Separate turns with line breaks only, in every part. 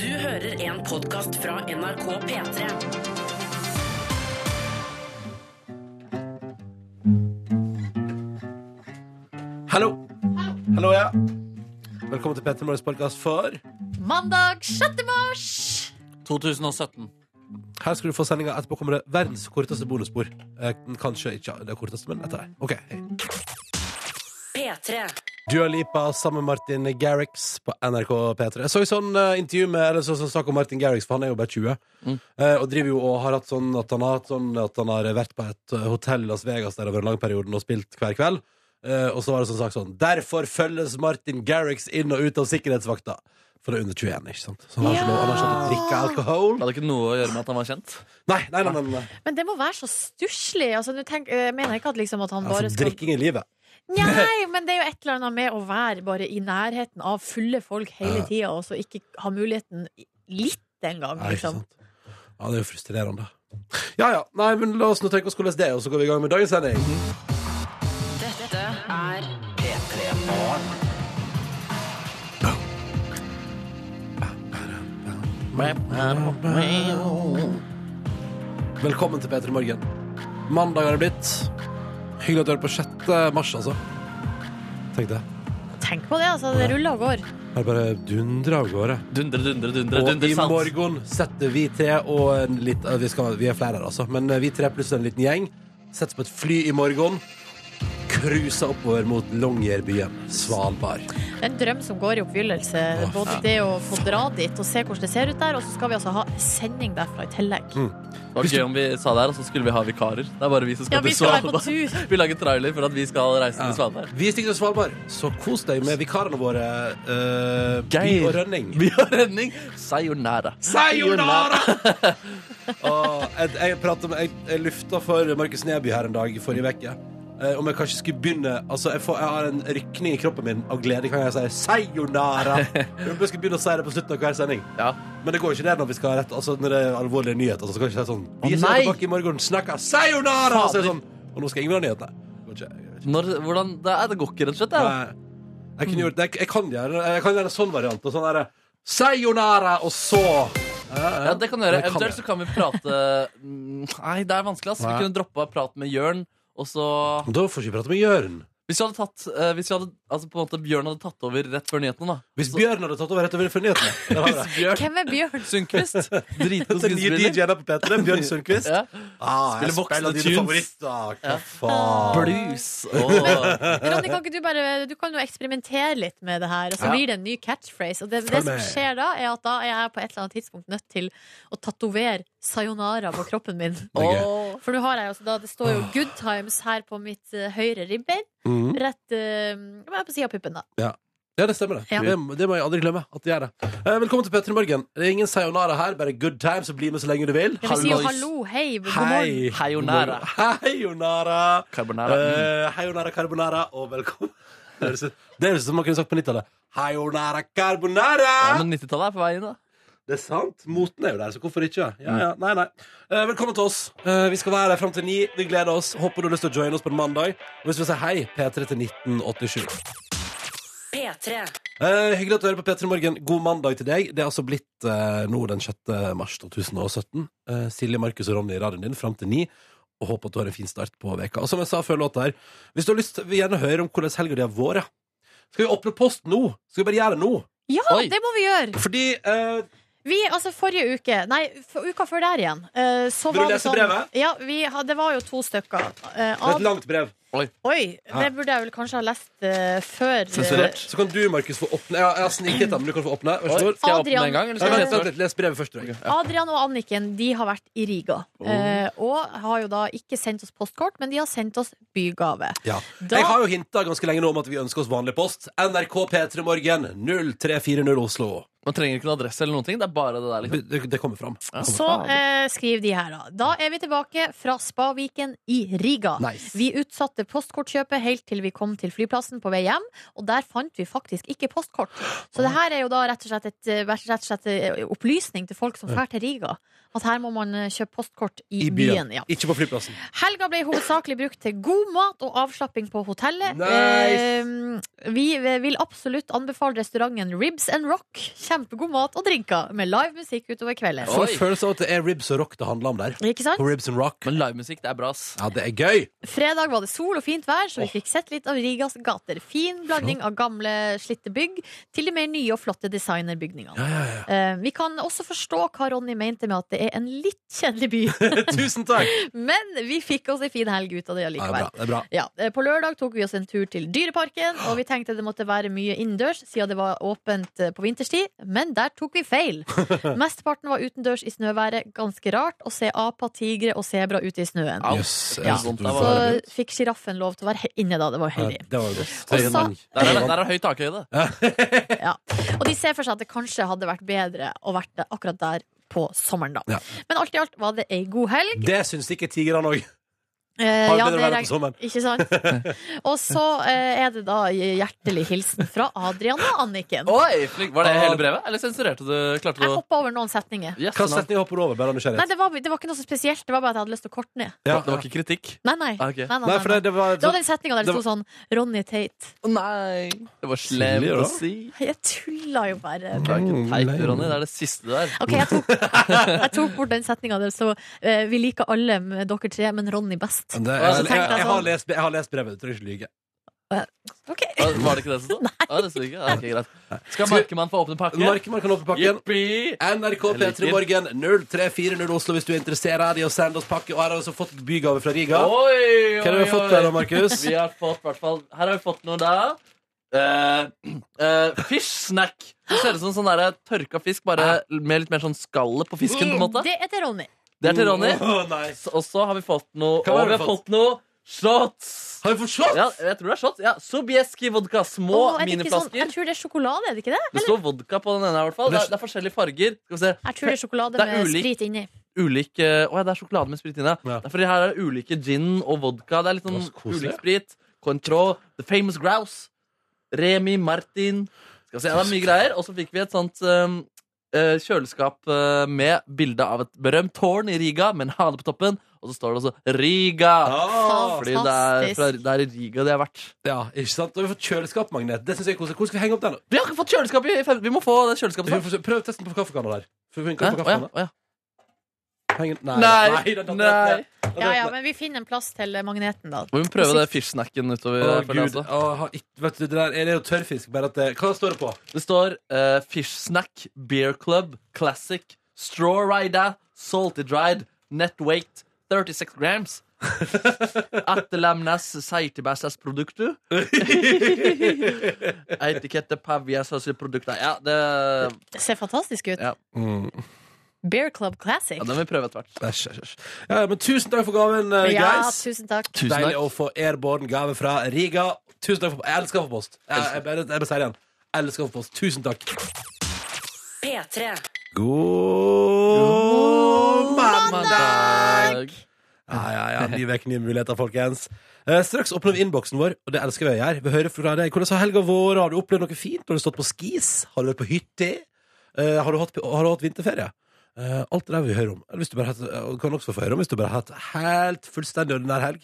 Du hører en podkast fra NRK P3.
Hallo. Hallo, ja. Velkommen til Petter Morgens podcast for
Mandag 6. mars!
2017.
Her skal du få sendinga. Etterpå kommer det verdens korteste bonusspor. Eh, kanskje ikke det korteste, men etter det. Ok, hei.
P3.
Dua Lipa sammen med Martin Garrix på NRK P3. Jeg så jo sånn eh, intervju med Eller så, sånn snakk om Martin Garrix, for han er jo bare 20. Eh, og driver jo og har hatt sånn at han har, hatt sånn at han har vært på et eh, hotell i Las Vegas der over en lang periode og spilt hver kveld. Eh, og så var det sånn sagt sånn Derfor følges Martin Garrix inn og ut av sikkerhetsvakta. For det er under 21, ikke sant? Så han har ikke lov han har ikke lov til å drikke alkohol.
Det hadde ikke noe å gjøre med at han var kjent.
Nei, nei, nei, nei, nei.
Men det må være så stusslig. Altså, nå tenk- jeg mener ikke at, liksom, at han bare
Altså,
skal
drikking i livet.
Nei, men det er jo et eller annet med å være bare i nærheten av fulle folk hele tida, og så ikke ha muligheten i- litt engang,
Ja, ikke
liksom.
sant? Ja, det er jo frustrerende. Ja, ja. Nei, men la oss nå tenke oss hvordan det er, og så går vi i gang med dagens sending.
Dette er P3.
Velkommen til P3 Morgen. Mandag har det blitt. Hyggelig at du hører på 6. mars, altså. Tenk det.
Tenk på det, altså. Det ruller og går.
Her bare dundrer av gårde.
Dundre, dundre, dundre,
Og
dundre,
i
sant?
morgen setter vi tre og en litt eh, vi, skal, vi er flere her, altså. Men eh, vi tre pluss en liten gjeng settes på et fly i morgen. Cruiser oppover mot Longyearbyen, Svalbard.
Det er en drøm som går i oppfyllelse. Både det å få dra dit og se hvordan det ser ut der, og så skal vi altså ha sending derfra i tillegg.
Mm.
Det var gøy om vi sa det her, og så skulle vi ha vikarer. Det er bare vi som skal
Ja, vi
til
skal være på
Svalbard.
tur.
Vi lager trailer for at vi skal reise til Svalbard.
Vi stikker til Svalbard, så kos deg med vikarene våre. eh, By og Rønning.
Vi har redning. Sayonara.
Sayonara! og jeg, jeg, pratet med, jeg, jeg lufta for Markus Neby her en dag i forrige uke. eh, om jeg kanskje skulle begynne Altså, jeg, får, jeg har en rykning i kroppen min av glede. Kan jeg si sayonara? Jeg håper jeg skulle begynne å si det på slutten av hver sending.
Ja.
Men det går ikke ned når vi skal ha rett Altså når det er alvorlige nyheter. Så skal jeg ikke si sånn Vi
Å,
ses
nei!
tilbake i morgen, snakker sayonara! Og så er det
Fader.
sånn Og nå skal Ingvild ha nyhetene. Det går ikke.
Når, hvordan, det, er, det går ikke, rett og slett. Det.
Nei. Jeg, kunne gjort, jeg, jeg kan gjøre jeg kan gjøre en sånn variant. Og sånn derre Sayonara, og så
Ja, det kan du gjøre.
Det kan
Eventuelt
jeg.
så kan vi prate Mm, Nei, det er vanskelig. ass. Vi
Nei.
kunne droppa praten med Jørn. Og så
Da får vi ikke prate med Jørn.
Hvis vi hadde tatt eh, Hvis vi hadde, altså på en måte Bjørn hadde tatt over rett før nyhetene, da.
Hvis
Så-
Bjørn hadde tatt over rett over for nyhetene. Der har vi det.
Hvis Bjørn
Hvem er Bjørn?
Sundquist. Dritgod
Den nye
skuespiller.
DJ-en her på P3, Bjørn Sundquist.
Ja.
Ah, jeg
Spiller voksne
spiller dine
tunes.
favoritter. Hva
Ja.
faen?
Blues og
Ronny, kan ikke du bare Du kan jo eksperimentere litt med det her, og så
Ja.
blir det en ny catchphrase. Og det, det
Følg
som
med.
skjer da, er at da er jeg på et eller annet tidspunkt nødt til å tatovere sayonara på kroppen min.
Det er gøy.
Åh.
For nå har jeg jo altså da Det står jo 'Good Times' her på mitt eh, høyre ribbein.
Mhm.
Rett uh, på sida av puppen, da.
Ja, det stemmer. det
Ja.
det, det må jeg aldri glemme. at jeg gjør det Eh, Velkommen til P3 Morgen. Det er ingen sayonara her, bare good times og bli med så lenge du vil.
Ja, vi sier jo
Hallois.
hallo, hei, god morgen.
Hei.
Hayonara.
Hayonara.
Carbonara. Mm.
Uh, Hayonara carbonara og velkommen. Det høres ut det høres ut som man kunne sagt på 90-tallet. Hayonara carbonara!
Ja, men 90-tallet er på vei inn, da.
Det er sant. Moten er jo der, så hvorfor ikke? Ja, ja, nei, nei. Eh, velkommen til oss. Eh, vi skal være her fram til ni. Vi gleder oss. Håper du har lyst til å joine oss på en mandag. Og hvis du vil si hei, P3 til 1987.
P3.
Eh, hyggelig at du hører på P3 Morgen. God mandag til deg. Det er altså blitt eh, nå den 6. mars 2017. Eh, Silje, Markus og Ronny i radioen din fram til ni. Og håper at du har en fin start på veka. Og som jeg sa før låta her, hvis du har lyst, vil gjerne høre om hvordan helga di har vært. Skal vi åpne post nå? Skal vi bare gjøre det nå?
Ja,
Oi.
det må vi gjøre!
Fordi eh,
Vi, altså Forrige uke, nei, f- uka før der igjen, eh, så
Vil du
var det
lese
sånn
brevet?
Ja, vi, ha- Det var jo to stykker. eh,
Det er
av,
et langt brev.
oi,
Ja.
det burde jeg vel kanskje ha lest eh, før.
Sensurert.
Så kan du, Markus, få åpne. Jeg, jeg har snikket den, men du kan få åpne. Vær
Oi,
så god.
skal jeg åpne
Adrian.
en gang? Eller
Nei,
skal
vent,
jeg
vent litt. Les brevet først. tror jeg.
Adrian og Anniken de har vært i Riga. eh, og har jo da ikke sendt oss postkort, men de har sendt oss bygave.
Ja.
Da-
Jeg har jo hinta ganske lenge nå om at vi ønsker oss vanlig post. NRK P3 Morgen 0340 Oslo.
Man trenger ikke noen adresse eller noen ting. Det er bare det der, liksom.
Det, det kommer fram.
Så eh, skriver de her, da. Da er vi tilbake fra Spaviken i Riga.
Nice.
Vi utsatte postkortkjøpet helt til vi kom til flyplassen på vei hjem, og der fant vi faktisk ikke postkort. Så det her er jo da rett og slett, et, eh, rett og slett eh, opplysning til folk som drar til Riga. At her må man eh, kjøpe postkort i,
I byen.
byen. ja.
Ikke på flyplassen.
Helga ble hovedsakelig brukt til god mat og avslapping på hotellet.
Nice!
Eh, vi vil absolutt anbefale restauranten Ribs and Rock. Kjempegod mat og drinker med live musikk utover kvelden.
Oi.
For følelsen av at det er ribs og rock det handler om der.
Ikke sant?
På Ribs and Rock.
Men livemusikk, det er bra, ass.
Ja, det er gøy!
Fredag var det sol og fint vær, så vi fikk sett litt av Rigas gater. Fin blanding av gamle, slitte bygg til de mer nye og flotte designerbygningene.
Ja, ja, ja.
Eh, Vi kan også forstå hva Ronny mente med at det er en litt kjedelig by,
Tusen takk!
men vi fikk oss en fin helg ut av det
Ja, det er
allikevel.
bra. Det er bra.
Ja, eh, På lørdag tok vi oss en tur til Dyreparken, og vi tenkte det måtte være mye innendørs siden det var åpent eh, på vinterstid, men der tok vi feil. Mesteparten var utendørs i snøværet. Ganske rart å se aper, tigre og sebra ute i snøen.
Au.
Jøss,
Ja.
jeg synes det
Så-
var-
Så fikk sjiraffen lov til å være he- inne, da. Det var jo
Ja,
heldig.
det var jo godt.
Og så-
Der er, der er høy takhøyde.
Ja. Og de ser for seg at det kanskje hadde vært bedre å vært det akkurat der på sommeren, da.
Ja.
Men alt i alt var det ei god helg.
Det syns ikke tigrene òg.
Eh,
Har
ja,
bedre
det
været
reg-
på sommeren.
Ikke sant? Og så eh, er det da hjertelig hilsen fra Adrian og Anniken.
Oi, flink. Var det hele brevet? Eller sensurerte du? Klarte
Jeg
du å
hoppa over noen setninger.
yes,
Hva
nei.
setning hopper du over? Bare av
Nei,
nysgjerrighet.
det var, det var ikke noe så spesielt. Det var bare at jeg hadde lyst til å korte ned.
Ja.
Det var ikke kritikk?
Nei, nei.
Ah, ok.
nei, nei,
Nei,
nei,
for det,
nei.
det var
Det var den setninga der det
det
sto sånn Ronny Tate.
Å, Nei! Det var slemt
Silje, da.
å si.
Jeg tulla jo bare.
Det er ikke
Mm,
teit,
nei.
Ronny. Det er det siste der.
Ok, jeg tok, jeg tok bort den setninga der, så eh, vi liker alle med dere tre, men Ronny best.
Men det-
Og så
jeg,
tenkte jeg
jeg, jeg, har
sånn-
lest, jeg har lest brevet, du trenger ikke lyge.
Ok,
Ah, Var det ikke det som sto? Nei. det sto ikke. Ah, ok, greit. Skal Markemann få åpne pakke?
Markmann kan åpne pakken.
Jippi!
NRK P3 Morgen 0340 Oslo hvis du er interessert i å sende oss pakke. Og her har vi også fått bygave fra Riga.
Oi, oi,
Hva har vi fått
oi.
der da, Markus?
Vi har fått, hvertfall- her har vi fått noe da. Eh, eh, fish snack. Det ser ut som sånn der tørka fisk, bare med litt mer sånn skallet på fisken. på en måte
Det er til Ronny.
Det er til Ronny.
Åh, nice.
Og så har vi fått noe
Hva har
Og
vi
vi har fått noe shots!
Har vi fått shot?
Ja, jeg tror det er shots. Ja, Sobieski vodka. Små
Åh, er det ikke sånn,
miniflasker.
jeg tror det er sjokolade, er det ikke det?
Det står vodka på den ene. i hvert fall
Det
Det
er-
er, det er forskjellige farger. Skal vi se
Jeg tror det er
Det
sjokolade
er
med
ulik.
sprit inni.
ulike Å ja, det er sjokolade med sprit inni. Ja.
Ja.
Det er fordi her er det ulike gin og vodka. Det er litt
Det var
sånn
så koselig.
ulik sprit. Cointreau, The Famous Grouse, Remi Martin Skal vi se, ja, Det er mye greier. Og så fikk vi et sånt um, eh, kjøleskap eh, med bilde av et berømt tårn i Riga med en hane på toppen. Og så står det også Riga!
Ah,
Fordi det er,
Fantastisk.
fra, det er i Riga det har vært.
ja, ikke sant? Og vi har fått kjøleskapmagnet. Det synes jeg er koselig. Hvor skal vi henge opp den? da?
Vi har ikke fått kjøleskap! i fem- Vi må få det kjøleskapet
Vi
snart.
får se- Prøv testen på kaffekanna der. Får vi
Hæ?
finne på
Å ja,
kaffekanna?
å ja.
Heng den- Nei,
Nei,
nei, den datt ned.
nei.
Den datt
Ja, ja,
ned.
men vi finner en plass til eh, magneten, da.
Må vi prøve det fish-snacken utover.
Å,
for det
Gud.
også.
Å, ha- ikke- vet du, det der er jo tørrfisk, bare at det Hva står det på?
Det står eh, Fish Snack, Beer Club, Classic, Straw Rider, Salty Dried, Net Weight, 36 grams. Attelemnes seitebæsjas produkter. Etikette paviasas produkter. Ja, det
Det ser fantastisk ut.
Ja.
Bear Club Classic.
ja, den vil vi prøve etter hvert.
Æsj, æsj, æsj. Ja, ja, men tusen takk for gaven, eh,
Ja,
guys.
tusen takk.
Deilig å få airborne gave fra Riga. Tusen takk for Jeg elsker å få post. Jeg, jeg, bare- jeg bare sier det igjen. Jeg elsker å få post. Tusen takk.
P3.
God
Mandag!
Ja, ja, ja. Ny vekk, nye muligheter, folkens. Eh, straks åpner vi innboksen vår, og det elsker vi å gjøre. Vi hører fra deg. Hvordan har helga vår? Har du opplevd noe fint? Har du stått på skis? Har du vært på hytte? Eh, har, du hatt, har du hatt vinterferie? Eh, alt det der vil vi høre om. Eller hvis du bare har hatt- eh, og kan også få høre om hvis du bare har hatt helt fullstendig ordinær helg.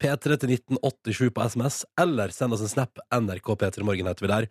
P3 til 1987 på SMS, eller send oss en snap. NRK P3 Morgen heter vi der.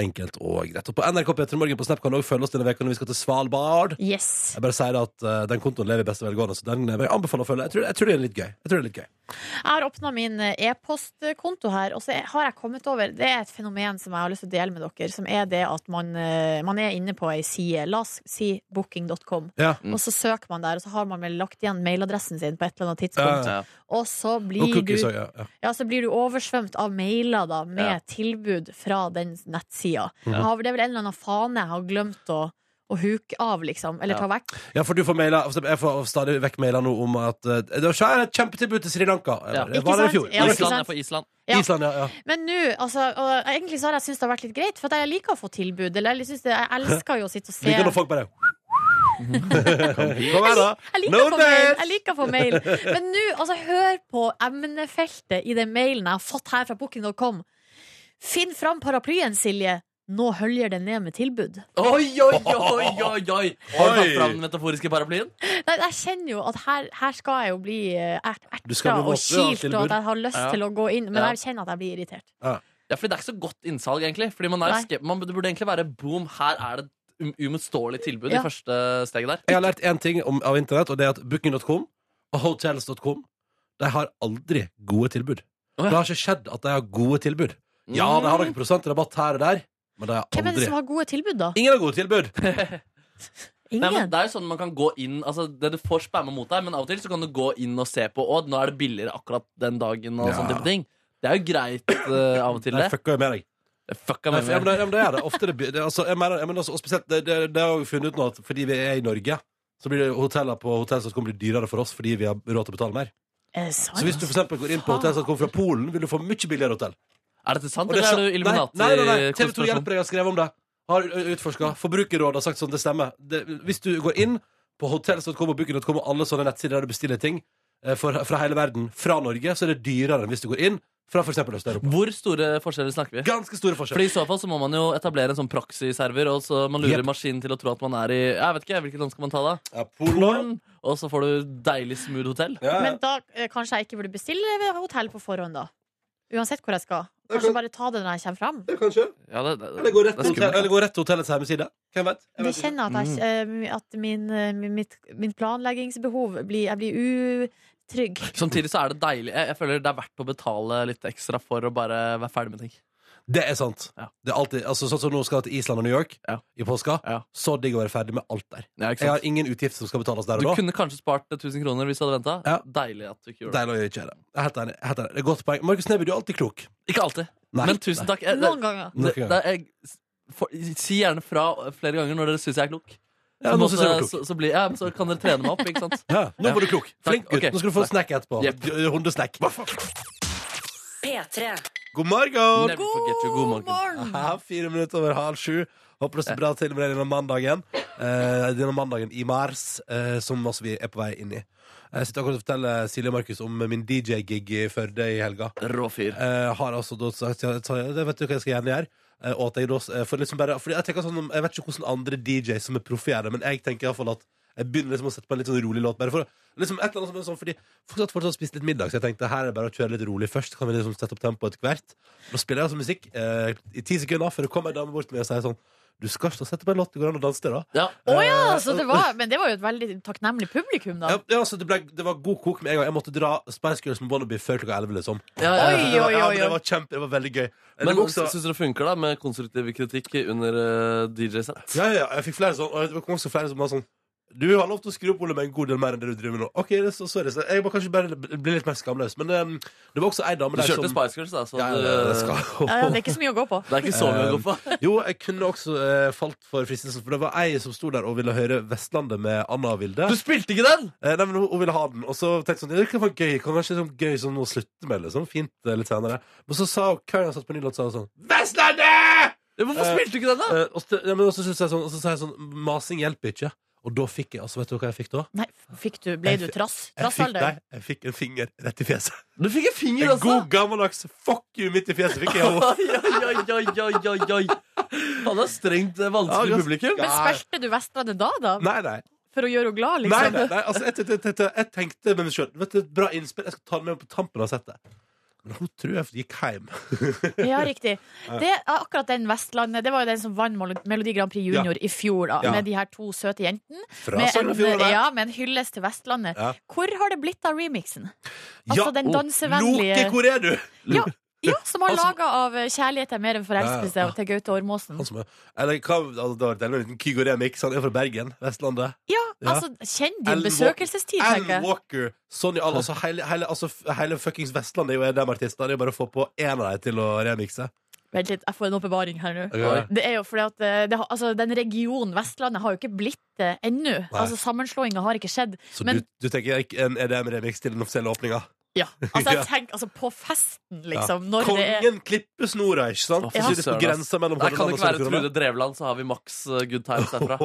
Enkelt og greit. Og på NRK P3 Morgen på snap kan du òg følge oss denne veka når vi skal til Svalbard.
Yes.
Jeg bare sier at eh, den kontoen lever i beste velgående, så den eh, vil jeg anbefale å følge. Jeg tror, jeg tror det er litt gøy. Jeg tror det er litt gøy.
Jeg har åpna min eh, e-postkonto her, og så har jeg kommet over Det er et fenomen som jeg har lyst til å dele med dere, som er det at man, eh, man er inne på ei side. La oss si booking.com.
Ja.
Mm.
Og så søker man der, og så har man vel lagt igjen mailadressen sin på et eller annet
Ja,
tidspunkt.
ja.
Og så
Og
blir,
cookies
du,
også, ja, ja.
ja, så blir du oversvømt av mailer da, med
Ja.
tilbud fra den nettsida. Jeg har- Det er vel en eller annen fane jeg har glemt å, å og huke av, liksom. Eller
Ja.
ta vekk.
Ja, for du får mailer, for eksempel, Jeg får stadig vekk mailer nå om at eh, Det er et kjempetilbud til Sri Lanka.
Ja.
Eller,
Ikke
var det i
sant?
fjor?
Ja, ikke
Island
sant?
er på Island.
Ja.
Island, ja. ja.
Men nå, altså, og egentlig så har jeg syntes det har vært litt greit, for at jeg liker å få tilbud. Eller jeg, synes det, jeg elsker jo å sitte og se.
Liker når folk bare Kom her, da.
Jeg liker,
No
å få mail.
names!
jeg liker å få mail. Men nå, altså, hør på emnefeltet i den mailen jeg har fått her fra booking.com. Finn fram paraplyen, Silje. Nå høljer det ned med tilbud.
Oi, oi, oi, oi, oi! Har du tatt fram den metaforiske paraplyen?
Nei, jeg kjenner jo at her, her skal jeg jo bli eh, ert,
Du skal
erta
bli
og
våt, ja,
kilt, og
tilbud.
at jeg har lyst
Ja.
til å gå inn. Men
Ja.
jeg kjenner at jeg blir irritert.
Ja, for Det er ikke så godt innsalg, egentlig. Fordi man er jo
Nei.
skep- man, Det burde egentlig være boom, her er det et um- uimotståelig tilbud
Ja.
i første steget der.
Jeg har lært én ting om, av internett, og det er at booking.com og hotels.com De har aldri gode tilbud.
Å, ja.
Det har ikke skjedd at de har gode tilbud. Ja, de har noen prosentrabatt her og der, men de har
Hvem er det
aldri
som har gode tilbud, da?
Ingen har gode tilbud!
Ingen?
Nei, men det er jo sånn man kan gå inn Altså det Du får spamma mot deg, men av og til så kan du gå inn og se på Å, nå er det billigere akkurat den dagen. Og
Ja.
sånne type ting Det er jo greit eh, av og til,
De
det.
fucker jo med deg.
Fucka
Nei,
meg
for- ja, men
med.
det, ja, men det er det. Ofte det, det, altså, jeg mener, jeg mener, altså, og spesielt, det, det, det har jeg jo funnet ut nå at fordi vi er i Norge, så blir det hoteller på hotell.com blir dyrere for oss fordi vi har råd til å betale mer.
Er det sant?
Så hvis du for eksempel går inn på hotell.com fra Polen, vil du få mye billigere hotell.
Er dette sant,
Og det
eller
sa-
er du Illuminati?
Nei, nei, nei, nei. TV 2
konspirasjon?
Hjelper deg har skrevet om det. Har utforska. Forbrukerrådet har sagt sånn, det stemmer. Det, hvis du går inn på hotels.com og booking.com og alle sånne nettsider der du bestiller ting eh, for, fra hele verden, fra Norge, så er det dyrere enn hvis du går inn fra f.eks. Øst-Europa.
Hvor store forskjeller snakker vi?
Ganske store forskjeller.
Fordi I så fall så må man jo etablere en sånn proxy-server, og så man lurer
Yep.
maskinen til å tro at man er i Jeg vet ikke, Hvilket land skal man ta da?
Ja, Polen.
Og så får du deilig smooth hotell.
Ja, ja.
Men da eh, kanskje jeg ikke burde bestille ved hotell på forhånd, da. Uansett hvor jeg skal.
Jeg kan-
Kanskje bare ta det når jeg kommer fram.
Ja, kanskje.
Ja, det, det,
Eller gå rett,
det er
til hotell-
skummelt.
eller gå rett til hotellets hjemmeside. Hvem vet? Jeg
Det
vet ikke.
kjenner jeg at, jeg, eh, at min, eh, mitt, mitt planleggingsbehov blir Jeg blir utrygg.
Samtidig så er det deilig. Jeg, jeg føler det er verdt å betale litt ekstra for å bare være ferdig med ting.
Det er sant.
Ja.
Det er alltid, altså, sånn som nå skal jeg til Island og New York
Ja.
i påska.
Ja.
Så digg å være ferdig med alt der.
Ja, ikke
Jeg har
sant?
ingen utgifter som skal betales der
Du
og da.
kunne kanskje spart 1000 kroner hvis du hadde venta.
Ja.
Deilig at du ikke gjorde det.
Deilig å ikke gjøre det. Jeg er Helt enig. jeg er Helt enig. Det er et godt poeng. Markus Neby, du er alltid klok.
Ikke alltid,
Nei.
men tusen takk. Jeg,
Noen ganger.
det,
Nok en gang.
det, det, jeg, for, si gjerne fra flere ganger når dere syns jeg er klok.
Ja,
Så
nå
måtte-
synes jeg du er klok.
så, så, blir, ja, men så kan dere trene meg opp, ikke sant?
Ja, nå
Ja.
var du klok. Flink gutt.
Takk, ok.
Nå skal du få en snack etterpå.
Jepp.
Hundesnack.
P3.
God morgen!
Never forget you. God morgen.
Aha, fire minutter over halv sju. Håper det står bra til med deg denne mandagen. Eh, denne mandagen i mars, eh, som også vi er på vei inn i. Eh, Jeg sitter akkurat og forteller Silje og Markus om min DJ-gig i Førde i helga.
Rå fyr.
Eh, har altså da sagt ja, sa jeg, Det vet du hva jeg skal gjerne gjøre. Eh, og at jeg da eh, for liksom bare, fordi jeg tenker sånn om- Jeg vet ikke hvordan andre DJ som er proffe gjør det, men jeg tenker i hvert fall at jeg begynner liksom å sette på en litt sånn rolig låt. Bare for å- liksom et eller annet som er sånn Fordi Folk satt fortsatt og spiste litt middag, så jeg tenkte her er det bare å kjøre litt rolig først. Så kan vi liksom sette opp tempoet etter hvert. Da spiller jeg altså musikk eh, i ti sekunder før det kommer ei dame bort til meg og sier sånn Du skal ikke sette på en låt, det går an å danse til, da. Eh,
Ja.
Å ja! Så det var, men det var jo et veldig takknemlig publikum, da.
Ja, ja, altså, det, ble, det var god kok med en gang. Jeg måtte dra Spice Girls med Bonneby før klokka 11, liksom.
Ja, ja, ja.
Oi,
Det var-
oi,
ja,
oi,
men det
oi.
var kjempe, det var veldig gøy. Det
Men
var også-
syns dere det funker da med konstruktiv kritikk under eh, DJ-sett?
Ja, ja, ja, jeg fikk flere sånn, og det kom også flere som var sånn Du har lov til å skru opp Ole med en god del mer enn det du driver med nå. Ok, det er så, sorry, så jeg må kanskje bare bli litt mer skamløs. Men um, det var også ei dame
Du
der som
kjørte Spice Girls, da. Så
ja, ja,
du,
ja, det skal.
eh, Ja, ja, det er ikke så mye å gå på.
det er ikke så mye å gå på.
Jo, jeg kunne også eh, falt for fristelsen, for det var ei som sto der og ville høre Vestlandet med Anna og Vilde.
Du spilte ikke den!
Eh, nei, men hun, hun ville ha den, og så tenkte jeg sånn, det kan være gøy, kan kanskje sånn gøy sånn å slutte med, liksom, fint eh, litt senere. Men så sa hun, hver gang jeg satt på en ny låt, sa hun sånn, Vestlandet!
Ja, Hvorfor
Eh,
spilte du ikke den, da?
Eh, og, så, ja, men, og, så synes jeg sånn, og så sa jeg sånn, masing hjelper ikke. Og da fikk jeg, altså, vet du hva jeg fikk da?
Nei, fikk du, ble du trass?
Jeg fikk, nei,
Trassalder?
jeg fikk en finger rett i fjeset.
Du fikk en
En
finger, altså!
god gammeldags fuck you midt i fjeset fikk jeg. jo.
Oi, oi, oi, oi, oi, oi. Han er strengt eh, vanskelig
Ja, ganske-
publikum.
Men spilte du Vestlandet da, da?
Nei, nei.
For å gjøre henne glad,
nei,
liksom?
nei, nei. Altså, jeg, tenkte- tenkte- jeg tenkte med meg sjøl Vet du, et bra innspill. Jeg skal ta det med på tampen av settet. Men hun tror jeg gikk hjem.
Ja, riktig. Det er akkurat den Vestlandet. Det var jo den som vant Mel- Melodi Grand Prix Junior i fjor, da,
Ja.
med de her to søte jentene.
Fra
Med en,
Sognefjord. der.
ja, med en hyllest til Vestlandet.
Ja.
Hvor har det blitt av remixen?
Ja,
Altså den
og Loke,
dansevennlige
hvor er du?
ja, ja, som har
Altså-
laga av eh, 'Kjærlighet er mer enn
Ja,
forelskelse'
ja.
til Gaute Ormåsen.
Han som er, eller hva altså, Det var det er en liten Kygo Remix. Han er fra Bergen. Vestlandet.
Ja,
Ja.
altså, kjenn
Alan
din
Walker-
besøkelsestid, tenker
Alan
jeg.
Walker, Sonny All. Altså, E hele, hele, altså, f- hele fuckings Vestlandet er jo EDM-artister. Det er jo bare å få på én av dem til å remikse.
Vent litt, jeg får en åpenbaring her nå.
Ok.
Det er jo fordi at eh, det, har- altså, Den regionen Vestlandet har jo ikke blitt det ennå. Altså, Sammenslåinga har ikke skjedd.
Så
Men-
du, du tenker ikke en- er det en remix til den offisielle åpninga?
Ja, altså
Ja.
jeg tenker altså, På festen, liksom. Når det er
Kongen klipper snora, ikke sant?
Å, fy
Ja. Sitter på
søren, ass.
grensa mellom
Nei, kan det
Hordaland og
ikke
Sogn
være
og Oh.
Trude
Fjordane.
Drevland, så har vi maks eh, good times derfra.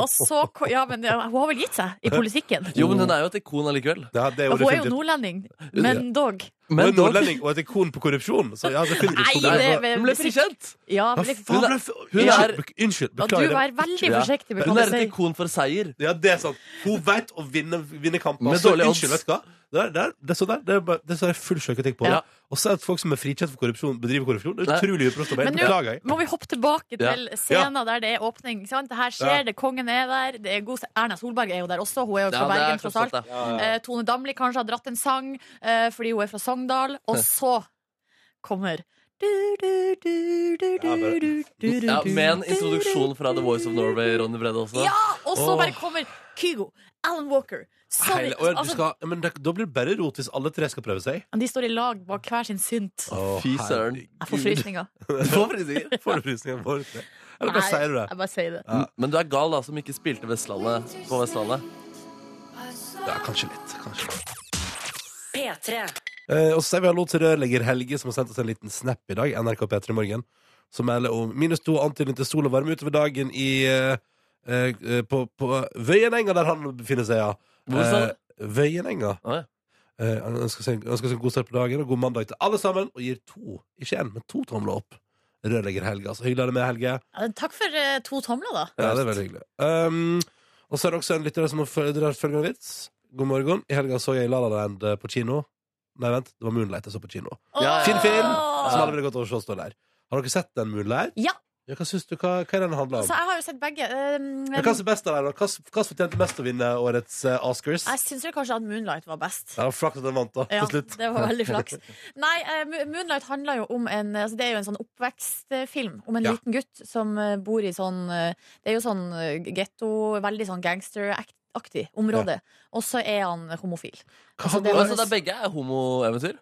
Og så ko- Ja, men ja, hun har vel gitt seg i politikken.
Jo, men hun er jo et ikon allikevel.
Det, her- det er jo
Hun er jo
definitivt.
nordlending, men dog.
Hun er
Men dog,
nordlending og et ikon på korrupsjon. Så ja, definitivt.
Nei,
Hun
det
er-
er vel-
hun ble frikjent!
Ja,
Hva
men det-
faen
Hun er-
ble f-
hun
Unnskyld,
er-
be- Unnskyld,
og du
beklager. det.
er veldig
Ja.
forsiktig med
Hun
hva
er
du
et
sier.
ikon for seier.
Ja, det er sant. Hun vet å vinne, vinne kamper.
Med
Så,
dårlige odds.
unnskyld, vet du hva? Det er, det er, det er, så der, det er, bare- det er så der full sjøketikk på
Ja.
det. Og så er det at folk som er frikjent for korrupsjon, bedriver korrupsjon. Det er
Nei.
utrolig uproft arbeid.
Men nå-
Beklager. jeg.
Må vi hoppe tilbake
Ja.
til scener der det er åpning? Ikke sant? Det her skjer,
Ja.
det, kongen er der, det er god Erna Solberg er jo der også, hun er jo fra
Ja, det er
Bergen, tross
tross alt
alt.
det.
Eh, Tone Damli kanskje har dratt en sang eh, fordi hun er fra Sogndal. Og så kommer du, du, du, du, du,
Ja, bare-
du, du, du,
Ja, med en
du, du,
introduksjon fra The Voice of Norway, Ronny Brede også.
Ja! Og så
Åh.
bare kommer Kygo, Alan Walker, Sorry.
Hele, og ja, du
altså,
skal, ja, men det, da blir det bare rot hvis alle tre skal prøve seg.
de står i lag bak hver sin synt.
Å,
Fy søren.
herregud.
Jeg får frysninger.
Du får frysninger.
Får du frysninger på ordentlig? Eller hva sier du det?
jeg bare sier det.
Mm, Men du er gal, da, som ikke spilte Vestlandet på Vestlandet.
Ja, kanskje litt. Kanskje litt.
P3.
Eh, og så sier vi hallo til rørlegger Helge, som har sendt oss en liten snap i dag. NRK P3 Morgen. Som melder om minus to antydning til sol og varme utover dagen i eh, eh, eh, på, på Vøyenenga, der han befinner seg, ja.
Hvor sa du?
Eh, Vøyenenga.
Å, ja.
Eh, han ønsker seg, ønsker seg en god start på dagen og god mandag til alle sammen, og gir to, ikke én, men to tomler opp. Rørlegger Helge, altså. Hyggelig å ha deg med, Helge.
Ja, men takk for eh, to tomler, da.
Ja, det er veldig hyggelig. Um, og så er det også en lytter som har føl- drar følgende vits. God morgen. I helga så jeg La La Land eh, på kino. Nei, vent. Det var Moonlight jeg så på kino.
Ja, ja, ja.
Fin film!
Åh!
Som alle ville gått over å stå der. Har dere sett den Moonlight?
Ja.
ja hva syns du? Hva, hva er den handler
Altså,
om?
jeg har jo sett begge. Um,
Ja, hva er best av dem? da? Hva hva fortjente mest å vinne årets eh, Oscars?
jeg syns vel kanskje at Moonlight var best.
Ja, Flaks at den vant, da.
Ja,
Til slutt.
det var veldig flaks. Nei, eh, Mo- Moonlight handler jo om en altså Det er jo en sånn oppvekstfilm om en
Ja.
liten gutt som eh, bor i sånn eh, Det er jo sånn eh, getto, veldig sånn gangsteraktig område. Og så er han homofil.
Hva
altså, det
Å,
handler-
var-
Så det er begge er homoeventyr?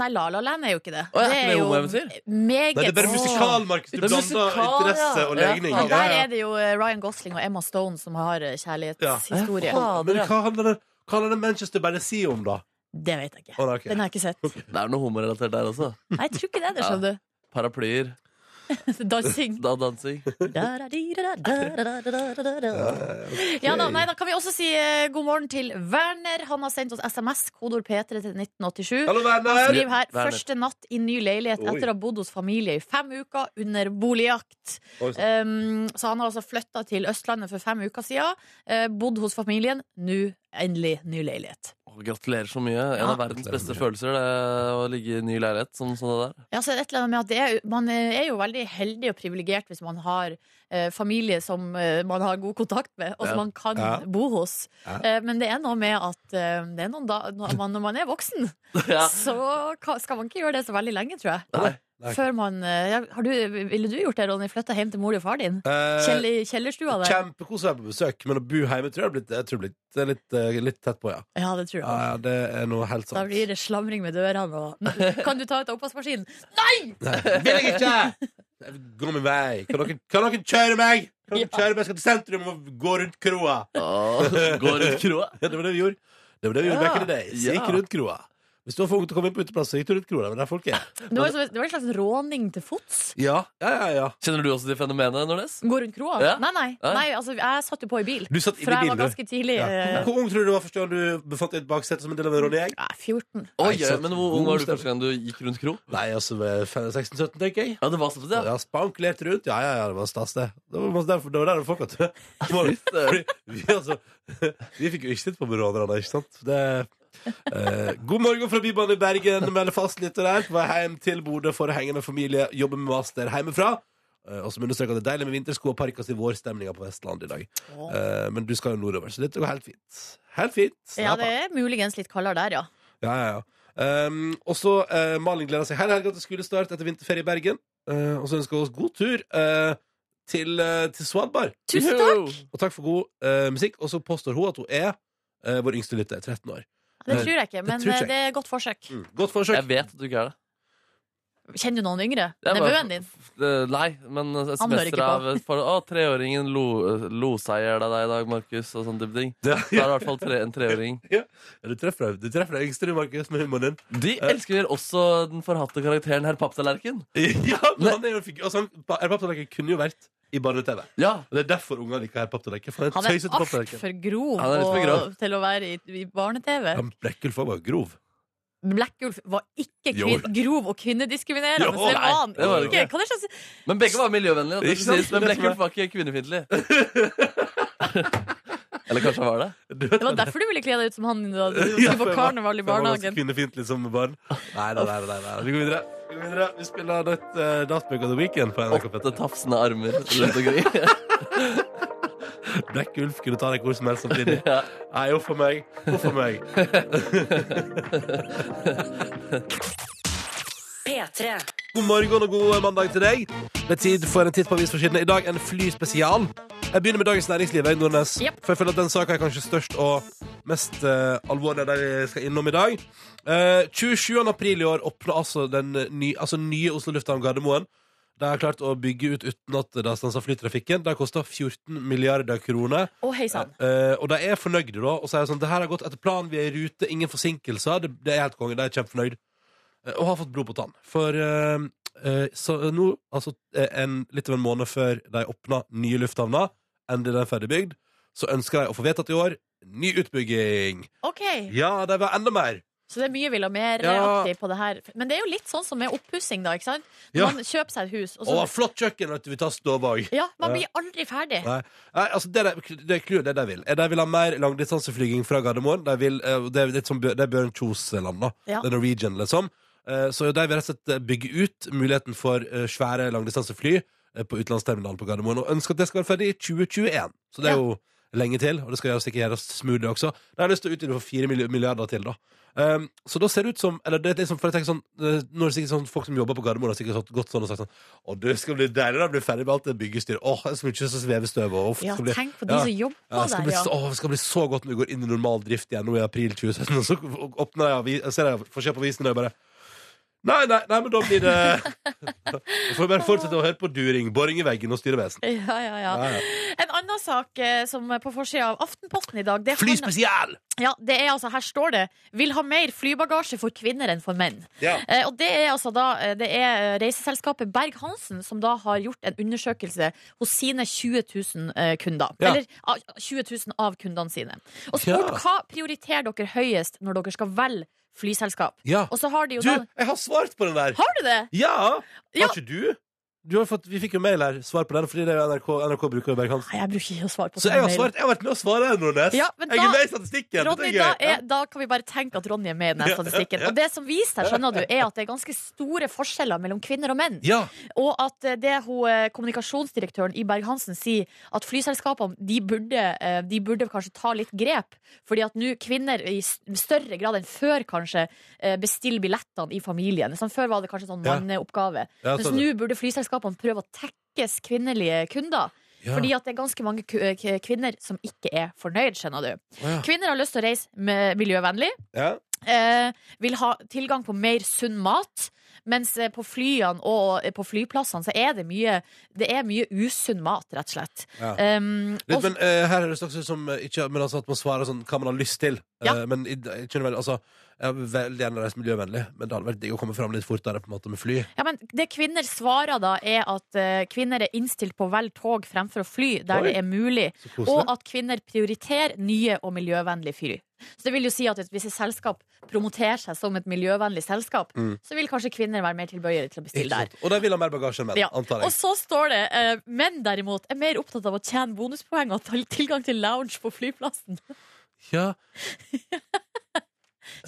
Nei, La La Land er jo ikke det.
Å ja,
det
det er homoeventyr?
meget
Nei, det er bare
Åh.
musikal, Markus. Du
Det er
blander
musikal,
interesse
ja.
og
Ja,
legning.
Og der
Ja, ja.
er det jo eh, Ryan Gosling og Emma Stone som har eh, kjærlighetshistorie.
Ja, faen.
Men hva handler det, hva handler det Manchester by the Sea om, da?
Det vet jeg
Å,
ikke.
nei, ok.
Den har jeg ikke sett.
Det er noe homorelatert der også.
Nei, jeg tror ikke det er det,
Ja.
skjønner
Paraplyer,
du. Dansing.
da dansing.
Ja da, nei, da kan vi også si eh, god morgen til Werner. Han har sendt oss SMS, kodeord P3 til 1987.
Hallo, venner!
Skriv her
Werner.
første natt i ny leilighet
Oi.
etter å ha bodd hos familie i fem uker under boligjakt.
Oi, sånn. sant.
Um, så han har altså flytta til Østlandet for fem uker siden. eh, bodd hos familien. Nå endelig ny leilighet.
Å, Gratulerer så mye. En av verdens
Gratulerer
beste
mye.
følelser, det er å ligge i ny leilighet som sånn det der.
Ja, så er det et eller annet med at det er, Man eh, er jo veldig heldig og privilegert hvis man har eh, familie som eh, man har god kontakt med, og som
Ja.
man kan
Ja.
bo hos.
Ja.
Eh, men det er noe med at eh, det er noen da, når, man, når man er voksen,
Ja.
så ka, skal man ikke gjøre det så veldig lenge, tror jeg.
Nei.
Nei.
Før man eh, ja, har du, Ville du gjort det, Ronny? Flytta hjem til mor og far din?
Eh,
Kjell, i kjellerstua der?
Kjempekos å være på besøk, men å bo hjemme tror jeg har blitt, jeg tror det er blitt, litt, eh, litt tett på, ja.
Ja, det tror jeg.
ja. ja det er noe helt sant.
Da blir det slamring med dørene og Kan du ta ut oppvaskmaskinen?
Nei, Vil jeg ikke! Gå min vei. Kan dere, kan dere kjøre meg? Kan dere
Ja.
kjøre meg? Jeg skal til sentrum og gå rundt kroa.
Å, Går rundt kroa.
Ja, det var det vi gjorde. Det var det vi gjorde
Ja.
back in the days. Gikk
Ja.
rundt kroa. Hvis du var for ung til å komme inn på uteplass, så gikk du rundt kroa. Det var der folk er.
Det var, jo som- det var en slags råning til fots.
Ja, ja, ja, ja.
Kjenner du også til fenomenet, Nordnes?
Gå rundt kroa?
Ja.
Nei, nei.
Nei.
nei altså, jeg satt jo på i bil.
Du satt inne i
For jeg
bilen,
var
du.
ganske tidlig.
ja.
eh,
Hvor ung tror du du var første gang du befant deg i et baksete som en del av en rånegjeng?
ja, 14.
Oi,
Nei, så-
men hvor ung var du første gang du gikk rundt kro?
Nei, altså 16-17, tenker jeg.
Ja, det var sånn, ja.
Ja, spankulert rundt. Ja, ja, ja, det var stas, det. Det var masse derfor, det var der det folk var til. Det var- Fordi Vi, altså, vi fikk jo ikke sitt på rånerne, ikke sant? Det, eh, god morgen fra Bybanen i Bergen. Melder fastlytter her. På vei hjem til Bodø for å henge med familie. Jobber med master hjemmefra. Eh, Og som understreker at det er deilig med vintersko og parkas i vårstemninga på Vestlandet i dag. Eh, Men du skal jo nordover, så dette går helt fint. Helt fint.
Ja, det er muligens litt kaldere der, ja.
Ja, ja, ja. Ehm, og så eh, Malin gleder seg hele helga til skolestart etter vinterferie i Bergen. Eh, og så ønsker vi oss god tur eh, til, eh, til Svalbard.
Tusen takk!
takk!
Og takk for god eh, musikk. Og så påstår hun at hun er eh, vår yngste lytter, 13 år.
Det tror jeg ikke, men
tror ikke
eh,
jeg.
det er godt forsøk.
Mm. Godt forsøk.
Jeg vet at du ikke er det.
Kjenner du noen yngre?
Jeg bare-
Nevøen din?
Eh, Nei, men
Han hører ikke
SMS-er
på.
av eh, for, Å, treåringen lo, lo seg i hjel av deg i dag, Markus, og sånn type ting.
Det,
Da er det i hvert fall tre, en treåring.
Ja, du treffer deg- du treffer deg yngste, du, Markus, med humoren din.
De elsker også den forhatte karakteren herr Papptallerken.
Ja, men han er jo en figur. Altså, han- Herr Papptallerken kunne jo vært i barne-TV.
Ja,
Og Det er derfor ungene liker Herr Papptallerken. for
Han
Han er
er
tøysete papptallerken.
altfor grov,
Han er litt for
og-
grov.
til å være i, i barne-TV.
Ja, men Brekkulf var bare grov.
Blackulf var ikke
Jo.
kvin, grov og kvinnediskriminerende.
Jo,
så det var han
nei, det var det
ikke. Hva er det slags
Men begge var miljøvennlige. Det
Ikke
skal
sant?
sies, men Blekkulf var ikke kvinnefiendtlig. Eller kanskje han var det?
Det var derfor du ville kle deg ut som han da du
Ja, for
skulle på
jeg var- for
karneval i
jeg var ganske
barnehagen.
Kvinnefiendtlig som liksom, barn. Nei, nei, nei, nei, nei. Vi går videre. Vi, går videre. vi spiller Dot- eh, Datsbøk of the Weekend på NRK
Åtte
P3.
tafsende armer rundt omkring.
Black Ulf kunne ta deg hvor som helst samtidig.
Ja.
Nei, huff a meg. Huff a meg.
P3.
God morgen og god mandag til deg. Det er tid for en titt på avisforsidene. I dag en flyspesial. Jeg begynner med Dagens Næringsliv. Jeg, Nordnes.
Yep.
For jeg føler at den saka er kanskje størst og mest eh, alvorlig av det vi skal innom i dag. Eh, 27. april i år åpner altså den ny, altså nye Oslo lufthavn Gardermoen. De har klart å bygge ut uten at det har stansa flytrafikken. Det har kosta 14 milliarder kroner.
Å, hei sann.
Eh, og de er fornøyde, da. Og sier sånn Det her har gått etter planen, vi er i rute, ingen forsinkelser. Det, det er helt konge. De er kjempefornøyd. Eh, og har fått blod på tann. For eh, eh, så nå, altså eh, en, litt over en måned før de åpna nye lufthavner, endelig den er ferdigbygd, så ønsker de å få vedtatt i år ny utbygging.
OK,
Ja, de vil ha enda mer.
så det er mye vi la mer eh,
Ja.
aktiv på det her. Men det er jo litt sånn som med oppussing, da. ikke sant? Når
Ja.
Man kjøper seg et hus, og
Å,
så
flott kjøkken! At vi tar stå bak.
ja, Man
Ja.
blir aldri ferdig.
Nei, Nei, altså det, de- det er clouet det de vil. De vil ha mer langdistanseflyging fra Gardermoen. De vil, eh, det er litt som Bjør- det er Bjørn Kjos-land, da.
Ja.
Det er Norwegian, liksom. Eh, Så de vil rett og slett bygge ut muligheten for eh, svære langdistansefly eh, på utenlandsterminalen på Gardermoen, og ønsker at det skal være ferdig i 2021. Så det er
Ja.
jo lenge til, og det skal gjøres sikkert gjøres smoothie også. De har lyst til å utvide for fire milli- milliarder til, da. Um, så da ser det ut som Eller det er liksom, for jeg tenker sånn eh, Nå er det sikkert sånn folk som jobber på Gardermoen, har sikkert gått sånn og sagt sånn Å, det skal bli deilig da, bli ferdig med alt det byggestyret. Åh, det skal bli ikke så svevestøv og uff, det
Ja,
skal bli
tenk på de
Ja.
som jobber
ja, det skal
der,
bli,
ja.
så- åh, det skal bli så godt når vi går inn i normal drift igjen nå i april 2017. Og så åpner jeg, avi- jeg ser jeg får se på avisen, og jeg bare Nei, nei, nei, men da blir det Vi får bare fortsette å høre på during, boring i veggen og styrevesen.
Ja, ja, ja.
Ja, ja.
En annen sak eh, som er på forsida av Aftenposten i dag, det er, han,
Flyspesial!
ja, det er altså, her står det 'Vil ha mer flybagasje for kvinner enn for menn'.
Ja.
Eh, Og det er altså da eh, Det er reiseselskapet Berg-Hansen som da har gjort en undersøkelse hos sine 20 000 eh, kunder.
Ja.
Eller ah, 20 000 av kundene sine. Og spurt
Ja.
hva prioriterer dere høyest når dere skal velge flyselskap.
ja.
Og så har de jo
Du,
da
jeg har svart på den der!
Har du det?!
Ja!
Ja.
Har ikke du? du har fått, vi fikk jo mail her, svar på den, fordi det er jo NRK, NRK bruker jo Berg-Hansen.
Nei, jeg bruker ikke å svare på
Så
sånne
jeg har,
mail.
svart, jeg har vært med å svare, Nordnes.
Ja, men
jeg
da-
er med i statistikken.
Ronny,
det
da,
er gøy.
er, da kan vi bare tenke at Ronny er med i den statistikken. Og det som viser seg, skjønner du, er at det er ganske store forskjeller mellom kvinner og menn.
ja.
Og at eh, det hun, eh, kommunikasjonsdirektøren i Berg-Hansen sier, at flyselskapene de burde, eh, de burde kanskje ta litt grep. Fordi at nå kvinner i s- større grad enn før kanskje eh, bestiller billettene i familien. Sånn, før var det kanskje sånn
Ja.
manneoppgave.
Ja,
Mens
sånn.
nå burde flyselskapene prøve å tekkes kvinnelige kunder.
Ja.
Fordi at det er ganske mange ku- eh, k- kvinner som ikke er fornøyd, skjønner du.
Å, ja.
Kvinner har lyst til å reise med miljøvennlig.
Ja.
Eh, vil ha tilgang på mer sunn mat. Mens eh, på flyene og eh, på flyplassene så er det mye, det er mye usunn mat, rett og slett.
Ja.
Um,
Litt,
og,
men eh, her er det slags som eh, ikke, men altså at man svarer sånn hva man har lyst til.
Ja.
Eh, men i- jeg kunne vel, altså, jeg vil veldig gjerne reist miljøvennlig, men det hadde vært digg å komme fram litt fortere på en måte med fly.
ja, men det kvinner svarer da, er at eh, kvinner er innstilt på å velge tog fremfor å fly der
Oi.
det er mulig.
Så koselig.
Og at kvinner prioriterer nye og miljøvennlige fly. Så det vil jo si at hvis et selskap promoterer seg som et miljøvennlig selskap,
Mm.
så vil kanskje kvinner være mer tilbøyelige til å
Ikke
bestille der.
sant? og de vil ha mer bagasje enn menn,
Ja.
antar
Og
jeg.
så står det eh, menn derimot er mer opptatt av å tjene bonuspoeng og ta tilgang til lounge på flyplassen.
Ja.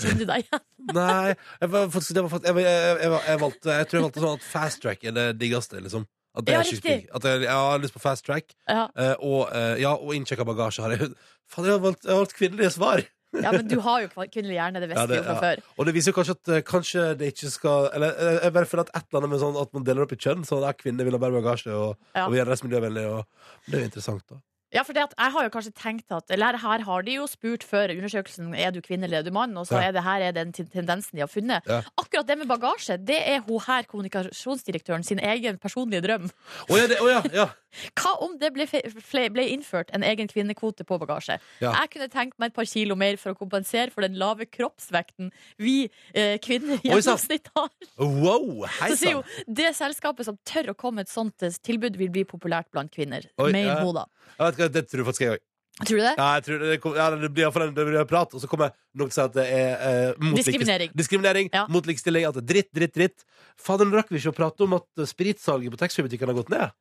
Kjenner du deg igjen?
Nei, jeg, var, faktisk- det var, faktisk- jeg, var- jeg, jeg, var- jeg, valgte, jeg tror jeg valgte sånn at fast track er det diggeste, liksom. At det
Ja,
er sjukt
riktig.
digg. At jeg, jeg har lyst på fast track,
Ja.
eh, og, eh, ja, og innsjekka bagasje har jeg. Faen, jeg har valgt, jeg har valgt kvinnelige svar!
ja, men du har jo kvin- kvinnelig hjerne, det visste
Ja,
vi
det-
jo fra
ja.
før.
Og det viser jo kanskje at eh, kanskje det ikke skal Eller eh, jeg bare føler at et eller annet med sånn at man deler opp i kjønn. Sånn at ja, kvinner vil ha bare bagasje, og,
Ja.
og vi er rest miljøvennlig, og Det er jo interessant, da.
Ja, for det at jeg har jo kanskje tenkt at Eller her har de jo spurt før undersøkelsen Er du kvinne eller er du mann, og så
Ja.
er det her er den ten- tendensen de har funnet.
Ja.
Akkurat det med bagasje, det er hun her kommunikasjonsdirektøren sin egen personlige drøm.
Å ja, det, å ja, ja.
Hva om det ble, fe- fle- ble innført en egen kvinnekvote på bagasje?
Ja.
Jeg kunne tenkt meg et par kilo mer for å kompensere for den lave kroppsvekten vi eh, kvinner i
Oi, sant.
gjennomsnitt har.
Wow, hei
Så sier
sann.
hun det selskapet som tør å komme med et sånt eh, tilbud, vil bli populært blant kvinner.
Oi,
Mener
ja.
hun, da.
Jeg vet ikke, Det tror jeg faktisk jeg òg.
Tror du det?
Ja, jeg tror det, kom- ja, det blir i hvert fall en- det blir en prat, og så kommer noen til å si at det er eh, mot likestilling.
Diskriminering.
Diskriminering
Ja.
Mot likestilling. At det er dritt, dritt, dritt. Fader, nå rakk vi ikke å prate om at eh, spritsalget på taxfree-butikkene har gått ned.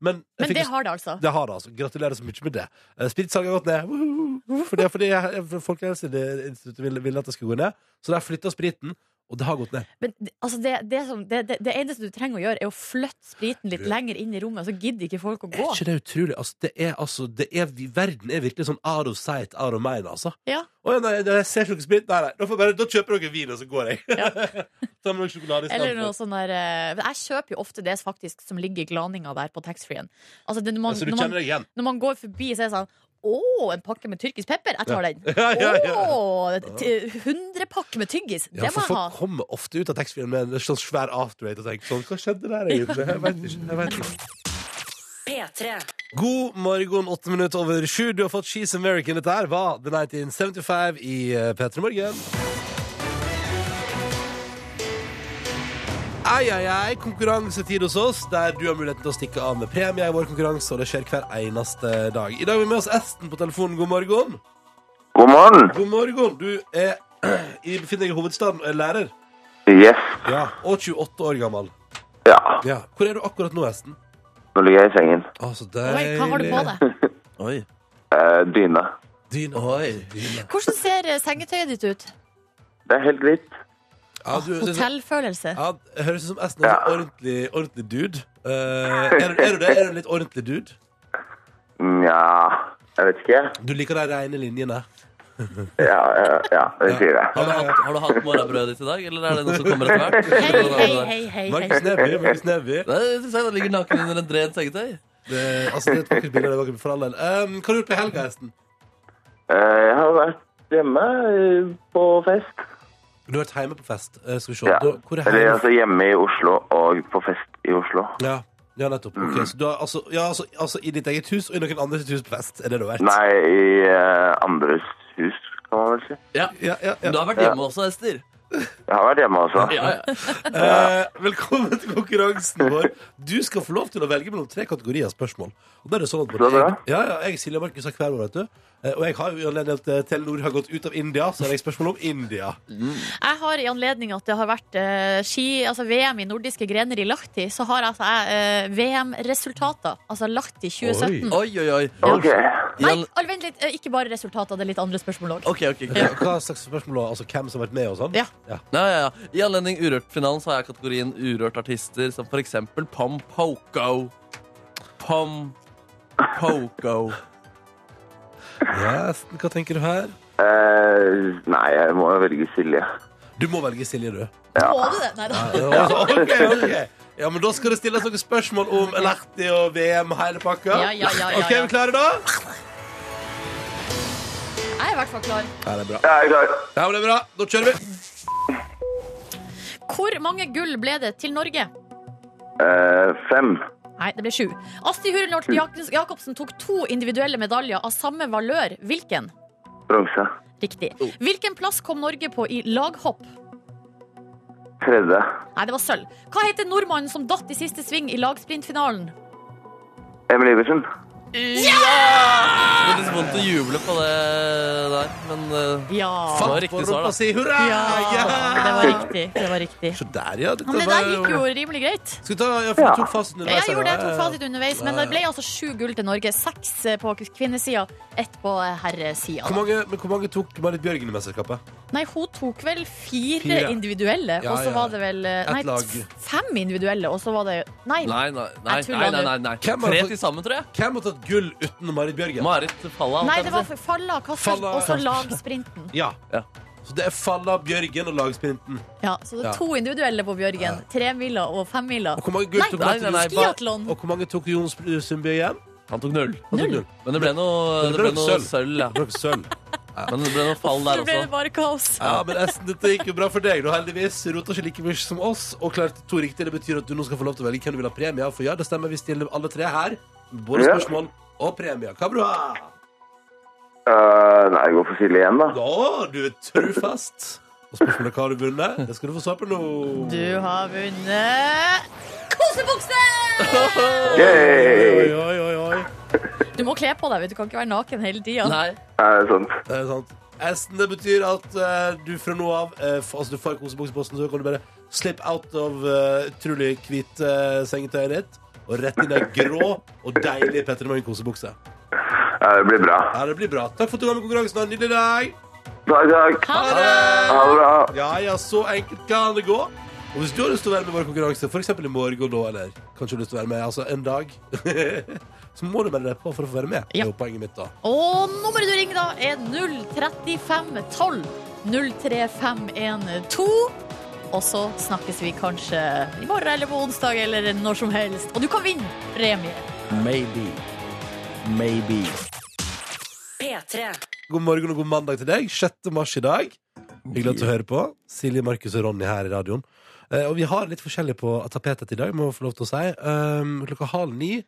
Men, jeg
Men
fikk
det
jo-
har det, altså.
det har det, altså. Gratulerer så mye med det. Eh, Spritsalget har gått ned. Woohoo! For det er fordi jeg- for Folkehelseinstituttet ville, ville at det skulle gå ned, så de har flytta spriten, og det har gått ned.
Men det- altså det, det, som, det, det, det eneste du trenger å gjøre, er å flytte spriten litt lenger inn i rommet, så gidder ikke folk å
Er
gå.
ikke det utrolig? Altså, det er, altså, det er, vi- verden er virkelig sånn out of sight, out of mind, altså.
Ja.
Å ja, nei, nei, jeg ser ikke noe sprit. Nei, nei, da, får jeg bare, da kjøper dere vin, og så går jeg. Ta med noe sjokolade i stedet.
Eller noe sånn der eh, Jeg kjøper jo ofte det faktisk som ligger i glaninga der på taxfree-en. Altså det, når,
Ja,
man-
så du
når,
kjenner
man-
deg igjen?
når man går forbi, så er det sånn Å, en pakke med tyrkisk pepper! Jeg tar den.
Ja, ja, ja.
Å, t- 100 pakke med tyggis!
Ja,
Det
for
må jeg ha.
folk kommer ofte ut av taxfree-en med en sånn svær afterrate og tenker sånn Hva skjedde der, egentlig? Jeg vet ikke. Jeg vet ikke.
P3.
God morgen, åtte minutter over sju. Du har fått She's American. Dette her var The 1975 i P3 Morgen. Ei, ei, ei, konkurransetid hos oss, der du har muligheten til å stikke av med premie i vår konkurranse, og det skjer hver eneste dag. I dag har vi med oss Esten på telefonen. God morgen.
God morgen.
God morgen. Du er i befinner deg i hovedstaden og er lærer.
Yes.
Ja. Og 28 år gammel.
Ja,
Ja. Hvor er du akkurat nå, Esten?
nå ligger jeg i sengen.
Å, så
Oi,
deilig.
hva har du på deg?
Oi.
Eh, dyna.
Dyna.
Oi.
Dyna.
Hvordan ser eh, sengetøyet ditt ut?
Det er helt hvitt.
Ja, du, det, er så-
Hotellfølelse?
ja, det høres ut som Esten er en
Ja.
ordentlig, ordentlig dude. Eh, er, du- er du det? Er du en litt ordentlig dude?
Nja, jeg vet ikke.
Du liker de rene linjene.
Ja, ja, ja vi sier det.
Har du hatt, har du hatt morgenbrødet ditt i dag, eller er det noe som kommer etter hvert?
Hei, hei, hei, hei. hei.
Markus Neby. Markus Neby.
Det er interessant, han ligger naken under en dren sengetøy.
Det, altså, det er et vakkert bilde. det er et vakkert for all del. Um, hva har du gjort på helga, Esten?
Eh, jeg har vært hjemme eh, på fest.
Du har vært hjemme på fest. Eh, skal vi se.
Ja.
Da, hvor er
Eller
hjemme?
altså hjemme i Oslo og på fest i Oslo.
Ja, ja nettopp. Ok,
Mm.
Så du har altså, ja, altså, altså i ditt eget hus og i noen andres hus på fest? Er det du har vært?
Nei, i eh, andres hus, kan man vel si.
Ja.
Ja, ja, ja.
Men du har vært hjemme også, Ester.
Jeg har vært hjemme også.
Ja, ja.
Eh, velkommen til konkurransen vår. Du skal få lov til å velge mellom tre kategorier spørsmål. Og da er det sånn at både
Så bra.
jeg, ja, ja, jeg Silje og Markus har hver vår, vet du. Eh, og jeg har jo i anledning til at eh, Telenor har gått ut av India, så har jeg spørsmål om India.
Jeg har i anledning at det har vært eh, ski, altså VM i nordiske grener i Lahti, så har altså jeg eh, VM-resultater. Altså Lahti 2017.
Oi, oi, oi.
Ok.
Nei,
Jan-
al- vent litt. eh, Ikke bare resultater, det er litt andre spørsmål òg.
Ok, ok, ok.
Hva, hva slags spørsmål? da? Altså hvem som har vært med og sånn?
Ja.
Ja, ja, ja. I anledning Urørt-finalen så har jeg kategorien urørt artister, som for eksempel Pom Poco. Pom Poco.
Ja, Esten, hva tenker du her?
Eh, nei, jeg må velge Silje.
Du må velge Silje, du.
Må du det? Nei da.
Ja, ok, ok ja, men Da skal det stilles noen spørsmål om Lahti og VM og hele pakka.
Ja, ja, ja, ja,
Ok,
ja.
vi klare da?
Jeg er i hvert fall klar.
Ja, det er bra.
Ja, jeg er klar.
Ja, men det er bra. Da kjører vi.
Hvor mange gull ble det til Norge?
Eh, fem.
Nei, det ble sju. Astrid Hurenholt Jak- Jacobsen tok to individuelle medaljer av samme valør. Hvilken?
Bronse.
Riktig. Hvilken plass kom Norge på i laghopp?
Tredje.
Nei, det var sølv. Hva heter nordmannen som datt i siste sving i lagsprintfinalen?
Emil Iversen.
Det er litt vondt å juble på det der, men eh,
Ja.
det var riktig svar, da.
Si hurra!
Ja, det var riktig. Det var riktig.
Så der, ja. Dette
Men det
var
der gikk jo rimelig greit.
Skal vi ta ja, for
Ja.
du tok fasten
Jeg
underveis?
gjorde det, jeg tok
her, da?
fasit underveis, men det ble altså sju gull til Norge. Seks eh, på kvinnesida, ett på eh, herresida.
Hvor
da.
mange, men hvor mange tok Marit Bjørgen i mesterskapet?
Nei, hun tok vel fire
Fire.
individuelle,
Ja,
og så
ja.
var det vel eh,
Et
Nei,
lag.
f- fem individuelle, og så var det Nei.
Nei, nei, nei.
Jeg tuller
nei, nei, nei, nei.
Hvem var det
Tre
for-
til sammen, tror jeg.
Hvem har tatt gull uten Marit Bjørgen?
Marit Falla.
Nei,
holdt jeg
det
på å
var Falla, Kasper
Falla,
og så
ja.
lagsprinten.
ja.
Ja.
Så det er Falla, Bjørgen og lagsprinten.
Ja, så det
Ja.
er to individuelle på Bjørgen. Tremila og femmila.
Og hvor mange gull
Nei,
tok
nei,
Marit
nei, nei,
Bjørgen?
bare-
Skiatlon.
Og hvor mange tok Jon Sp- Sundby igjen?
Han tok null.
Null.
Men det ble noe,
Det
det
ble nok
ble noe
sølv.
sølv, ja.
Brokk sølv.
Men det ble noe fall
Så
der
ble det
også.
bare kaos.
Ja, men Esten, dette gikk jo bra for deg, da, heldigvis. Rota ikke like mye som oss. Og klarte to riktige. Det betyr at du nå skal få lov til å velge hvem du vil ha premie av. For ja, det stemmer, vi stiller alle tre her. Både
Ja.
spørsmål og premie. Hva vil du ha?
Eh, nei, jeg går for Silje igjen, da.
Å, du er trufast. Og spørsmålet er hva har du vunnet? Det skal du få svar på nå.
Du har vunnet kosebukse!
Oi,
Yay!
oi, oi, oi.
Du må kle på deg, vet du. du kan ikke være naken hele tida.
Nei.
Er det sant?
Det er sant. Esten, det betyr at eh, du fra nå av eh, f- Altså, du får kosebukseposten, så kan du bare slippe out av eh, utrolig hvit uh, sengetøyet ditt og rett inn i ei grå og deilig Petter Morgen-kosebukse.
Ja, Eh, det blir bra.
Ja, det blir bra. Takk for at du var med i konkurransen. Ha en nydelig dag!
Takk, takk.
Ha det!
Ha det bra.
Ja, ja, så enkelt kan det gå. Og hvis du har lyst til å være med i vår konkurranse, f.eks. i morgen da, eller kanskje du har lyst til å være med altså en dag, så må du melde deg på for å få være med. Det
Ja.
er jo poenget mitt, da.
Og nummeret du ringer da er 03512 03512 Og så snakkes vi kanskje i morgen eller på onsdag eller når som helst Og du kan vinne premie
Maybe. Maybe.
P3.
God morgen og god mandag til deg. 6. mars i dag. Hyggelig at du hører på. Silje, Markus og Ronny her i radioen. Eh, og vi har litt forskjellig på tapetet i dag, må jeg få lov til å si. Um, klokka halv ni,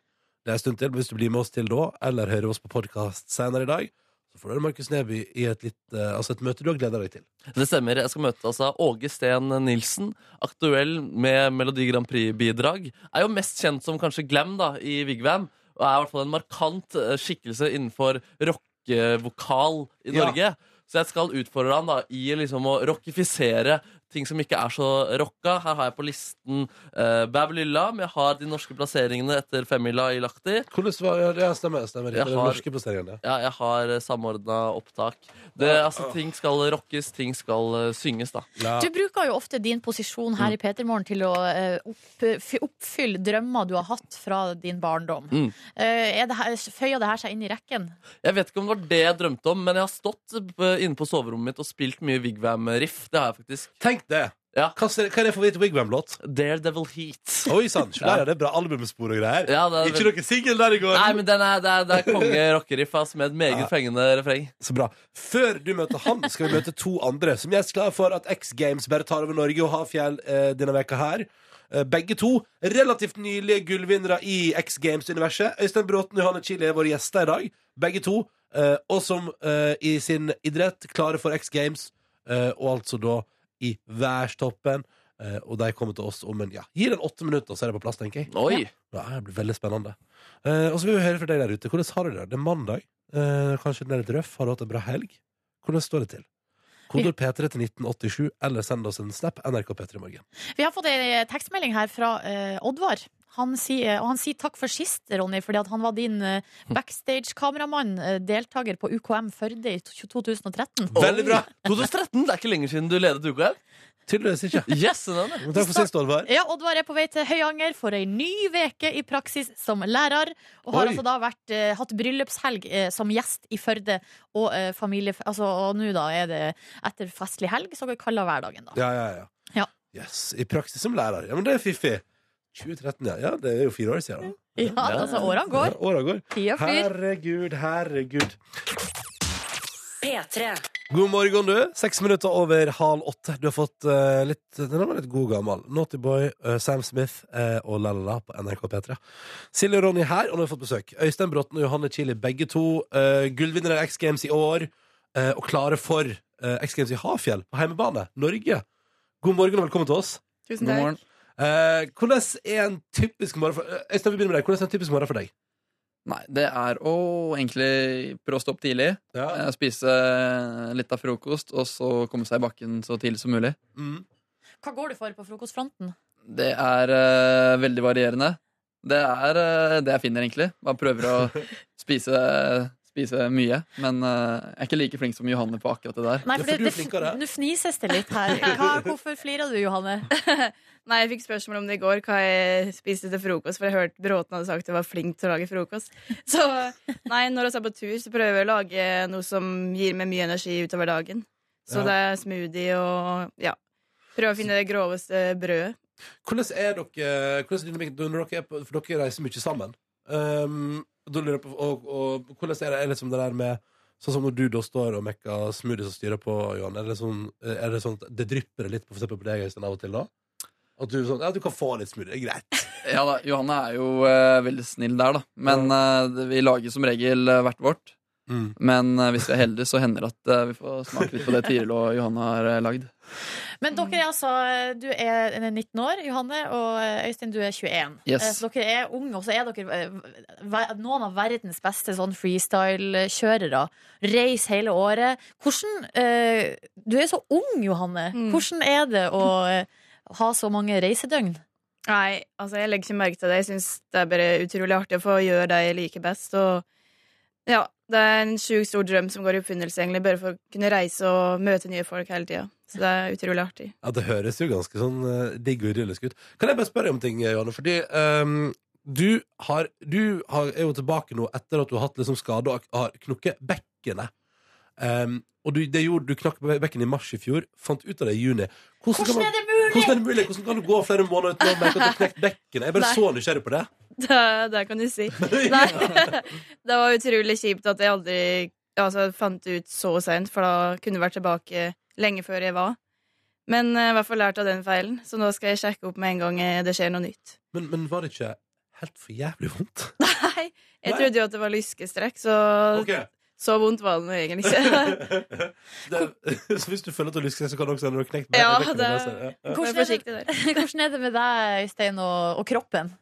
det er en stund til, men hvis du blir med oss til da, eller hører oss på podkast senere i dag, så får du Markus Neby i et, litt, eh, altså et møte du har gleda deg til.
Det stemmer. Jeg skal møte altså Åge Steen Nilsen. Aktuell med Melodi Grand Prix-bidrag. Er jo mest kjent som kanskje Glam da, i Vigvam. Og er i hvert fall en markant eh, skikkelse innenfor rockevokal i
Ja.
Norge. Så jeg skal utfordre han da i liksom å rockifisere ting som ikke er så rocka. Her har jeg på listen uh, Bævelylla, men jeg har de norske plasseringene etter femmila i Lahti.
Hvordan var Ja, det stemmer. stemmer. Det
Jeg
er den
har-
norske plasseringen, det.
Ja, jeg har samordna opptak. Det, altså, ting skal rockes, ting skal eh, synges, da.
Ja.
Du bruker jo ofte din posisjon her i Petermorgen til å eh, opp, f- oppfylle drømmer du har hatt fra din barndom
Mm.
Eh, er det her, Føyer det her seg inn i rekken?
Jeg vet ikke om det var det jeg drømte om, men jeg har stått eh, inne på soverommet mitt og spilt mye Wigwam-riff. Det har jeg faktisk.
Tenk det!
Ja.
Hva, ser- hva er det for hvit Wigwam-låt?
Daredevil Heat.
Oi sann! Se der, ja, Det er bra albumspor og greier.
Ja, det er-
ikke noe singel der i går!
Nei, men den er, det er, det er konge rockeriff ass, med et meget
Ja.
fengende refreng.
Så bra. Før du møter han, skal vi møte to andre som jeg er så glad for at X Games bare tar over Norge og har fjell eh, denne veka her. Eh, begge to relativt nylige gullvinnere i X Games-universet. Øystein Bråten og Johanne Chili er våre gjester i dag. Begge to. Eh, og som eh, i sin idrett klare for X Games, eh, og altså da i værstoppen. Eh, og de kommer til oss om en ja, gi den åtte minutter, så er det på plass, tenker jeg.
Oi!
Ja, det blir veldig spennende. Eh, og så vil vi høre fra deg der ute. Hvordan har du det? Det er mandag. Eh, kanskje den er litt røff. Har du hatt en bra helg? Hvordan står det til? Kodord P3 til 1987, eller send oss en snap NRK P3 i morgen.
Vi har fått en tekstmelding her fra eh, Oddvar. Han sier, og han sier takk for sist, Ronny, fordi at han var din eh, backstage-kameramann, eh, deltaker på UKM Førde i to- 2013.
Veldig bra!
2013! Det er ikke lenger siden du ledet UKM.
Tydeligvis ikke.
Yes, den er det.
Men takk for sist, Olvar.
Ja, Oddvar er på vei til Høyanger for ei ny veke i praksis som lærer, og har
Oi.
altså da vært, eh, hatt bryllupshelg eh, som gjest i Førde, og eh, familie... Altså, og nå da er det etter festlig helg, så kaller hverdagen da.
Ja, ja, ja.
Ja.
Yes. I praksis som lærer. Ja, men det er fiffig. 2013, ja. ja. Det er jo fire år siden. da.
Ja, altså, årene går,
Ja, åra går.
tida flyr.
Herregud, herregud.
P3.
God morgen, du. Seks minutter over halv åtte. Du har fått eh, litt Den var litt god gammel. Naughty Boy, eh, Sam Smith eh, og La-La-La på NRK P3. Silje og Ronny her, og nå har vi fått besøk. Øystein Bråten og Johanne Chili, begge to uh, gullvinnere i X Games i år. eh, og klare for eh, X Games i Hafjell, på heimebane, Norge. God morgen og velkommen til oss.
God morgen.
Eh, hvordan er en typisk morgen for eh, Øystein, vi begynner med deg. Hvordan er en typisk morgen for deg?
Nei, det er å egentlig prøve å stå opp tidlig, eh, spise litt av frokost, og så komme seg i bakken så tidlig som mulig.
Mm.
Hva går du for på frokostfronten?
Det er eh, veldig varierende. Det er eh, det jeg finner, egentlig. Bare prøver å spise, spise mye. Men eh, jeg er ikke like flink som Johanne på akkurat det der.
Nei,
Ja, for
for det,
du er
det,
flinkere.
nå fnises det litt her. Hva, hvorfor flirer du, Johanne?
Nei, jeg fikk spørsmål om det i går, hva jeg spiste til frokost, for jeg hørte Bråten hadde sagt at jeg var flink til å lage frokost. Så nei, når vi er på tur, så prøver jeg å lage noe som gir meg mye energi utover dagen. Så
Ja.
det er smoothie og ja. Prøve å finne det groveste brødet.
Hvordan er dere, hvordan er dynamikken når dere er på, For dere reiser mye sammen. Um, Da lurer jeg på, og, og, hvordan er det, er liksom det der med Sånn som når du da står og mekker smoothies og styrer på, Johan. Er det sånn, er det sånn at det drypper det litt på, for eksempel på deg Øystein, av og til da? At du sånn, ja, du kan få litt smoothie, det er greit.
Ja da, Johanne er jo eh, veldig snill der, da. Men eh, det- vi lager som regel eh, hvert vårt.
Mm.
Men eh, hvis vi er heldige, så hender det at eh, vi får smake litt på det Tiril og Johanne har eh, lagd.
Men dere er altså Du er eh, 19 år, Johanne, og eh, Øystein, du er 21.
Yes.
Eh, Så dere er unge, og så er dere eh, ver- noen av verdens beste sånn freestyle-kjørere. Reis hele året. Hvordan eh, Du er så ung, Johanne.
Mm.
Hvordan er det å eh, ha så mange reisedøgn?
Nei, altså jeg legger ikke merke til det. Jeg syns det er bare utrolig artig å få gjøre det jeg liker best. Og ja, det er en sjukt stor drøm som går i oppfyllelse, egentlig, bare for å kunne reise og møte nye folk hele tida. Så det er utrolig artig.
Ja, det høres jo ganske sånn eh, digg og idyllisk ut. Kan jeg bare spørre om ting, eh, Johanne? Fordi ehm, du, har, du har, er jo tilbake nå etter at du har hatt liksom skade og har knukket bekkenet. Ehm, og du, det gjorde, du knakk bekken i mars i fjor, fant ut av det i juni. Hvordan, kan
Hvordan
man-
er det mulig?
Hvordan er det mulig? Hvordan kan du gå flere måneder uten å merke at du har knekt bekkenet? Jeg er bare
Nei.
så nysgjerrig på det.
Det, det kan du si. Nei, det var utrolig kjipt at jeg aldri altså, fant det ut så seint, for da kunne jeg vært tilbake lenge før jeg var. Men eh, jeg har i hvert fall lært av den feilen, så nå skal jeg sjekke opp med en gang eh, det skjer noe nytt.
Men, men var det ikke helt for jævlig vondt?
Nei, jeg
Nei?
trodde jo at det var lyskestrekk, så så vondt var det nå egentlig ikke.
det, så hvis du føler at du har lyst til det, så kan du også hende du har knekt
Ja,
bekkenet.
det-
altså. Ja.
Vær
Hvordan er det,
forsiktig der.
hvordan er det med deg, Øystein, og, og kroppen?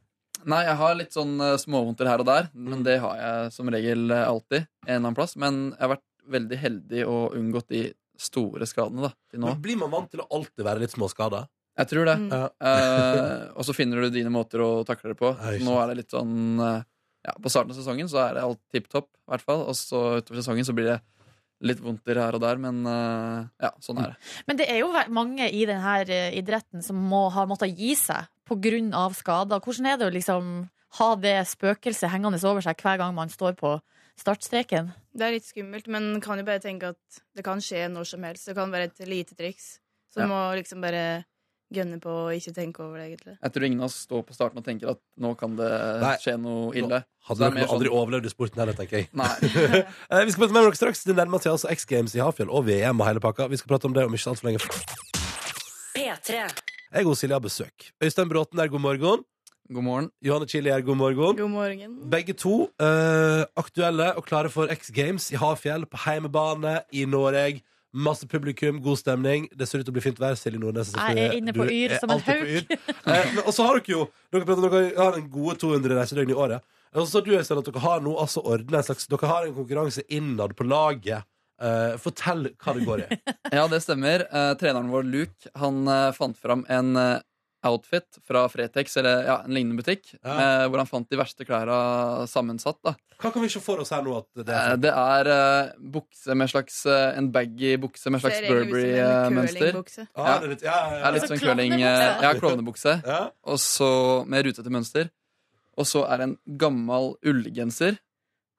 Nei, jeg har litt sånn eh, småvondter her og der,
Mm.
men det har jeg som regel eh, alltid. En eller annen plass. Men jeg har vært veldig heldig og unngått de store skadene da, til nå.
Men blir man vant til å alltid være litt småskada?
Jeg tror det.
Mm.
Ja.
Eh, og så finner du dine måter å takle det på.
Nei, ikke
Nå er det litt sånn eh, ja, På starten av sesongen så er det alt tipp topp, i hvert fall. Og så utover sesongen så blir det litt vondter her og der, men eh, ja, sånn er det.
Men det er jo ve- mange i denne idretten som må ha måttet gi seg pga. skader. Hvordan er det å liksom ha det spøkelset hengende over seg hver gang man står på startstreken?
Det er litt skummelt, men kan jo bare tenke at det kan skje når som helst. Det kan være et lite triks. Så
Ja.
du må liksom bare gønne på og ikke tenke over det, egentlig.
Jeg tror ingen av oss står på starten og tenker at nå kan det
Nei.
skje noe ille. Så
Hadde
det er
dere
mer
aldri
sånn-
overlevd i sporten heller, tenker jeg.
Nei.
Eh, vi skal prate med dere straks. Det nærmer seg altså X Games i Hafjell og VM og hele pakka. Vi skal prate om det om ikke altfor lenge.
P3.
Jeg og Silje har besøk. Øystein Bråten er god morgen.
God morgen.
Johanne Chili er god morgen.
God morgen.
Begge to eh, aktuelle og klare for X Games i Hafjell, på heimebane i Norge. Masse publikum, god stemning. Det ser ut til å bli fint vær. Silje Nordnes er
Jeg er
selvfølgelig-
inne på
du
yr
er
som en
alltid på
hauk.
yr. Eh, men- Og så har dere jo Dere, prater om dere har en gode 200 reisedøgn i året. Eh, Og så sa du Øystein, at dere har nå altså ordnet en slags Dere har en konkurranse innad på laget. Eh, fortell hva det går i.
Ja, det stemmer. Eh, treneren vår, Luke, han eh, fant fram en eh, outfit fra Fretex, eller ja, en lignende butikk,
Ja.
eh, hvor han fant de verste klærne sammensatt. da.
Hva kan vi se for oss her nå? At det
Eh,
er
Det er eh, bukse med slags eh, En baggy bukse med slags eh, Burberry-mønster.
curlingbukse.
ah, det er litt, ja, ja,
Det er
ja.
litt
Altså
sånn curling eh,
klovnebukse.
Ja, klovnebukse.
ja.
Og så med rutete mønster. Og så er det en gammel ullgenser.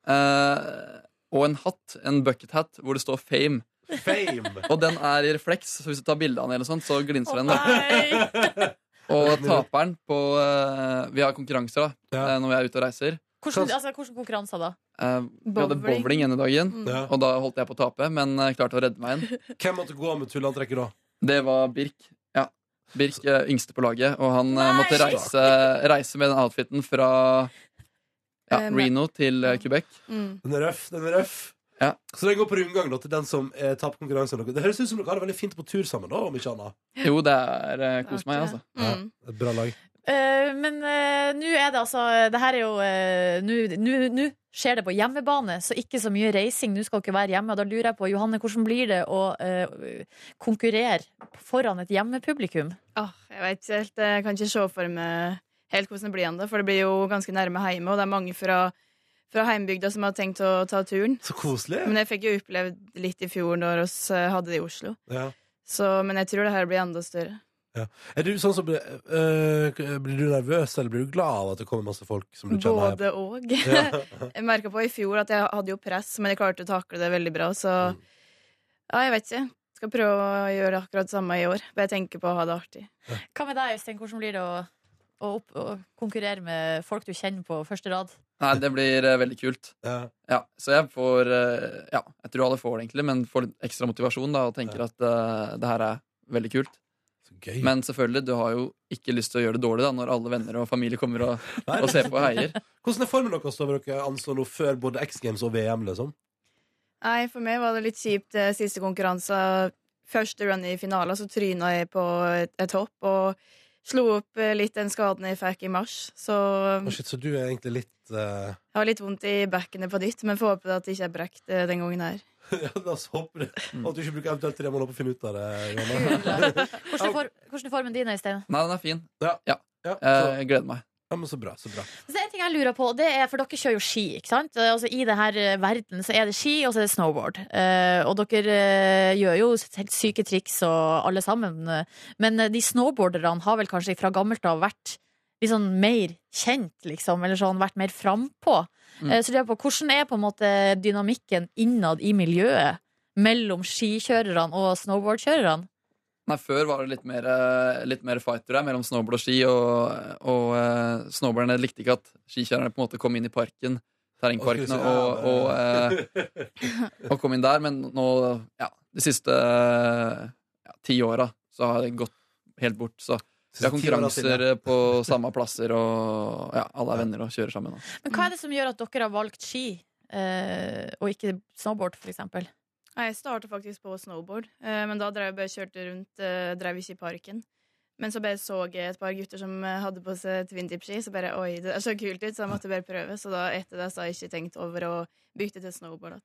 eh, og en hatt, en bucket hat, hvor det står Fame.
Fame.
Og den er i refleks, så hvis du tar bilde av den, eller sånt, så glinser den. da.
nei!
Og taperen på eh, Vi har konkurranser da
Ja.
eh, når vi er ute og reiser.
Hvordan, altså, hvordan konkurranser da?
Eh, vi hadde
Bowling. Mm.
bowling ene dagen,
Ja.
og da holdt jeg på å tape, men eh, klarte å redde meg igjen.
Hvem måtte gå med tullantrekket da?
Det var Birk. Ja. Birk eh, yngste på laget, og han eh,
Nei!
måtte reise, reise med den outfiten fra ja,
Eh, men-
Reno til eh, Quebec.
Mm.
Den er røff. den er røff
Ja.
Så den går på rundgang da, til den som eh, taper konkurransen. Det høres ut som dere har det veldig fint på tur sammen. da, om ikke annet
Jo, det er eh, Kos meg, altså.
Mm.
Et Bra lag.
Eh, men eh, nå er det altså Det her er jo eh, Nå nå- nå skjer det på hjemmebane, så ikke så mye reising. Nå skal dere være hjemme. Og da lurer jeg på, Johanne, hvordan blir det å eh, konkurrere foran et hjemmepublikum?
Åh, jeg vet ikke helt. Jeg kan ikke se for meg helt hvordan det blir ennå, for det blir jo ganske nærme hjemme, og det er mange fra, fra heimbygda som har tenkt å ta turen.
Så koselig.
Men jeg fikk jo opplevd litt i fjor når oss eh, hadde det i Oslo.
Ja.
Så, men jeg tror det her blir enda større.
Er du sånn som blir, øh, blir du nervøs, eller blir du glad av at det kommer masse folk som du kjenner? her?
Både og.
Ja.
Jeg merka på i fjor at jeg hadde jo press, men jeg klarte å takle det veldig bra, så ja, jeg vet ikke. Skal prøve å gjøre akkurat det samme i år. Bare tenke på å ha det artig.
Hva med deg, Øystein? Hvordan blir det å Og, opp, og konkurrere med folk du kjenner på første rad.
Nei, det blir eh, veldig kult.
Ja.
Ja, så jeg får eh, Ja, jeg tror alle får det, egentlig, men får litt ekstra motivasjon da, og tenker at eh, det her er veldig kult.
Så gøy.
Men selvfølgelig, du har jo ikke lyst til å gjøre det dårlig da, når alle venner og familie kommer og,
Nei.
og ser på og heier.
Hvordan er formen deres over dere anslår nå før både X Games og VM, liksom?
Nei, for meg var det litt kjipt eh, siste konkurranse. Første run i finalen, så tryna jeg på et, et hopp og slo opp eh, litt den skaden jeg fikk i mars. Så um,
Å, shit, så du er egentlig litt eh,
jeg har litt vondt i bekkenet på ditt, men får håpe at det ikke er brekt eh, den gangen her.
Ja, la oss håpe det.
Mm.
At du ikke bruker eventuelt tre måneder på å finne ut av det. Johanna.
Hvordan er, for, hvordan er formen din, Øystein?
Nei, den er fin.
Ja, så,
Eh, Jeg gleder meg.
ja, men så bra, så bra.
Så det er en ting jeg lurer på, og det er, for dere kjører jo ski, ikke sant? Eh, Altså, I denne verden så er det ski, og så er det snowboard. Eh, og dere eh, gjør jo helt syke triks og alle sammen. eh. Men eh, de snowboarderne har vel kanskje fra gammelt av vært litt sånn mer kjent, liksom, eller sånn vært mer frampå.
Mm.
Eh, så lurer jeg på, hvordan er på en måte dynamikken innad i miljøet mellom skikjørerne og snowboardkjørerne?
Nei, Før var det litt mer, eh, litt mer fighter der mellom snowboard og ski. Og, og eh, snowboarderne likte ikke at skikjørerne på en måte kom inn i parken, terrengparkene,
Å, skulle
og,
si,
og, eh, og kom inn der. Men nå, ja, de siste eh, ja, ti åra så har det gått helt bort. Så vi har konkurranser på samme plasser, og ja, alle er venner og kjører sammen. Da.
Men hva er det som gjør at dere har valgt ski, eh, og ikke snowboard, for eksempel?
Nei, Jeg starta faktisk på snowboard, eh, men da drev jeg bare kjørte rundt. eh, Drev ikke i parken. Men så bare så jeg et par gutter som eh, hadde på seg twintip-ski, så bare oi, det er så kult ut, så jeg måtte bare prøve. Så da etter det så har jeg ikke tenkt over å bytte til snowboard. igjen.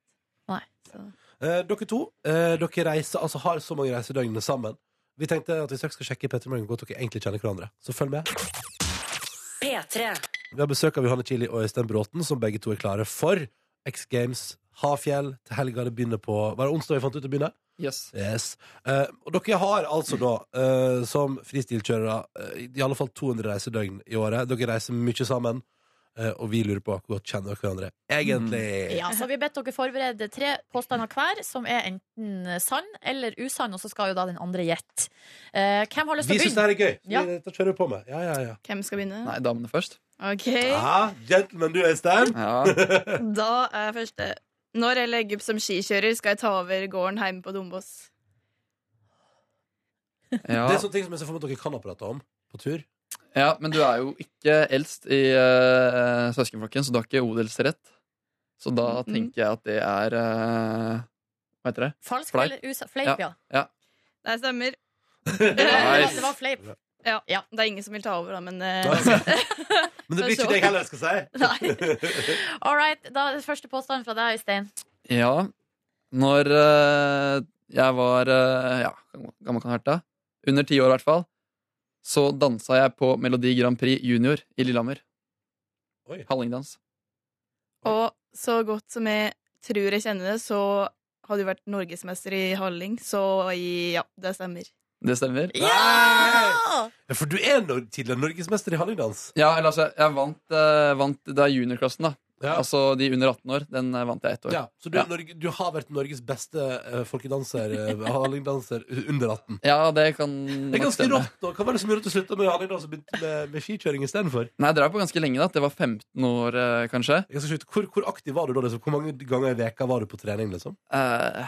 Nei.
Så.
Eh, dere to eh, dere reiser, altså har så mange reisedøgn sammen. Vi tenkte at vi straks skal sjekke i Petter Morgen hvor godt dere egentlig kjenner hverandre. Så følg med.
P3.
Vi har besøk av Johanne Chili og Øystein Bråten, som begge to er klare for X Games Hafjell til helga. Det begynner på Var det onsdag vi fant ut å begynne?
Yes.
Yes. Eh, og dere har altså da, eh, som fristilkjørere, eh, i alle fall 200 reisedøgn i året. Dere reiser mye sammen, eh, og vi lurer på hvor godt kjenner dere hverandre egentlig.
Ja, så vi har bedt dere forberede tre påstander hver, som er enten sann eller usann, og så skal jo da den andre gjette. Eh, hvem har lyst
Vi
til å
syns det
begynne?
her er gøy, så
Ja.
vi- da kjører vi på med. Ja, ja, ja.
Hvem skal begynne?
Nei, damene først.
Ok,
Eh.
Ja, gentleman du, Øystein.
Ja.
da er første. Når jeg legger opp som skikjører, skal jeg ta over gården hjemme på Dombås.
Ja.
Det er sånne ting som jeg ser for meg at dere kan ha prata om på tur.
ja, Men du er jo ikke eldst i eh, søskenflokken, så du har ikke odelsrett. Så da
Mm.
tenker jeg at det er eh, Hva heter det?
Falsk
Fleip.
eller usann? Fleip, ja.
Det stemmer.
Det var,
Nice.
det var fleip.
Det er ingen som vil ta over, da, men eh,
Men det blir ikke det jeg heller skal si.
Nei. All right, da er det første påstand fra deg, Øystein.
Ja. Når eh, jeg var eh, Ja, hvor gammel kan jeg ha vært da? Under ti år, i hvert fall. Så dansa jeg på Melodi Grand Prix Junior i Lillehammer.
Oi.
Hallingdans.
Og så godt som jeg tror jeg kjenner det, så har du vært norgesmester i halling, så ja, det stemmer.
Det stemmer.
Ja!
Ja, For du er no tidligere norgesmester i hallingdans.
Ja, eller altså, jeg vant, eh, vant Det er juniorklassen, da.
Ja.
Altså de under 18 år. Den eh, vant jeg ett år.
Ja, så du, er
Ja.
Norge, du har vært Norges beste eh, folkedanser, eh, hallingdanser, under 18.
Ja, det kan
Det er
nok
ganske
stemme.
rått. da. Hva var det som gjorde at du slutta med hallingdans og begynte med, med skikjøring istedenfor?
Nei, jeg drev på ganske lenge, da. Det var 15 år, eh, kanskje.
Jeg skal skyte. Hvor, hvor aktiv var du da? Liksom? Hvor mange ganger i veka var du på trening? liksom?
Eh,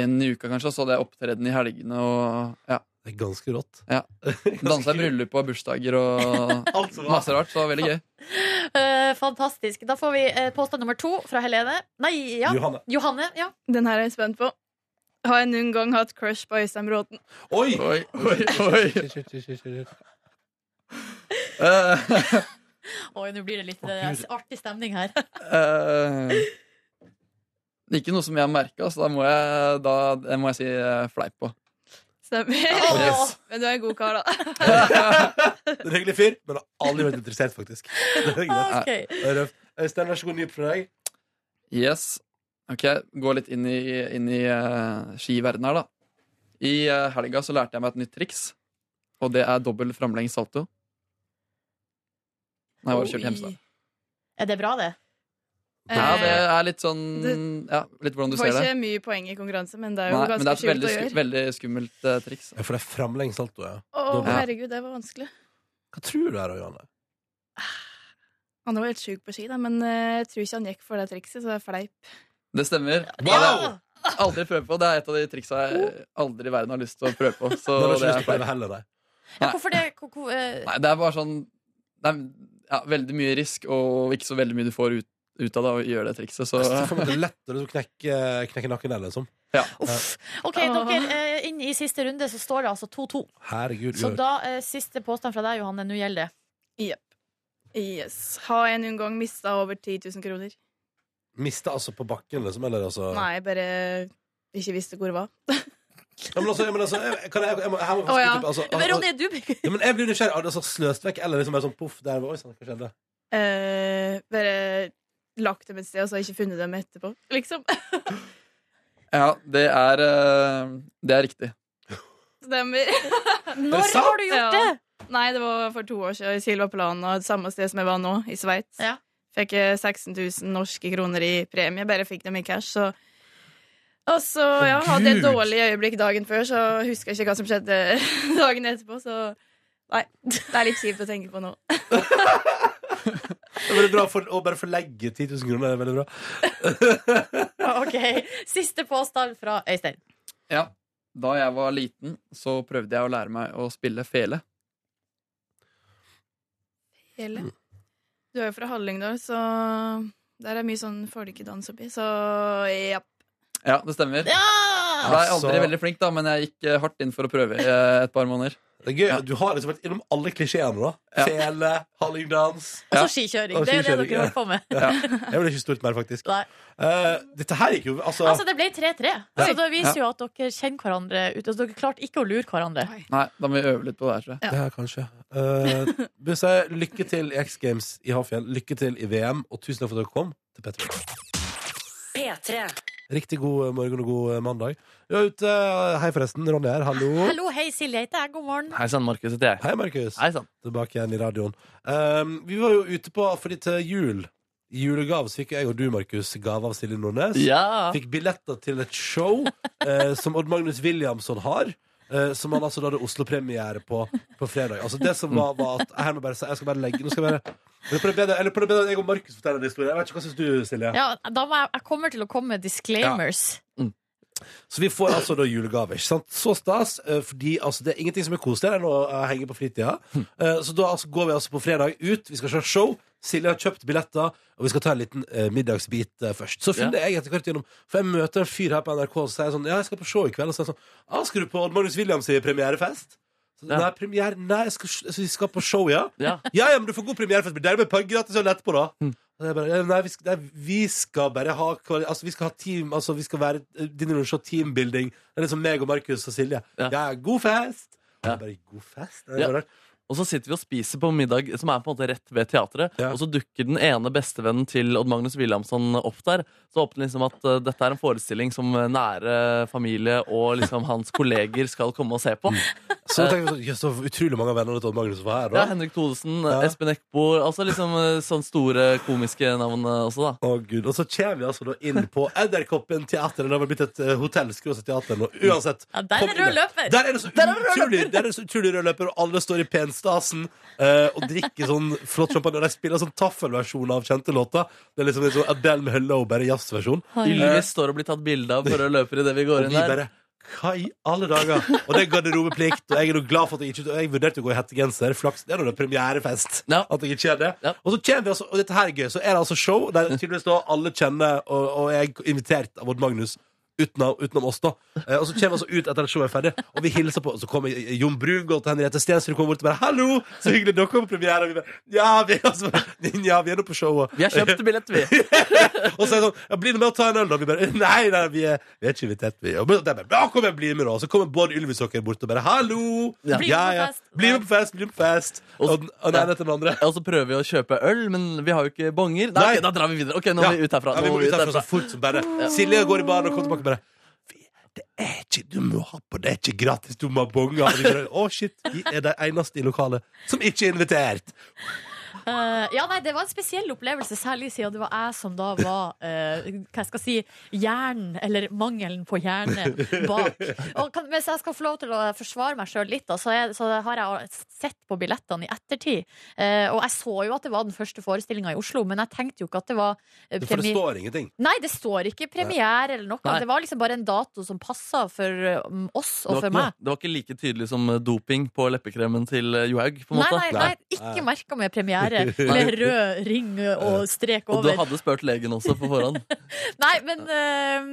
en uke, kanskje. og Så hadde jeg opptreden i helgene og ja.
Det er ganske rått.
Ja.
Ganske
dansa
kult.
i bryllup og bursdager og
Alt som var.
masse rart. Så det var veldig gøy.
Eh, fantastisk. Da får vi eh, påstand nummer to fra Helene. Nei, ja.
Johanne.
Johanne, ja.
Den her er jeg spent på. Har jeg noen gang hatt crush på Øystein Bråten?
Oi!
Oi, oi, oi.
Shit, shit, shit, shit, shit.
Eh,
Oi, nå blir det litt
Å,
eh,
Gud.
artig stemning her.
eh, det er ikke noe som jeg har merka, så da må jeg, da, det må jeg si eh, fleip på.
Stemmer.
Åh,
Yes.
Men du er en god kar, da.
Det er En hyggelig fyr, men har aldri vært interessert, faktisk. Det er greit.
ok.
Det er røft. Øystein, vær så god, nytt fra deg.
Yes. Ok, gå litt inn i, inn i eh, skiverdenen her, da. I eh, helga så lærte jeg meg et nytt triks, og det er dobbel framlengs salto. Nei, jeg bare kjørte Hemsedal.
Er det bra, det?
Ja, det
Eh,
er litt sånn
Du-
Ja, litt hvordan
Du
du
får
ser det.
ikke mye poeng i konkurranse, men det er jo
Nei, men det er
ganske
et
kult
veldig,
å
sku,
gjøre.
veldig skummelt eh, triks.
Ja, for det er framlengs salto, ja.
Å,
Dobbelt.
herregud, det var vanskelig.
Hva tror du her, Johanne?
Han var helt sjuk på ski, da, men eh, jeg tror ikke han gikk for det trikset, så det er fleip.
Det stemmer.
Wow!
Aldri prøv på. Det er et av de triksa jeg aldri i verden har lyst til å prøve på.
Det
Så
har du
det
ikke lyst
er
til å
feil.
prøve heller, nei.
Ja, hvorfor det? Hvor, hvor, eh,
Nei, det er bare sånn Det er ja, veldig mye risk, og ikke så veldig mye du får ut, ut av det å gjøre det trikset. Så
Jeg ser for meg at Det er lettere å knekke, knekke nakken der, liksom.
uff. OK,
Åh.
dere, eh, inn i siste runde så står det altså 2-2.
Herregud.
Så
Jørn.
da eh, siste påstand fra deg, Johanne. Nå gjelder det.
Jepp. Yes. Har jeg noen gang mista over 10 000 kroner?
Mista altså på bakken, liksom? Eller altså
Nei, jeg bare ikke visste hvor det var.
Ja, men altså, ja, men altså jeg- Kan jeg, jeg, må- her må jeg
Å,
faktisk
ja.
type, altså,
Men
altså,
Ronny, er du
ja, men jeg blir nysgjerrig. Har det Altså, sløst vekk, eller liksom bare sånn poff der Oi sann, hva skjedde?
Eh, bare lagt dem et sted, og så har jeg ikke funnet dem etterpå. Liksom.
ja, det er, eh, det er riktig.
Stemmer.
Er
Når
det sant?
har du gjort
Ja.
det?
Nei, det var for to år siden i Silvaplanen, og samme sted som jeg var nå, i Sveits.
Ja.
Fikk eh, 16 000 norske kroner i premie, bare fikk dem i cash, så Og så ja, hadde jeg et
Gud.
dårlig øyeblikk dagen før, så husker jeg ikke hva som skjedde dagen etterpå, så Nei, det er litt kjipt å tenke på nå.
Det er veldig bra for, Å bare forlegge 10 000 kroner, det er veldig bra.
OK. Siste påstand fra Øystein.
Ja. Da jeg var liten, så prøvde jeg å lære meg å spille fele.
Hele. Du er jo fra Hallingdal, så der er mye sånn folkedans oppi, så ja.
Ja, det stemmer. Jeg
Ja!
ble aldri
Altså-
veldig flink, da, men jeg gikk eh, hardt inn for å prøve i eh, et par måneder.
Det er gøy.
Ja.
Du har liksom vært innom alle klisjeene, da.
Ja.
Fele, hallingdans.
Og
Ja.
så skikjøring.
Og
Det er det
skikjøring,
dere
ja.
holder på med.
Jeg ville ikke stort mer, faktisk.
Nei.
Eh, dette her gikk jo Altså,
Altså, det ble 3-3. Så det
Ja.
viser jo at dere kjenner hverandre. ut- Altså, dere klarte ikke å lure hverandre.
Nei, da må vi øve litt på det her, tror jeg.
ja. kanskje. Eh, vil si lykke til i X Games i Hafjell. Lykke til i VM, og tusen takk for at dere kom til Petter.
P3.
Riktig god morgen og god eh, mandag. Vi er ute eh, Hei, forresten. Ronny her. Hallo.
Hallo, hei, Silje heter jeg. God morgen.
Hei sann, Markus heter jeg.
Hei, Markus.
Hei sann.
Tilbake igjen i radioen. Um, vi var jo ute på Fordi til jul, i julegave, så fikk jo jeg og du, Markus, gave av Silje Nordnes.
Ja.
Fikk billetter til et show eh, som Odd Magnus Williamson har. eh, som han altså da hadde Oslo-premiere på på fredag. Altså det som var, var at Her må jeg bare si Jeg skal bare legge Nå skal jeg bare Eller på det bedre, eller på det bedre at jeg og Markus forteller en historie. Jeg vet ikke, Hva syns du, Silje?
Ja, da må jeg, jeg kommer til å komme med disclaimers.
Så vi får altså da julegave, ikke sant? Så stas, eh, fordi altså, det er ingenting som er koseligere enn å eh, henge på fritida. Eh, Så da altså, går vi altså på fredag ut, vi skal se show. Silje har kjøpt billetter, og vi skal ta en liten eh, middagsbit eh, først. Så finner jeg etter hvert gjennom For jeg møter en fyr her på NRK og sier sånn Ja, jeg skal på show i kveld. Og så er jeg sånn ah, Skal du på Odd Magnus Williams i premierefest? Så,
Ja.
Nei, premiere Nei, jeg skal, så vi skal på show, ja.
Ja.
Ja, ja, men du får god premierefest. men Det er med punk gratis og lett på, da.
Mm.
Og det er bare, nei, vi skal, nei, vi skal bare ha kvali- Altså, vi skal ha team Altså, vi skal være eh, din og show teambuilding. Det er liksom meg og Markus og Silje. Ja,
Ja.
god fest!
Ja.
Det er Bare god fest? Det er
Ja.
bare-
Og så sitter vi og spiser på middag som er på en måte rett ved teatret.
Ja.
Og så dukker den ene bestevennen til Odd Magnus Williamson opp der. Så håper den liksom at eh, dette er en forestilling som eh, nære familie og liksom hans kolleger skal komme og se på.
Så da tenker vi sånn Jøss, så utrolig mange av vennene til Odd Magnus var her,
Eh. Ja,
da.
Henrik Thodesen,
Ja.
Espen Eckbo Altså liksom eh, sånne store komiske navn eh, også, da.
Å Gud, Og så kommer vi altså da inn på Edderkoppen teater. Det har vel blitt et eh, hotell, skråstrek teater nå. Uansett.
Ja, der
kom
er
inn
rød løper.
Der er det så utrolig, der er det så utrolig rød løper, og alle står i penstasen eh, og drikker sånn flott champagne. Og de spiller sånn taffelversjon av kjente låter. Det er liksom en sånn Adele med Hello, bare jazzversjon.
Ylvis står og blir tatt bilde av for å løpe idet vi
Og
går
vi
inn der.
bare hva i alle dager? Og det er garderobeplikt. Og jeg er jo glad for at jeg ikke Jeg vurderte å gå i hettegenser. Flaks. Det er nå det premierefest.
Ja.
At jeg ikke gjør det.
Ja.
Og så kommer vi altså, og dette her er gøy, så er det altså show der tydeligvis da alle kjenner, og, og jeg er invitert av Odd Magnus. Utenom, utenom oss, da. Eh, og så kommer vi altså ut etter at showet er ferdig, og vi hilser på. Og så kommer Jon Brungot og Henriette Stensrud kommer bort og bare 'Hallo, så hyggelig dere har premiere.' Og vi bare 'Ja, vi er, altså, ja, vi er nå på showet.'
Vi har kjøpt billett, vi.
Og så er det sånn ja, 'Bli med og ta en øl', da. Vi bare 'Nei, nei vi, er, vi er ikke invitert, vi.' Og de bare 'Ja, kom igjen, bli med, da.' Og så kommer Bård Ylvisåker bort og bare 'Hallo'.
Ja.
Bli med på fest.
Bli med på fest, bli med på fest.
Og
Og,
så-
den- og den ene etter den andre.
Og så prøver vi å kjøpe øl, men vi har jo ikke bonger. Nei,
Nei.
ok, da drar vi videre. Ok, nå må vi ut herfra.
Ja, vi
Nå
må ut herfra så fort som bare. Silje går i baren og kommer tilbake og bare «Vi- det er ikke, du må ha på, det er ikke gratis, du må ha bonger. Og de bare, Å, shit, vi er de eneste i lokalet som ikke er invitert.
Eh, ja, nei, Det var en spesiell opplevelse, særlig siden det var jeg som da var eh, hva jeg skal si, hjernen, eller mangelen på hjerne, bak. Og kan, hvis jeg skal få lov til å forsvare meg sjøl litt, da, så, er, så har jeg sett på billettene i ettertid. Eh, og jeg så jo at det var den første forestillinga i Oslo, men jeg tenkte jo ikke at det var eh,
For det
premi-
står ingenting.
Nei, det står ikke premiere eller noe.
Nei.
Det var liksom bare en dato som passa for eh, oss
Det
og
var,
for
ikke,
meg.
noe- det var ikke like tydelig som eh, doping på leppekremen til eh, Johaug. på en
Nei,
måte.
nei, nei,
Nei.
ikke merka med premiere med rød ring og strek
Og du
over.
hadde spurt legen også på forhånd.
Nei, men øhm,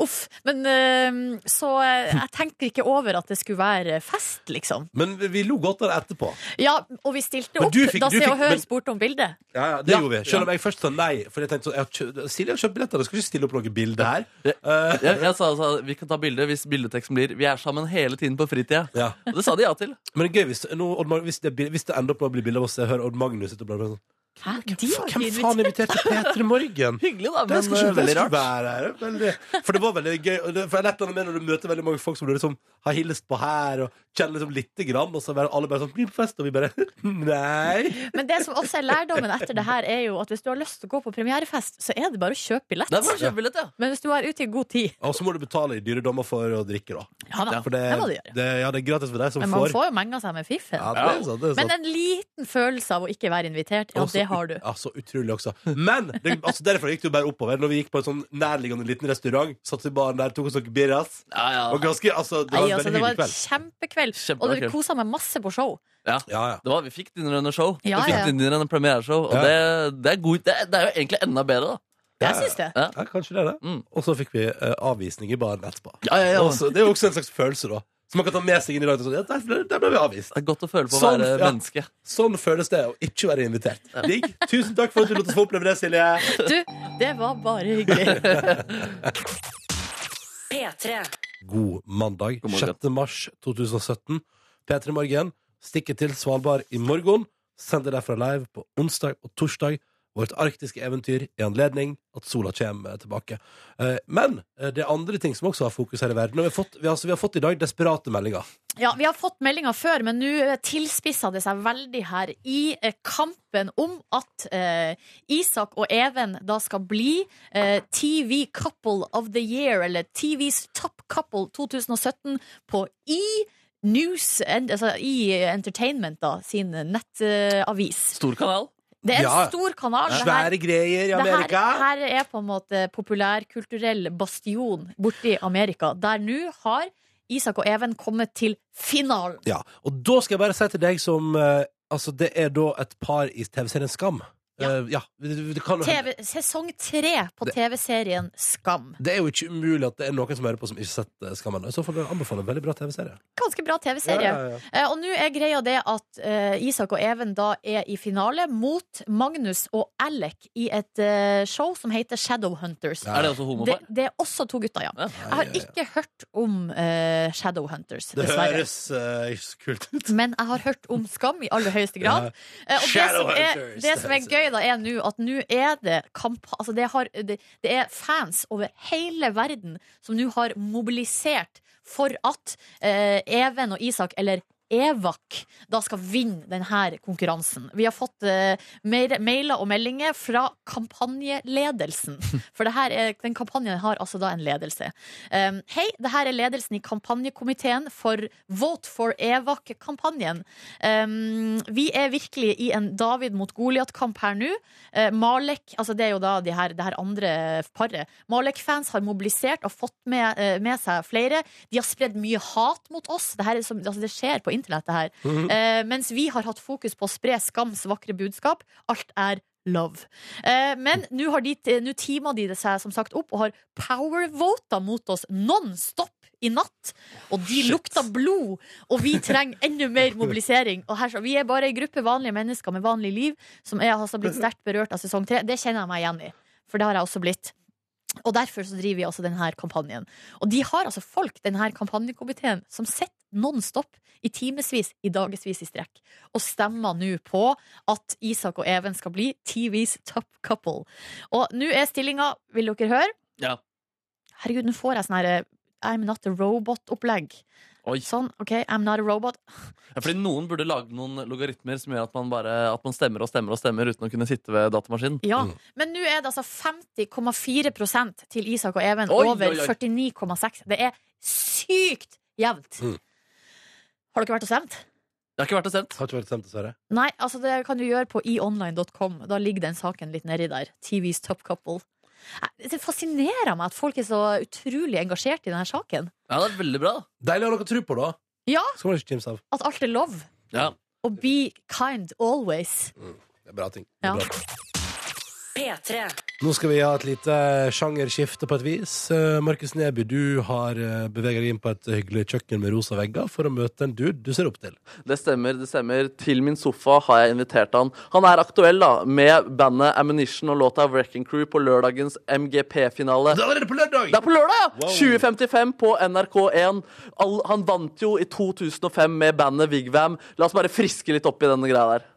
Uff. Men øhm, så øh, jeg tenkte ikke over at det skulle være fest, liksom.
Men vi- vi lo godt av det etterpå.
Ja, og vi stilte
Men
opp.
du fikk-
da
du
Se og
fikk-
Hør
men-
spurte om bildet.
Ja, ja, det
Ja.
gjorde vi. Selv om jeg først sa nei. For jeg tenkte sånn, jeg har kjø- Silje har kjøpt billetter, da skal ikke stille opp noe bilde her. Eh,
Jeg, jeg sa altså vi kan ta bilde hvis bildeteksten blir 'Vi er sammen hele tiden på fritida'.
Ja.
Og det sa de ja til.
Men det er gøy hvis, nå, Odd Mag- hvis, det, blir- hvis det ender opp med å bli bilde av oss, jeg hører Odd Magnus sitte og blar blar sånn
Hæ? De var ikke
Hvem
invitert.
faen inviterte Peter Morgen?
Hyggelig, da,
Det
men
skal
eh,
ikke det
veldig
skal
rart.
være her. det er Veldig, for det var veldig gøy. og det- For det er et eller annet med når du møter veldig mange folk som du liksom har hilst på her, og kjenner liksom lite grann, og så er alle bare sånn Bli på fest, og vi bare Nei.
Men det som også er lærdommen etter det her, er jo at hvis du har lyst til å gå på premierefest, så er det bare å kjøpe billett.
Det er bare å kjøpe billett, ja.
Men hvis du er ute i god tid
Og så må du betale i dyre dommer for å drikke, da.
Ja da,
for
det må du gjøre.
det- ja, det er gratis for deg som
Men man
får.
får jo menga seg med fiffen.
Ja, det er sant, det er sant.
Men en liten følelse av å ikke være invitert, ja,
Og så
det har du.
ut- Ja, så utrolig også. Men det, altså, derfor gikk det jo bare oppover. Når vi gikk på en sånn nærliggende liten restaurant, satt i baren der, tok oss noen birras.
Ja, ja.
Og ganske, altså, det var
Nei,
en
altså,
veldig
det var
hyggelig
en
kveld.
kjempekveld. Og
Kjempebra
du
kveld.
kosa meg masse på show.
Ja, ja.
Det var, vi fikk dinner show.
Ja,
vi
ja,
fikk
ja.
dinner under premiereshow, og
Ja.
det, det, er god, det, det er jo egentlig enda bedre, da.
Jeg syns det.
Ja, kanskje det er det.
Mm.
Og så fikk vi eh, avvisning i baren etterpå.
Ja, ja, ja.
Og så- det er jo også en slags følelse, da. Som man kan ta med seg inn i dag. Sånn, ja, der, ble, der ble vi avvist.
Det er godt å føle på å
Sånn,
være
ja.
menneske.
Sånn føles det å ikke være invitert. Digg. Tusen takk for at du lot oss få oppleve det, Silje.
Du, det var bare hyggelig.
P3.
God mandag,
God morgen.
6. mars 2017. P3 Morgen stikker til Svalbard i morgen. Sender derfra live på onsdag og torsdag. Vårt arktiske eventyr i anledning at sola kommer tilbake. Eh, Men eh, det er andre ting som også har fokus her i verden. Og vi har fått, vi, har- altså, vi har fått i dag desperate meldinger.
Ja, Vi har fått meldinger før, men nå eh, tilspisset det seg veldig her i eh, kampen om at eh, Isak og Even da skal bli eh, TV Couple of the Year, eller TVs Top Couple 2017 på E! News, en- altså i Entertainment da, sin nettavis.
Stor kanal.
det er en
Ja.
stor kanal. det her-
Svære greier i
det her,
Amerika.
her er på en måte populærkulturell bastion borti Amerika, der nå har Isak og Even kommet til finalen.
Ja, og da skal jeg bare si til deg som eh, Altså, det er da et par i TV-serien Skam.
Ja.
Eh, ja det, det kan jo hende-
TV, sesong tre på TV-serien Skam.
Det er jo ikke umulig at det er noen som hører på som ikke har sett eh, Skam ennå. I så fall anbefaler jeg en veldig bra TV-serie.
Ganske bra TV-serie.
Ja, ja, ja.
Eh, Og nå er greia det at eh, Isak og Even da er i finale mot Magnus og Alec i et eh, show som heter Shadowhunters.
Ja.
Er det også
Det,
homopar?
det er også to gutter, ja.
Ja.
Jeg har ikke hørt om eh, Shadowhunters,
Det
dessverre.
høres eh, ikke så kult ut.
Men jeg har hørt om skam i aller høyeste grad. Eh, Og det som, er,
Shadowhunters.
det som er gøy, da, er nå at nå er det kamp... Altså, det, har, det, det er fans over hele verden som nå har mobilisert for at eh, Even og Isak, eller Evak, da skal vinne denne konkurransen. Vi har fått eh, mer- mailer og meldinger fra kampanjeledelsen. For det her er, den kampanjen har altså da en ledelse. Um, Hei, det her er ledelsen i kampanjekomiteen for Vote for Evak-kampanjen. Um, vi er virkelig i en David mot Goliat-kamp her nå. Eh, Malek, altså det er jo da de her, det her andre paret. Malek-fans har mobilisert og fått med, eh, med seg flere. De har spredd mye hat mot oss. Det, her er som, altså det skjer på internett, det her. Eh, mens vi har hatt fokus på å spre skams vakre budskap. Alt er love. Eh, men nå har de, nå teamet de det seg som sagt opp og har powervota mot oss non-stop i natt. Og de lukter blod, og vi trenger enda mer mobilisering. Og her, så, vi er bare ei gruppe vanlige mennesker med vanlig liv som er altså blitt sterkt berørt av sesong tre. Det kjenner jeg meg igjen i, for det har jeg også blitt. Og derfor så driver vi altså denne kampanjen. Og de har altså folk, denne kampanjekomiteen, som sitter nonstop i timevis, i dagevis i strekk, og stemmer nå på at Isak og Even skal bli TVs top couple. Og nå er stillinga, vil dere høre?
Ja.
Herregud, nå får jeg sånn her eh, I'm not a robot-opplegg.
Oi.
Sånn, OK, I'm not a robot.
Ja, fordi noen burde lage noen logaritmer som gjør at man, bare, at man stemmer og stemmer og stemmer uten å kunne sitte ved datamaskinen.
Ja. Men nå er det altså 50,4 til Isak og Even
Oi,
over
oi, oi.
49,6. Det er sykt jevnt.
Mm.
Har dere vært og stemt?
Det har ikke vært stemt.
Har ikke vært stemt, dessverre.
Nei, altså det kan du gjøre på eonline.com. Da ligger den saken litt nedi der. TVs top couple. Nei, Det fascinerer meg at folk er så utrolig engasjert i denne saken.
Ja, det er veldig bra. da.
Deilig å ha noe å tro på, da.
Ja.
Skal man ikke kimse av.
At alt er lov.
Ja.
Og be kind always.
Det er bra ting. Det
Ja.
er bra ting.
P3.
Nå skal vi ha et lite eh, sjangerskifte på et vis. Eh, Markus Neby, du har eh, beveget deg inn på et hyggelig kjøkken med rosa vegger for å møte en dude du ser opp til.
Det stemmer. det stemmer Til min sofa har jeg invitert han. Han er aktuell da med bandet Ammunition og låta Wrecking Crew på lørdagens MGP-finale.
Det er allerede på lørdag!
Det er på lørdag, ja! 2055 på NRK1. All, han vant jo i 2005 med bandet Vigvam. La oss bare friske litt opp i denne greia der.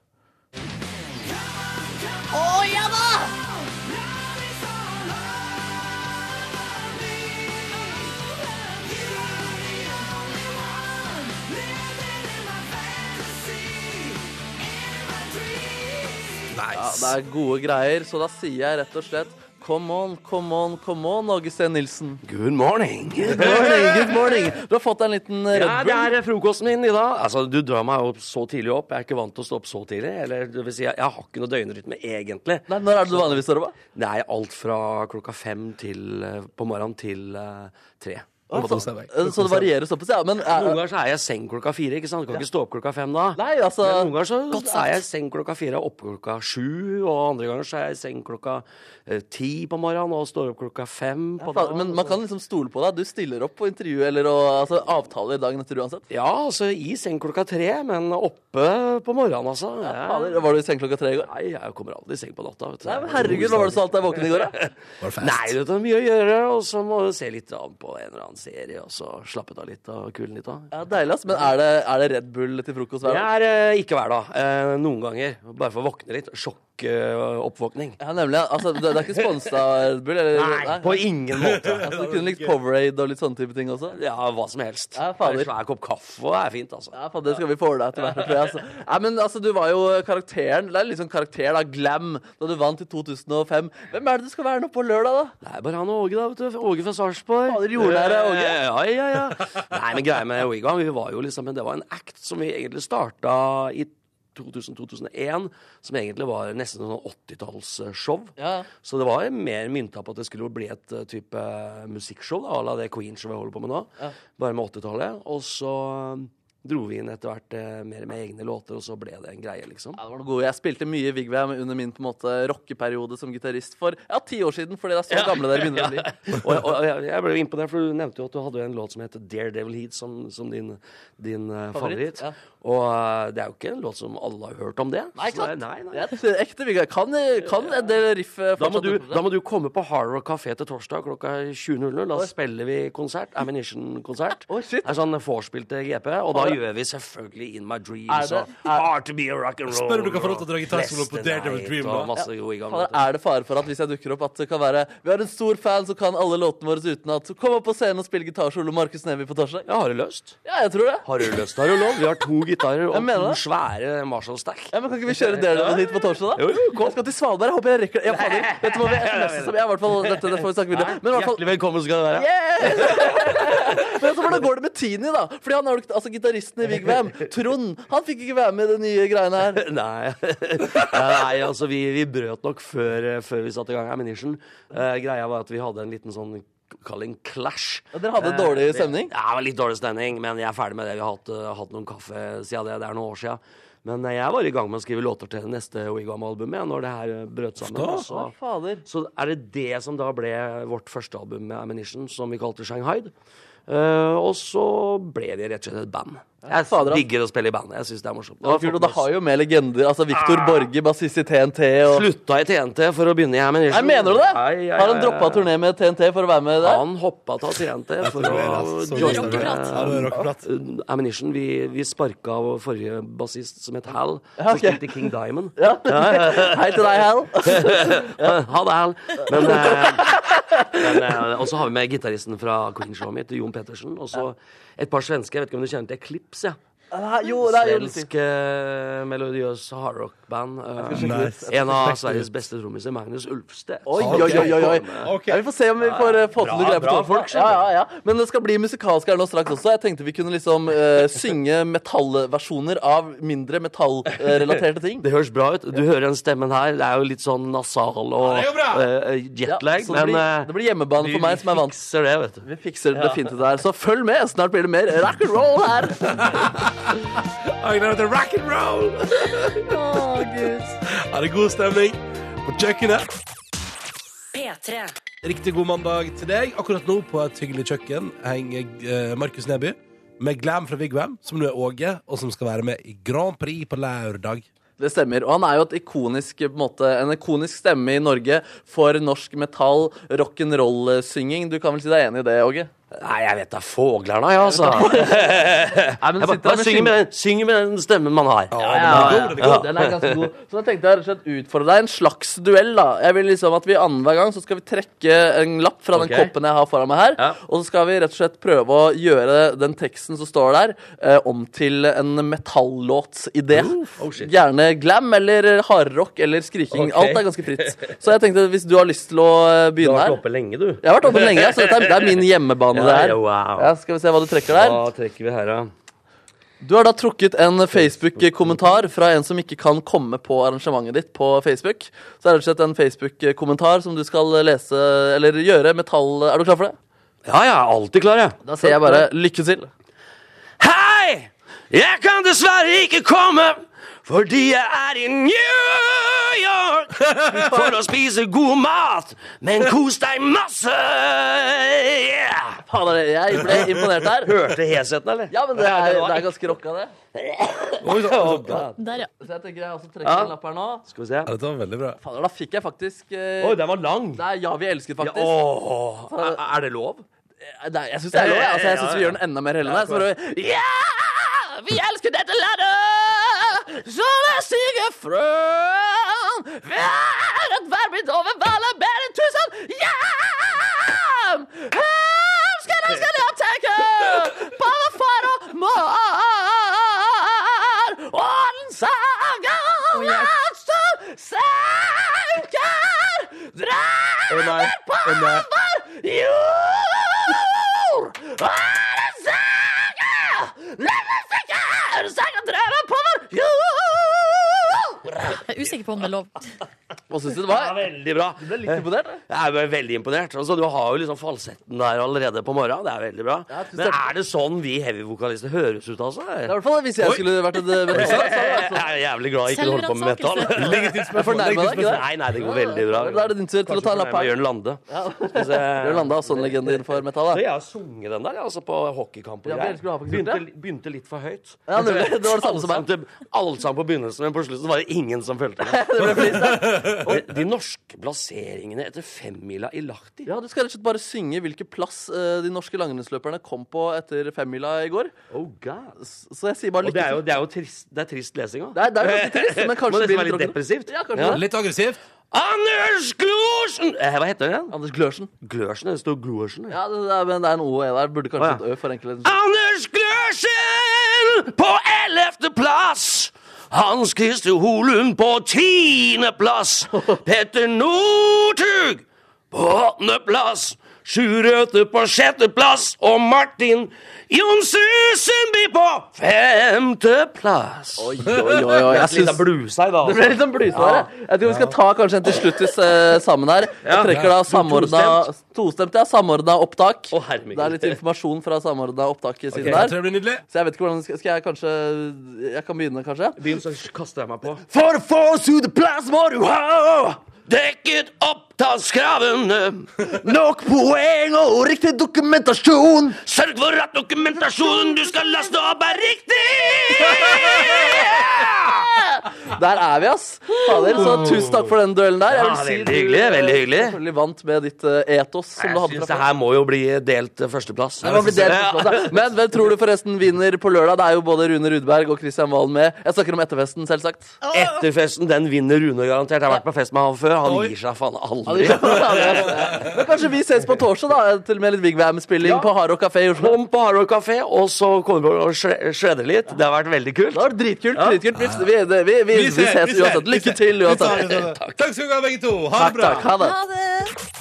Ja, det er gode greier, så da sier jeg rett og slett Come on, come on, come on, Åge Steen Nilsen.
Good morning.
Good morning, good morning. Du har fått deg en liten eh,
Ja,
Red
det
Bull.
er frokosten min i dag. Altså, Du drar meg opp så tidlig opp. Jeg er ikke vant til å stå opp så tidlig. Eller det vil si, jeg, jeg har ikke noe døgnrytme egentlig.
Nei, når er det du vanligvis står opp? da?
Det er alt fra klokka fem til, eh, på morgenen til eh, tre.
Altså, eh, Så det varierer såpass, ja. Men eh,
Noen ganger så er jeg i seng klokka fire, ikke sant? Kan ikke stå opp klokka fem da.
Nei, altså
Men noen ganger så
Godt
er jeg
sagt.
i seng klokka fire og opp klokka sju, og andre ganger så er jeg i seng klokka eh, ti på morgenen og står opp klokka fem på
Fader,
dagen. altså.
Men man kan liksom stole på deg. Du stiller opp på intervju eller og, altså, avtaler dagen etter uansett.
Ja, altså i seng klokka tre, men oppe på morgenen, altså.
Fader, var du i seng klokka tre i går?
Nei, jeg kommer aldri i seng på natta. Vet du.
Nei, men herregud, hva var det du sa alt deg våken i går, da?
Var det fast?
Nei, vet du, det er mye å gjøre, og så må du se litt an på en eller annen serie, og så slappe av litt og kulen litt av.
Ja, Deilig, ass. Men er det, er det Red Bull til frokost
Det
hver dag?
er eh, ikke hver dag. Eh, noen ganger. Bare for å våkne litt. eh, Sjokkoppvåkning.
Ja, nemlig. ja. Altså, det, det er ikke sponset av Red Bull? Eller,
på ingen måte.
Altså, du kunne likt Powerade og litt sånne type ting også?
Ja, hva som helst.
Ja, fader.
En svær kopp kaffe er fint, altså.
Ja, faen, det skal vi få ordna etter hvert. tror jeg, Altså. Nei, men altså, Du var jo karakteren Det er liksom karakter, da. Glam. Da du vant i 2005. Hvem er det du skal være nå på lørdag, da?
Det er bare han og Åge, da. vet du. Åge fra Sarpsborg.
Fader, jordnære Åge.
Eh, Ja, ja, ja. Nei, men greia med Wigan, vi var jo liksom Det var en act som vi egentlig starta i 2000-2001, som egentlig var nesten sånn 80-tallsshow.
Ja.
Så det var mer mynta på at det skulle bli et eh, type musikkshow, da, à la det Queen-showet jeg holder på med nå, bare med 80-tallet. Og så eh, dro vi inn etter hvert eh, mer med egne låter, og så ble det en greie, liksom.
Ja, det var noe god. Jeg spilte mye Vigvam under min på en måte rockeperiode som gitarist for ja, ti år siden. fordi det er så gamle dere begynner å bli.
og, og, og jeg- jeg ble jo imponert, for du nevnte jo at du hadde en låt som heter Daredevil Heat, som, som din, din eh,
Favoritt,
favoritt.
ja.
Og eh, det er jo ikke en låt som alle har hørt om det.
Nei, ikke
Så det-
sant?
Nei, nei.
Jeg tror Ekte Vigvam. Kan, kan en del riff eh,
Da må,
fortsatt
du,
utenfor
da
det?
må du komme på Hard Rock Café til torsdag klokka 20.00. Da spiller vi konsert. Ammunition-konsert.
Oi, shit.
Det er sånn vorspielte GP. Og da gjør vi selvfølgelig In My Dreams
Er
og
det-
Hard To Be A Rock and Roll.
Spør om du kan få lov til å dra
og
gitarsolo på
Last
Daredevil
Night
Dream, da.
Og masse gode i gang,
Fader,
vet du.
er det fare for at hvis jeg dukker opp, at det kan være Vi har en stor fan som kan alle låtene våre utenat. Så kom opp på scenen og spill gitarsolo Markus Neby på torsdag.
Ja, har du lyst?
Ja, jeg tror det.
Har du lyst? Har du lov? Vi har to gitarer og
Jeg mener
to
det.
svære Marshall-stack.
Ja, men Kan ikke vi kjøre Daredevil hit på torsdag, da?
Jo, jo,
Jeg skal til Svalbard. Jeg håper jeg rekker det. Ja, fader. Vet du hva, vi er nesten som jeg, i hvert fall. Dette det får vi snakke videre om. Men i hvert fall
Hjertelig velkommen skal du være.
Yes! Men så hvordan går det med Tini, da? Fordi han er jo ikke- altså Gitaristen i Vigvam, Trond, han fikk ikke være med i de nye greiene her.
Nei. Nei, altså vi, vi brøt nok før, eh, før vi satte i gang Ammunition. Eh, greia var at vi hadde en liten sånn Kall det en clash.
Ja, dere hadde
Eh,
dårlig
det-
stemning?
Ja, det var litt dårlig stemning, men jeg er ferdig med det. Vi har hatt, eh, hatt noen kaffe siden det. Det er noen år siden. Men eh, jeg var i gang med å skrive låter til det neste Wigwam-albumet jeg, når det her eh, brøt sammen. og
Å,
så-
fader.
så er det det som da ble vårt første album med Ammunition, som vi kalte Shanghai. Eh, og så ble vi rett og slett et band. Jeg
Fader, ass.
digger å spille i band. Jeg syns det Ah. er morsomt.
Det var kult, og det har jo med legender. Altså Victor Borge, bassist i TNT og
Slutta i TNT for å begynne i Ammunition.
Nei, mener du
Ai,
det?
ai,
Har han
ai,
droppa
ai.
turné med TNT for å være med der?
Han hoppa av TNT for
det er det,
å
altså.
joine
Rockeprat. Ja, det er rockeprat.
eh, Ammunition. Vi, vi sparka av forrige bassist som het Hal,
Ja,
som
ok.
spilte i King Diamond.
Ja. Hei til deg, Hal.
eh, Ja, ha det, Hal. Men, eh, men, eh, og så har vi med gitaristen fra Queen Showet mitt, Jo Jon Pettersen. Og så et par svenske. Jeg vet ikke om du kjenner til Eclipse? Ja.
Ah, Jo, det er jo litt
Svensk eh, melodiøs hardrock-band. eh,
Nice.
en av Sveriges beste trommiser, Magnus Ulfsted.
Oi, oi, oi, oi, oi.
Ok.
Ja, vi får se om vi får eh, få til noe greier på
bra
tårnfolk. Ja, ja, ja. Men det skal bli musikalsk her nå straks også. Jeg tenkte vi kunne liksom eh, synge metallversjoner av mindre metallrelaterte ting.
Det høres bra ut. Du hører den stemmen her. Det er jo litt sånn nasal og eh, jetlag,
så det,
men
blir,
eh,
det blir hjemmebane for meg som er vant.
fikser det, vet du.
Vi fikser det definitivt der, så følg med. Snart blir det mer rock and roll her.
Jeg gleder meg til rock and roll! Er det god stemning på kjøkkenet?
P3.
Riktig god mandag til deg. Akkurat nå på et hyggelig kjøkken henger eh, Markus Neby med Glam fra Vigvam, som nå er Åge, og som skal være med i Grand Prix på lørdag.
Det stemmer. Og han er jo et ikonisk, på en, måte, en ikonisk stemme i Norge for norsk metall, rock'n'roll-synging. Du kan vel si deg enig i det, Åge?
Nei, jeg vet da foglerna, jeg, altså. Jeg bare, bare synger med, den- synger med den stemmen man har.
ja, ja, ja. Den er ganske god. Så da tenkte jeg rett og slett utfordre deg. En slags duell, da. Jeg vil liksom at vi annenhver gang så skal vi trekke en lapp fra den
Ok.
koppen jeg har foran meg her,
Ja.
og så skal vi rett og slett prøve å gjøre den teksten som står der, eh, om til en metallåtsidé.
oh shit.
Gjerne glam eller hardrock eller skriking.
Ok.
Alt er ganske fritt. Så jeg tenkte hvis du har lyst til å eh,
Du
begynne
har vært
her
oppe lenge, du.
Jeg har vært oppe lenge, så dette er, det er min hjemmebane. det
Ja,
her.
ja, wow.
Ja, skal vi se hva du trekker der.
Hva trekker vi her, da?
Du har da trukket en Facebook-kommentar fra en som ikke kan komme på arrangementet ditt på Facebook. Så er det rett og slett en Facebook-kommentar som du skal lese, eller gjøre metall... Er du klar for det?
Ja, jeg er alltid klar, jeg.
Da sier jeg bare lykke til.
Hei! Jeg kan dessverre ikke komme fordi jeg er i New York for å spise god mat. Men kos deg masse! Yeah!
Fader, jeg ble imponert her.
Hørte Heseten, eller?
Ja, men det er, det er ganske rocka, det.
Der, ja.
Så jeg tenker jeg også trekker en lapp her nå.
Skal vi se.
Ja, dette var veldig bra.
Fader, da fikk jeg faktisk eh,
Oi, den var lang.
Det er Ja, vi elsker,
Ja,
faktisk.
åh, er er det lov?
Nei, jeg syns det er lov. jeg. Altså, jeg synes vi gjør den enda mer hellende. Så bare Ja! Vi elsker dette landet, så det synger frø. Vær et verbind over ballet mer enn tusen hjem. Elsker, elsker det å tenke på vår far og mor. Og den sangen er som senker drømmer på vår jord. Er det sanger, never sanger, sanger drømmer på vår jord.
Jeg er usikker på om det er lov.
Hva syns du det
Ja,
var?
veldig bra.
Du ble litt imponert, da.
Jeg er bare veldig imponert. Altså, du har jo liksom falsetten der allerede på morgenen. Det er veldig bra.
Ja, tusen
Men
takk.
er det sånn vi heavy-vokalister høres ut, altså?
Det er i hvert fall sånn, Hvis jeg skulle vært et eh, metal, så
Jeg er jævlig glad jeg ikke holder på med metal.
Selvransakelse.
jeg fornærma deg. ikke det?
Nei, nei, det går veldig bra.
Da er det din tur til å ta en lapp
Nei,
her.
Jørn Lande. Skal vi se.
Du landa også en sånn legende innenfor metal.
Så
da.
Jeg har sunget den der jeg, altså, på hockeykamp og
Ja,
greier.
det skulle du ha faktisk
Begynte,
gjort,
li- begynte litt for høyt.
Ja, nemlig. Det var det samme som
Alle
meg.
sang til- Alle sang på begynnelsen, men på slutten var det ingen som fulgte med.
Det ble flisa.
Og de norske plasseringene etter femmila i Lahti
Ja, Du skal rett og slett bare synge hvilken plass eh, de norske langrennsløperne kom på etter femmila i går.
Oh god.
S- Så jeg sier bare
Og det
lykke
er jo,
til.
det er jo trist, det er trist lesing òg.
Det er, det er jo ganske trist, men
Må
kanskje det
nesten
blir
være
litt
litt
rockende.
depressivt.
Ja, kanskje det.
Litt aggressivt.
Anders Glorsen! Eh, Hva heter han?
Anders Glørsen.
Glørsen? Det står Glorsen.
Ja, det, det er, men det er en OE der. Burde kanskje
Å, ja.
et Ø for enkelheten.
Anders Glørsen på ellevteplass. Hans Christer Holund på tiendeplass. Petter Northug på åttendeplass. Sjur Røthe på sjetteplass. Og Martin Johnsen Sundby på femteplass.
Oi, oi, oi, oi. Jeg synes...
blues her, da.
Det ble litt sånn blysvare. Jeg tror vi skal ta kanskje en til slutt hvis, eh, sammen her. Jeg trekker da samordna Tostemt, ja. Samordna opptak.
Å, herregud.
Det er litt informasjon fra samordna opptak i siden
Jeg tror
der.
det blir nydelig.
Så jeg vet ikke hvordan skal, skal jeg kanskje Jeg kan begynne, kanskje?
Begynn, så kaster jeg meg på. For å få oss ut av plass må du ha dekket opptakskravene. Nok poeng og riktig dokumentasjon. Sørg for at dokumentasjonen du skal laste opp, er riktig!
Der er vi, ass! Fader, så tusen takk for den duellen der.
Ja, veldig hyggelig, veldig hyggelig.
eh, selvfølgelig vant med ditt eh, etos. Som du
Jeg
hadde
syns
fra
det her må jo bli delt eh, førsteplass.
Det var vel delt på plass, da. Men hvem tror du forresten vinner på lørdag? Det er jo både Rune Rudberg og Christian Valen med. Jeg snakker om etterfesten, selvsagt.
Etterfesten den vinner Rune garantert. Jeg har vært på fest med han før. Han gir seg faen aldri.
Ja, det kan være det. Men kanskje vi ses på torsdag, da? Til og med litt Big Bam-spilling
Ja.
på Hardrock kafé i Oslo.
Kom på Hard Rock Café, og så kommer vi og shre- shredder litt. Det har vært veldig kult.
Det var dritkult. dritkult. Vi, vi, vi, vi, vi ses uansett. Lykke til
Takk,
uansett.
takk skal du ha, begge to. Ha det
Takk,
bra.
takk. Ha det.
Ha det!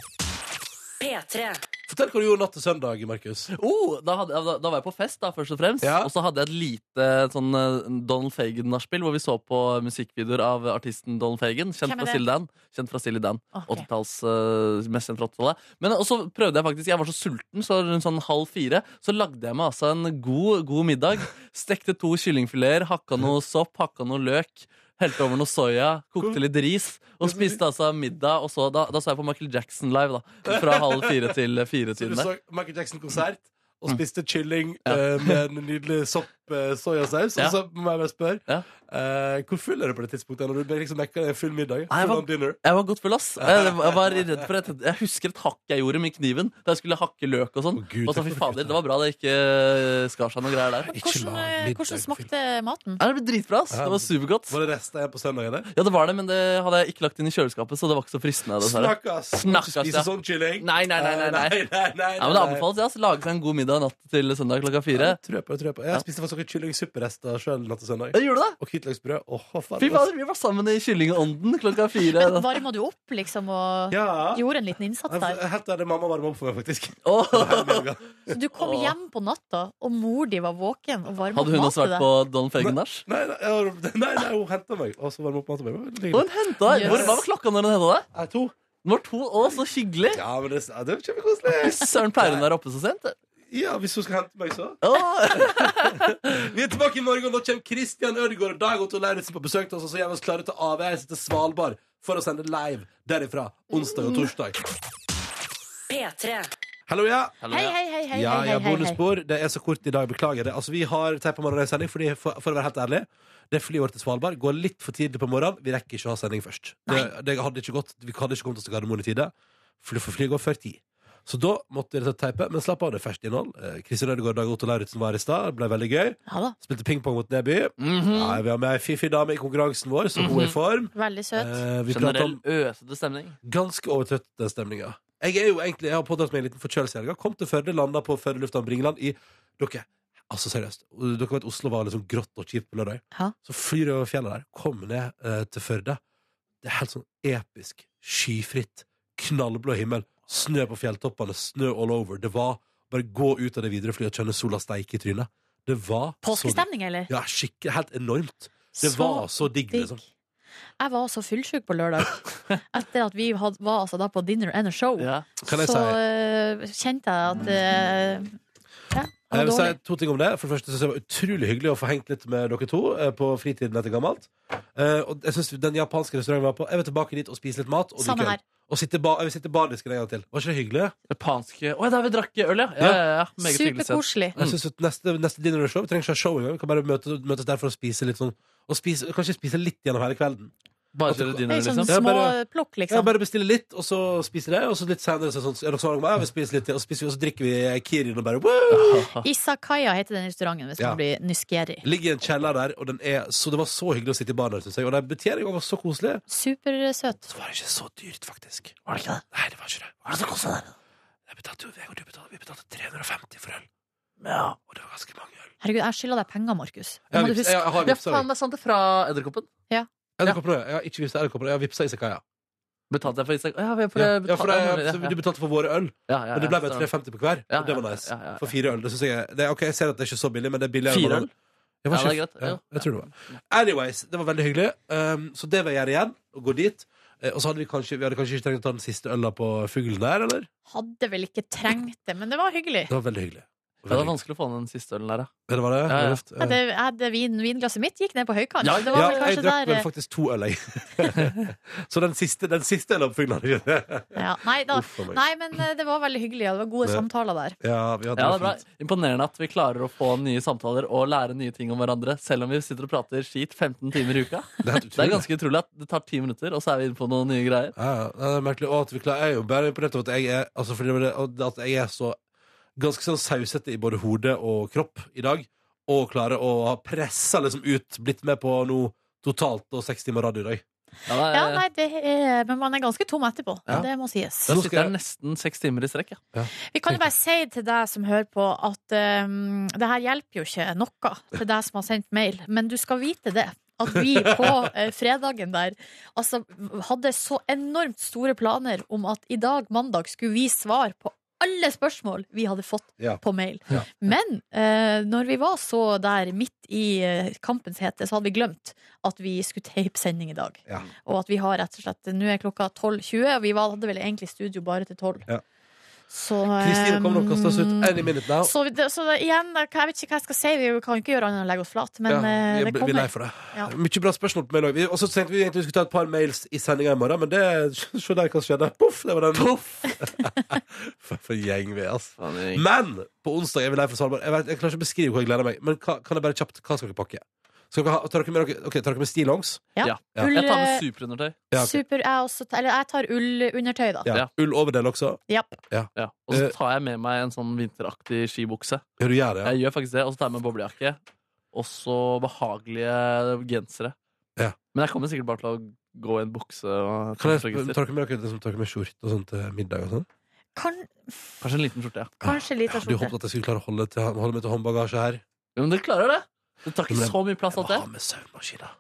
P3.
Fortell hva du gjorde natt til søndag, Markus.
Oh, da, hadde, jeg- da, da var jeg på fest, da, først og fremst.
Ja.
Og så hadde jeg et lite sånn eh, Donald Fagan-nachspiel, hvor vi så på musikkvideoer av artisten Donald Fagan. Kjent
Hvem er
fra
det?
Silly Dan. Kjent fra Silly Dan.
Ok.
80-talls eh, Mest kjent fra 80-tallet. Men eh, og så prøvde jeg faktisk Jeg var så sulten, så rundt sånn halv fire Så lagde jeg meg altså en god, god middag. Stekte to kyllingfileter, hakka noe sopp, hakka noe løk. Helte over noe soya, kokte litt ris og spiste altså middag. Og så, da, da så jeg på Michael Jackson live, da. Fra halv fire til fire
Så du
tiden der.
så Michael Jackson-konsert og spiste kylling eh, med en nydelig sopp eh, soyasaus.
Ja.
Og så må jeg bare spørre,
Ja.
eh, hvor full er du på det tidspunktet når du liksom mekker deg en full middag?
Nei, jeg
full
var-
on dinner?
Jeg var godt full, ass. Jeg jeg var redd for et, Jeg husker et hakk jeg gjorde med kniven. Da jeg skulle hakke løk og sånn.
Å, Gud,
og så
det får
fy
du ikke
fader, Det var bra det ikke eh, skar seg noen greier der.
Ikke
Hvordan,
la
eh,
middag
hvordan
fylle.
smakte maten?
Nei, det ble dritbra. ass.
Ja.
Det var supergodt.
Var det resten igjen på søndag, eller?
Ja, det var det, men det hadde jeg ikke lagt inn i kjøleskapet, så det var ikke så fristende. dessverre.
Snakkas!
Snakkas,
Ikke
ja.
spise sånn kylling.
Nei, nei, nei. nei, nei.
nei, nei,
Ja, men Det anbefales ja, ass. lage seg en god middag natt til søndag klokka fire.
Ja, det tror jeg på, det tror jeg på. Jeg
Ja.
spiste faktisk noen kyllingsupperester sjøl natt til søndag.
Ja, gjorde du det?
Og hvitløksbrød. Åh, faen,
Fy
det var-
fader, vi var sammen i Kyllingånden klokka fire.
Men varma du opp, liksom, og
Ja. Altså,
gjorde en liten innsats der?
Jeg- Helt ærlig, mamma varma opp for meg, faktisk.
Åh.
Så du kom
Åh.
hjem på natta, og mor di var våken og varma opp
Hadde hun
mat til
også vært
deg?
på Don Fagan-nach?
Nei, nei, jeg- nei, nei hun henta meg, og så varma opp maten min. Det var
Hva
hyggelig.
Yes.
var klokka når hun henta deg?
Jeg er to.
Den var to. Å, så hyggelig!
Ja, men det, ja, det er kjempekoselig.
Søren, pleier hun å være oppe så sent?
Ja, hvis hun skal hente meg, så.
Åh.
Vi er tilbake i morgen, og nå kommer Christian Ødegaard og Dag Otto Lauritzen på besøk til oss, og så gjør vi oss klare til avreise til Svalbard for å sende live derifra onsdag og torsdag.
P3.
Hallo, ja.
Hei, hei, hei, hei,
Ja,
hei,
ja,
hei, hei.
bonusspor. Det er så kort i dag, beklager det. Altså, vi har Teip på morgenen sending, fordi, for, for å være helt ærlig, det flyet vårt til Svalbard går litt for tidlig på morgenen. Vi rekker ikke å ha sending først. Det, det hadde ikke gått, vi hadde ikke kommet oss til Gardermoen i tide, for for flyet går før ti. Så da måtte vi rett og slett teipe, men slapp av det ferskt innhold. Eh, Kristin Ødegaard og Dag Otto Lauritzen var her i stad, det ble veldig gøy.
Ja da,
Spilte pingpong mot Neby.
Mhm.
Mm.
Nei, vi har med ei fiffig dame i konkurransen vår, så hun er i form.
veldig Mhm. søt.
Eh, vi prater
Generell
om
øsete stemning.
ganske overtrøtte stemninger. Jeg er jo egentlig, jeg har pådratt meg en liten forkjølelse i helga. Kom til Førde, landa på Førde lufthavn Bringeland i Dere, altså seriøst. Dere vet Oslo var liksom grått og kjipt på lørdag.
Ja.
Så flyr jeg over fjellet der, kommer ned eh, til Førde. Det er helt sånn episk. Skyfritt. Knallblå himmel. Snø på fjelltoppene. Snø all over. Det var bare gå ut av det videre flyet og kjenne sola steike i trynet. Det var så digg.
Påskestemning, eller?
Ja, skikkelig. Helt enormt. Det var så digg, liksom.
digg. Jeg var så fullsjuk på lørdag. Etter at vi had, var altså da på dinner and a show,
Ja.
Kan jeg
så
si
eh, kjente jeg at eh, ja, det
Eh, Jeg
var
vil si
dårlig.
to ting om det. For det første synes jeg det var utrolig hyggelig å få hengt litt med dere to eh, på fritiden etter gammelt. Eh, og jeg synes Den japanske restauranten vi var på Jeg vil tilbake dit og spise litt mat. Og
Samme
drikke øl.
her.
Og sitte ba jeg vil sitte i bardisken en gang til. Var ikke det hyggelig?
Japanske Å ja, der vi drakk øl, ja! ja, ja, ja. Meget hyggelig sted.
Superkoselig.
Jeg synes at neste, neste dinner og show Vi trenger ikke ha show engang. Vi kan bare møtes, møtes der for å spise litt sånn Og spise, kanskje spise litt gjennom hele kvelden.
Bare kjøre
Det
dine,
er sånn
liksom.
Det er
små
bare-
plukk,
Ja,
liksom.
bare bestille litt, og så spise det. Og så litt senere så er det sånn, er dere sånn, ja, vi spiser litt til, og, så spiser vi, og så drikker vi kirin og bare wow!
Isakaya heter den restauranten, hvis
Ja.
man blir nysgjerrig.
Ligger i en kjeller der, og den er, så det var så hyggelig å sitte i baren der, synes jeg. Og den betjeningen var så koselig.
Supersøt.
Så var det ikke så dyrt, faktisk. Var det ikke det? Nei, det var ikke det. Hva kosta det? Jeg betalte jo, jeg og du betalte, vi betalte 350 for øl. Ja. Og det var ganske mange øl.
Herregud, jeg skylder deg penger, Markus.
Jeg
Det må
har
du
vips-
huske.
jeg har
Ja,
vipsa.
faen meg sant det fra Edderkoppen.
Edderkopper, ja. Jeg har ikke vipsa edderkopper, jeg har vipsa Isakaya.
Betalte jeg for Isak? Ja, for
Ja,
jeg
ja, for
betalte-
det, så du betalte for våre øl,
Ja, ja,
men det ble
ja,
bare 350 på hver.
Ja,
Og det var
ja,
nice.
ja, ja, ja.
For fire øl. Det synes jeg det er, Ok, jeg ser at det er ikke så billig, men det er billigere.
Fire
enn
øl?
Det var
Ja, det er
ikke-
greit.
Ja,
Ja.
jeg tror det var. Anyways, det var veldig hyggelig. Um, så det vil jeg gjøre igjen. Å gå dit. Eh, Og så hadde vi kanskje, vi hadde kanskje ikke trengt å ta den siste øla på fuglen der, eller?
Hadde vel ikke trengt det, men det var hyggelig.
Det var veldig hyggelig.
Ja, det var vanskelig å få ned den siste ølen der, ja.
Ja, det var det?
Ja, ja.
Luft,
Ja, det, jeg hadde vin, vinglasset mitt gikk ned på høykant.
Ja,
det var
ja,
vel
jeg
kanskje
drakk
der eh,
vel faktisk to øl, jeg. så den siste, den siste ølen oppfyller han ikke.
eh, ja, nei, da,
Uff a meg.
nei, men eh, det var veldig hyggelig, og det var gode
Ja.
samtaler der.
Ja, vi hadde
Ja, det er
det
bra.
fint.
Imponerende at vi klarer å få nye samtaler og lære nye ting om hverandre, selv om vi sitter og prater skit 15 timer i uka.
Det er helt
Det er
utrolig.
ganske utrolig at det tar 10 minutter, og så er vi inne på noen nye greier.
Ja, ja, det er merkelig. Og at vi klarer, jeg er jo bare imponert over at jeg er, altså fordi det var det, og at jeg er så ganske sånn sausete i både hode og kropp i dag, og klarer å ha pressa liksom ut, blitt med på noe totalt og seks timer radio i dag.
det er-
Ja, nei, det er, men man er ganske tom etterpå.
Eh, Ja.
Det må sies.
Da sitter jeg nesten seks timer i strekk. Ja.
Vi kan jo bare si til deg som hører på, at um, det her hjelper jo ikke noe til deg som har sendt mail, men du skal vite det. At vi på eh, fredagen der altså, hadde så enormt store planer om at i dag, mandag, skulle vi svare på alle spørsmål vi hadde fått
Ja.
på mail.
Ja.
Men eh, når vi var så der midt i eh, kampens hete, så hadde vi glemt at vi skulle tape sending i dag.
Ja.
Og at vi har rett og slett Nå er klokka 12.20, og vi var, hadde vel egentlig studio bare til 12.
Ja.
Så
Kristine kommer og kaster oss ut
ehm,
any minute now.
så, vi- det- så det- igjen, jeg vet ikke hva jeg skal si. Vi kan ikke gjøre annet enn å legge oss flat. Men
Ja, vi,
eh, det
er- vi er lei
kommer.
for det.
Ja.
Mye bra spørsmål på mail òg. Og så tenkte vi egentlig vi skulle ta et par mails i sendinga i morgen, men det Se der hva som skjedde. Poff! Det var den. for, for gjeng vi er, altså. Men på onsdag er vi lei for Svalbard. Jeg, vet, jeg klarer ikke å beskrive hvor jeg gleder meg. Men hva, kan jeg bare kjapt Hva skal dere pakke? Skal dere ha, tar, dere med dere, ok, tar dere med stillongs?
Ja.
Ja.
Ull,
Jeg tar
eh,
med superundertøy.
Ja, ok.
super, jeg, også, tar- eller jeg tar ullundertøy, da.
Ja.
Ja.
Ull overdel også?
Japp.
Ja. Og så
Eh.
tar jeg med meg en sånn vinteraktig skibukse.
Ja, du gjør det, ja.
Jeg gjør faktisk det, Og så tar jeg med boblejakke. Og så behagelige gensere.
Ja.
Men jeg kommer sikkert bare til å gå i en bukse. Og
Kan jeg, tar dere med dere liksom, tar dere med skjorte og sånt til middag og sånn?
Kan,
Kanskje en liten skjorte, ja.
kanskje litt
Ja,
av
du håpet
skjorte.
at jeg skulle klare å holde, til, holde meg til håndbagasje her.
Jo, men dere klarer det! Det tar
Men
ikke
jeg-
så mye plass,
Jeg må
alt det.
ha med søvnmaskina.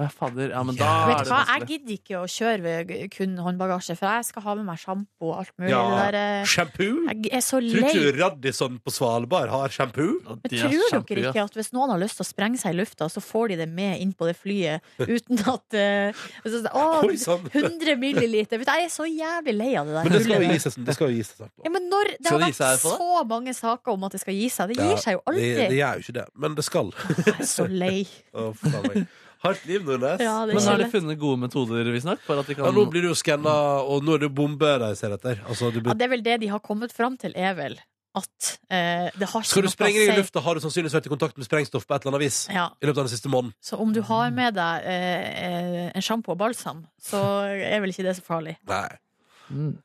Å, jeg fader. Ja, men da
Ja.
er
Vet
det
du hva, jeg
vanskelig.
gidder ikke å kjøre ved kun håndbagasje, for jeg skal ha med meg sjampo og alt mulig.
Ja.
Det der, eh,
Shampoo?
jeg er så
Tror ikke
lei.
Radisson på Svalbard har shampoo?
Men
Og det er
tror
kjempegøy,
dere ikke at hvis noen har lyst til å sprenge seg i lufta, så får de det med inn på det flyet uten at eh, altså, Å,
Oi sann!
100 milliliter. Vet du, Jeg er så jævlig lei av det der.
Men det skal jo
tullet der.
gi seg, det skal jo gi seg snart. da.
Ja, men når, det
Skal
har vært
det gi seg her for deg?
så mange saker om at det skal gi seg. Det
Ja,
gir seg jo
Det, det
alltid.
gjør jo ikke det, men det skal.
Jeg er så lei.
Å, faen meg. Hardt liv, Nordnes.
Ja, det
Men
er
har
så
de
lei.
funnet gode metoder, visstnok? For at de kan
Ja, nå blir du jo skanna, og nå er det bombe de ser etter. Altså, du
Ja,
blir...
det er vel det de har kommet fram til, er vel at eh, det har ikke
Skal du
noe
sprenge deg i
å si.
lufta, har du sannsynligvis vært i kontakt med sprengstoff på et eller annet vis.
Ja,
I løpet av den siste måneden.
så om du har med deg eh, eh, en sjampo og balsam, så er vel ikke det så farlig.
Nei.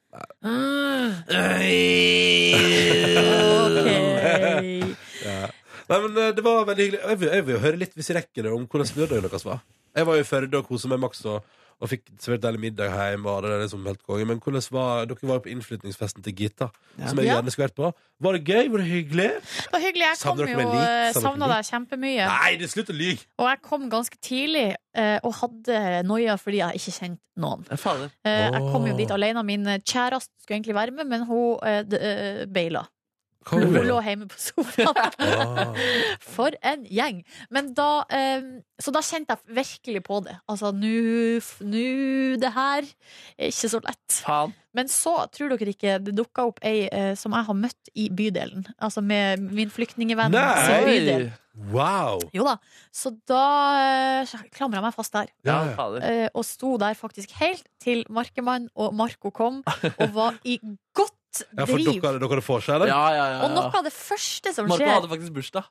Eh.
Ok.
Nei, men eh, det var veldig hyggelig. Jeg vil, jeg vil høre litt, hvis jeg rekker det, om hvordan lørdagen deres var. Jeg var jo i Førde og kosa meg maks og, og fikk servert deilig middag hjemme. Og det er liksom helt konge. Men hvordan var Dere var jo på innflytningsfesten til Gita, som jeg
Ja.
gjerne skulle vært på. Var det gøy? Var det hyggelig?
Det var hyggelig. Jeg
Savner
kom
dere
jo
meg litt? Savner dere
savna
meg
deg kjempemye.
Nei, det slutt å lyve!
Og jeg kom ganske tidlig eh, og hadde noia fordi jeg ikke kjente noen.
Ja, fader.
Eh, Jeg kom jo
Åh.
dit alene. Min kjæreste skulle egentlig være med, men hun eh, d- eh, beila.
Hva
Hun
var det?
lå hjemme på sofaen.
Ah.
For en gjeng! Men da, eh, så da kjente jeg virkelig på det. Altså, nå f- nå Det her er ikke så lett.
Faen.
Men så, tror dere ikke, det dukka opp ei eh, som jeg har møtt i bydelen. Altså med min flyktningvenn
Nei!
sin bydel.
Wow!
Jo da. Så da eh, klamra jeg meg fast der.
Ja,
Ja, ja.
fader.
Eh, og sto der faktisk helt til Markemann og Marco kom og var i godt
Ja, for
driv.
dere, dere får seg,
Ja,
eller?
ja, ja, ja.
Og noe av det første som
Marco
skjer,
hadde faktisk bursdag.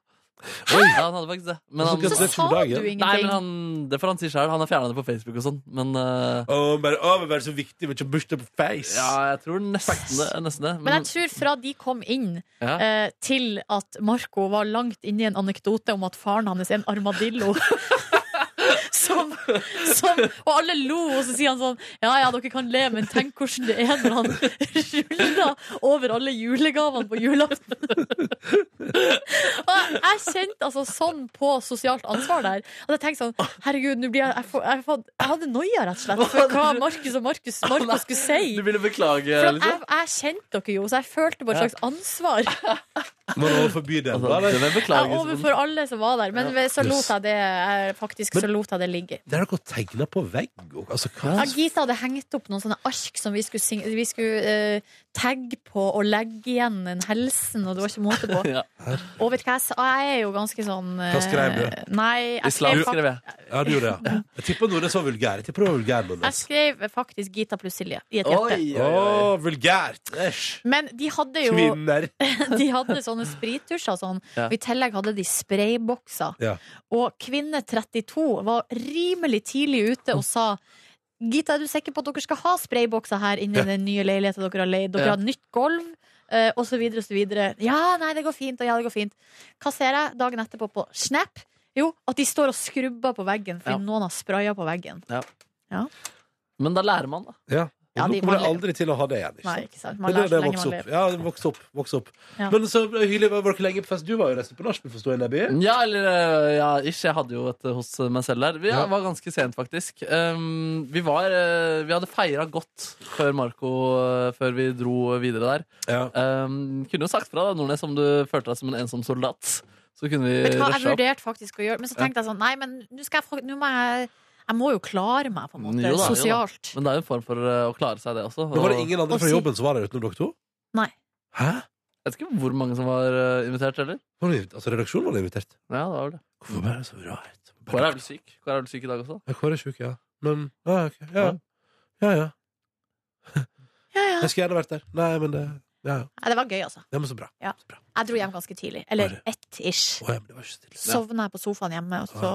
Ja, han hadde faktisk det. Men han,
så
Gratulerer
sa
med
du
dagen.
ingenting.
nei, men han, det får han si sjøl. Han har fjerna det på Facebook og sånn. Men eh,
Å, men, å, men vær så viktig med ikke å bursdag på face!
ja, jeg tror nesten det. Nesten det.
Men jeg tror fra de kom inn
Ja.
eh, til at Marco var langt inne i en anekdote om at faren hans er en armadillo. Som, som, og alle lo, og så sier han sånn Ja ja, dere kan le, men tenk hvordan det er når han ruller over alle julegavene på julaften. Og jeg, jeg kjente altså sånn på sosialt ansvar der. At jeg tenkte sånn Herregud, nå blir jeg Jeg, får, jeg, får, jeg hadde noia, rett og slett, for hva Markus og Markus Marco skulle si.
Du ville beklage,
For at jeg,
liksom?
jeg kjente dere jo, så jeg følte på et
Ja.
slags ansvar
Man overfor bydelen. da, eller?
det vil
ja,
Altså, beklage, liksom.
overfor alle som var der. Men så lot jeg det jeg, faktisk så lot jeg det ligge.
Det har dere tegna på vegg. og- Altså, hva?
Ja, Gita hadde hengt opp noen sånne ark som vi skulle, sing- vi skulle eh, tagge på og legge igjen en helsen, og det var ikke måte på.
Ja.
Og vet du hva, jeg sa? jeg er jo ganske sånn eh,
Hva skrev du?
Nei, jeg
Islam,
skrev,
skrev
fak-
jeg.
Ja, du gjorde det. ja. Jeg tipper noen er så vulgær. Jeg tipper du var vulgær noen.
jeg skrev faktisk Gita pluss Silje i et hjerte.
Oi,
Å,
oi, oi.
vulgært! Æsj!
Men de hadde jo
Kvinner.
De hadde sånne sprittusjer sånn.
Ja.
Og I tillegg hadde de spraybokser.
Ja.
Og kvinne 32 var rimelig tidlig ute og sa Gita, er du sikker på at dere skal ha spraybokser her inne
Ja.
i den nye leiligheten dere har leid? Dere
Ja.
har nytt gulv, eh, og så videre og så videre. Ja, nei, det går fint, og ja, det går fint. Hva ser jeg dagen etterpå på Snap? Jo, at de står og skrubber på veggen fordi
Ja.
noen har spraya på veggen.
Ja.
Ja.
Men da lærer man, da.
Ja. Og
Ja,
nå
de
kommer jeg
mangler-
aldri til å ha det igjen. Ikke
Nei,
sant?
ikke sant.
Men
Man
det
lærer
er det
så
å
lenge
vokse
man
opp.
lever.
Ja, vokse opp. Vokse opp.
Ja.
Men så hyggelig var dere lenge på fest. Du var jo nesten på nachspiel, forsto jeg, Nebby.
Ja, eller eh, ja, ish. Jeg hadde jo et hos meg selv der. Vi ja,
Ja.
var ganske sent, faktisk. Um, vi, var, eh, vi hadde feira godt før Marco eh, Før vi dro videre der.
Ja.
Um, kunne jo sagt fra, da, Nordnes, om du følte deg som en ensom soldat. Så kunne vi
Vet du hva, jeg
Eh, rusha opp.
vurderte faktisk å gjøre Men så tenkte jeg sånn, nei, men nå skal jeg fak- Nå må jeg Jeg må jo klare meg, på en måte,
Jo da, jo da.
sosialt.
Men det er jo en form for eh, å klare seg, det også.
Men var det
Og
ingen andre
Og
fra
si-
jobben som var der utenom dere to?
Nei.
Hæ?
Jeg vet ikke hvor mange som var eh, invitert, heller.
Var det, invit- altså, redaksjonen var det invitert.
Ja, det var vel det.
Hvorfor er det så rart?
Kåre er vel syk Kåre er vel syk i dag også?
Ja, Kåre er sjuk, ja. Men ja, ok. ja. ja, ja.
Ja, ja.
Jeg skulle gjerne vært der. Nei, men det Ja, ja.
Nei, Det var gøy, altså.
Det var så bra.
Jeg dro hjem ganske tidlig. Eller ett-ish.
Å, ja, men det var ikke så stille.
Sovna jeg på sofaen hjemme, og så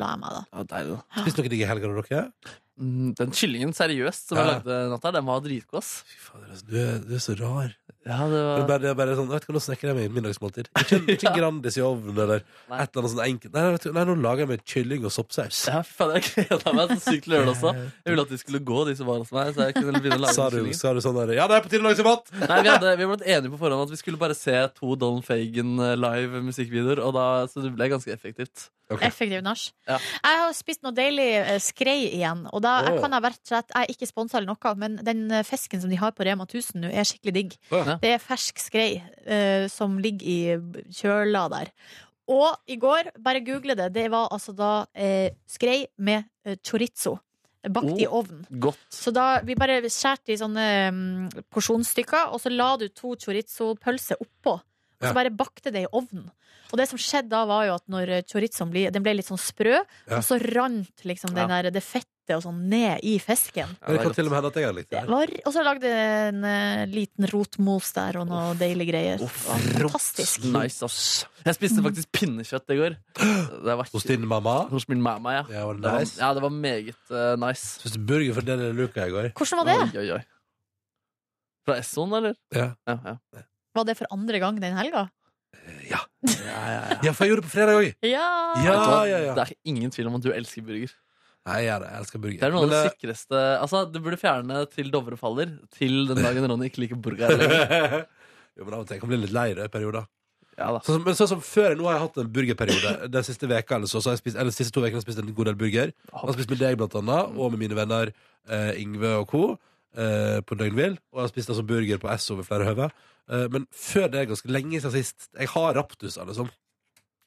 la jeg meg, da.
Ja, deilig, da.
Spiste dere digg i helga, da, dere?
Mm, Den kyllingen, seriøst, som jeg
Ja.
lagde natt her, den var dritgod, ass.
Fy fader, altså. Du er, du er så rar.
Ja, det
Det er
var...
bare, det er bare sånn, vet du hva, Nå snekker jeg meg inn middagsmåltid. Ikke, ikke en Grandis i ovnen eller
Nei.
et eller annet sånt enkelt. Nei, vet du, nei, nå lager jeg meg kylling og soppsaus.
Ja, fy faen, jeg gleda meg så sykt til å gjøre det også. Jeg ville at de skulle gå, de som var hos meg. Så jeg kunne begynne å lage
Sa du,
kyllingen.
sa du sånn der Ja, det er på tide å lage seg mat!
Nei, vi, hadde, vi ble enige på forhånd at vi skulle bare se to Don Fagan eh, live musikkvideoer, og da, så det ble ganske effektivt.
Effektiv nach.
Ja.
Jeg har spist noe deilig eh, skrei igjen. Og da jeg
Åh.
kan jeg rett og slett Jeg er ikke sponsa eller noe, men den eh, fisken som de har på Rema 1000 nå, er skikkelig digg.
Ja.
Det er fersk skrei eh, som ligger i kjøla der. Og i går, bare google det, det var altså da eh, skrei med eh, chorizo. Bakt i
Oh.
ovnen.
Godt.
Så da vi bare skjærte i sånne mm, porsjonsstykker, og så la du to chorizo-pølser oppå. Og
Ja.
så bare bakte det i ovnen. Og det som skjedde da, var jo at når eh, chorizoen ble, den ble litt sånn sprø,
Ja.
og så rant liksom den der, det fettet og sånn ned i fisken.
Men det kan til og med hende at jeg har likt
Det
det.
var, og så lagde jeg en eh, liten rotmos der og noe deilige greier.
Uff,
Det var fantastisk.
Nice, ass. Jeg spiste faktisk pinnekjøtt i går. Det var
Hos din mamma.
Hos min mamma, ja.
Ja, var
Det
det
var,
nice?
ja, det var meget eh, nice.
Spiste burger for den luka i går.
Hvordan var det?
Oi, oi, oi. Fra Essoen, eller?
Ja.
Ja, ja.
Var det for andre gang den helga?
ja, ja, ja.
ja, for jeg gjorde det på fredag òg!
Ja!
Ja,
Vet du hva?
ja, ja.
Det er ingen tvil om at du elsker burger.
Nei, jeg, gjør det. jeg elsker burger.
Det er noe av
Men,
det
eh,
sikreste Altså, Du burde fjerne til Dovre faller, til den dagen Ronny ikke liker burger. lenger.
jo, men av og til kan jeg bli litt lei det i perioder.
Ja da.
Sånn, som- men sånn som før, nå har jeg hatt en burgerperiode. Den siste veka eller så, så har jeg spist, eller de siste to vekene har jeg spist en god del burger. Jeg har spist med deg blant annet, og med mine venner eh, Ingve og co. Eh, på Døgnvill. Og jeg har spist altså burger på S over flere høve. Eh, men før det er ganske lenge siden sist. Jeg har raptus, alle liksom.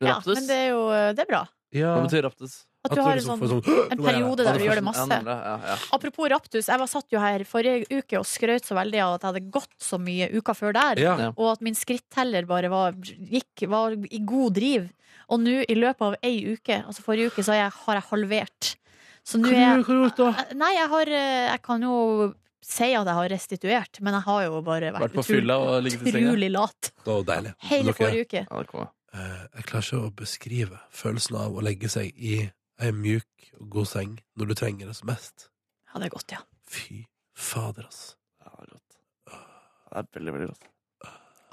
ja
Raptus?
men det er jo eh, det er bra.
Hva betyr raptus?
At du
liksom
har en sånn en periode der du gjør det
Ja,
masse.
nemlig, ja, ja.
Apropos raptus, jeg var satt jo her forrige uke og skrøt så veldig av at jeg hadde gått så mye uka før der,
Ja.
Ja.
og at min skritteller bare var, gikk, var i god driv. Og nå, i løpet av ei uke, altså forrige uke, så har jeg, har jeg halvert. Så nå
Hva
er
har du gjort da?
Nei, jeg har eh, Jeg kan jo si at jeg har restituert, men jeg har jo bare vært,
Vært på fylla og ligget i senga.
utrolig lat
Det var deilig.
hele
Dere-
forrige uke.
Ja, det kommer.
Eh, jeg klarer ikke å beskrive følelsen av å legge seg i ei mjuk og god seng når du trenger det som mest.
Ja, det er godt, ja.
Fy fader, ass.
Ja, det er godt. Det er veldig, veldig godt.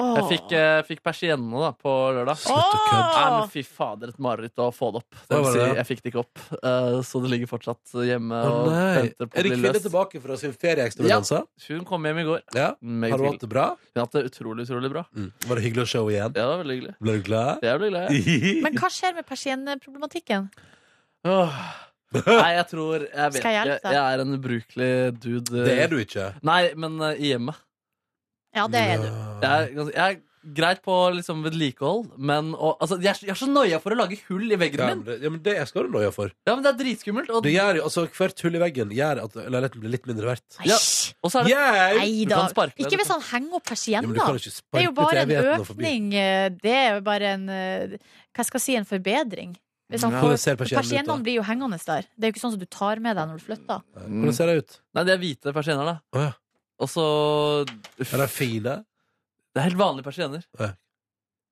Åh.
Jeg fikk, eh, fikk persienne da, på lørdag.
Slutt å kødde.
Nei, men fy fader, et mareritt å få det opp. Det
Hva var
vil si,
det?
jeg fikk det ikke opp, eh, så det ligger fortsatt hjemme
Å,
og
nei.
venter
Er
på å
det
bli
kvinne
løst.
tilbake fra sin ferieekstravaganse?
Hun kom hjem i går.
Ja.
Meget
Har du
hyggelig.
hatt det bra? Mm.
Hun har hatt det utrolig, utrolig bra.
Var det hyggelig å se henne igjen?
Ja, det var veldig hyggelig.
Ble du glad?
Jeg ble glad, jeg.
Men hva skjer med persienneproblematikken?
Åh. Nei, jeg tror Jeg vet
Skal jeg hjelpe
ikke.
deg?
Jeg er en ubrukelig dude.
Det er du ikke.
Nei, men eh, i hjemmet.
Ja, det er du.
Jeg er, gans- jeg er greit på liksom vedlikehold, men og, altså, jeg, er, så- jeg er så noia for å lage hull i veggen
Ja, men
min.
det, ja, men det skal du noia for.
Ja, men Det er dritskummelt. Og,
Det gjør, jo- altså, hvert hull i veggen gjør at leiligheten blir litt mindre verdt.
Ja.
Eish.
og så er det
Yeah!
Nei
Du
da.
kan sparke den,
Ikke hvis han
liksom.
henger opp
Ja, men
persiennen,
du
da.
kan jo ikke
Det er jo
sparke til
bare en
evigheten og forbi.
økning. eh, Det er jo bare en eh, Hva skal jeg si, en forbedring. Hvis han
Ja.
Hvordan
får
ser persiennen ut?
Persiennene
da?
blir jo hengende der. Det er jo ikke sånn som du tar med deg når du flytter.
Hvordan ser det ut?
Nei, de er hvite persienner, da.
Å, ja.
Og så uff,
Er de fine?
Det er helt vanlige persienner.
Ja.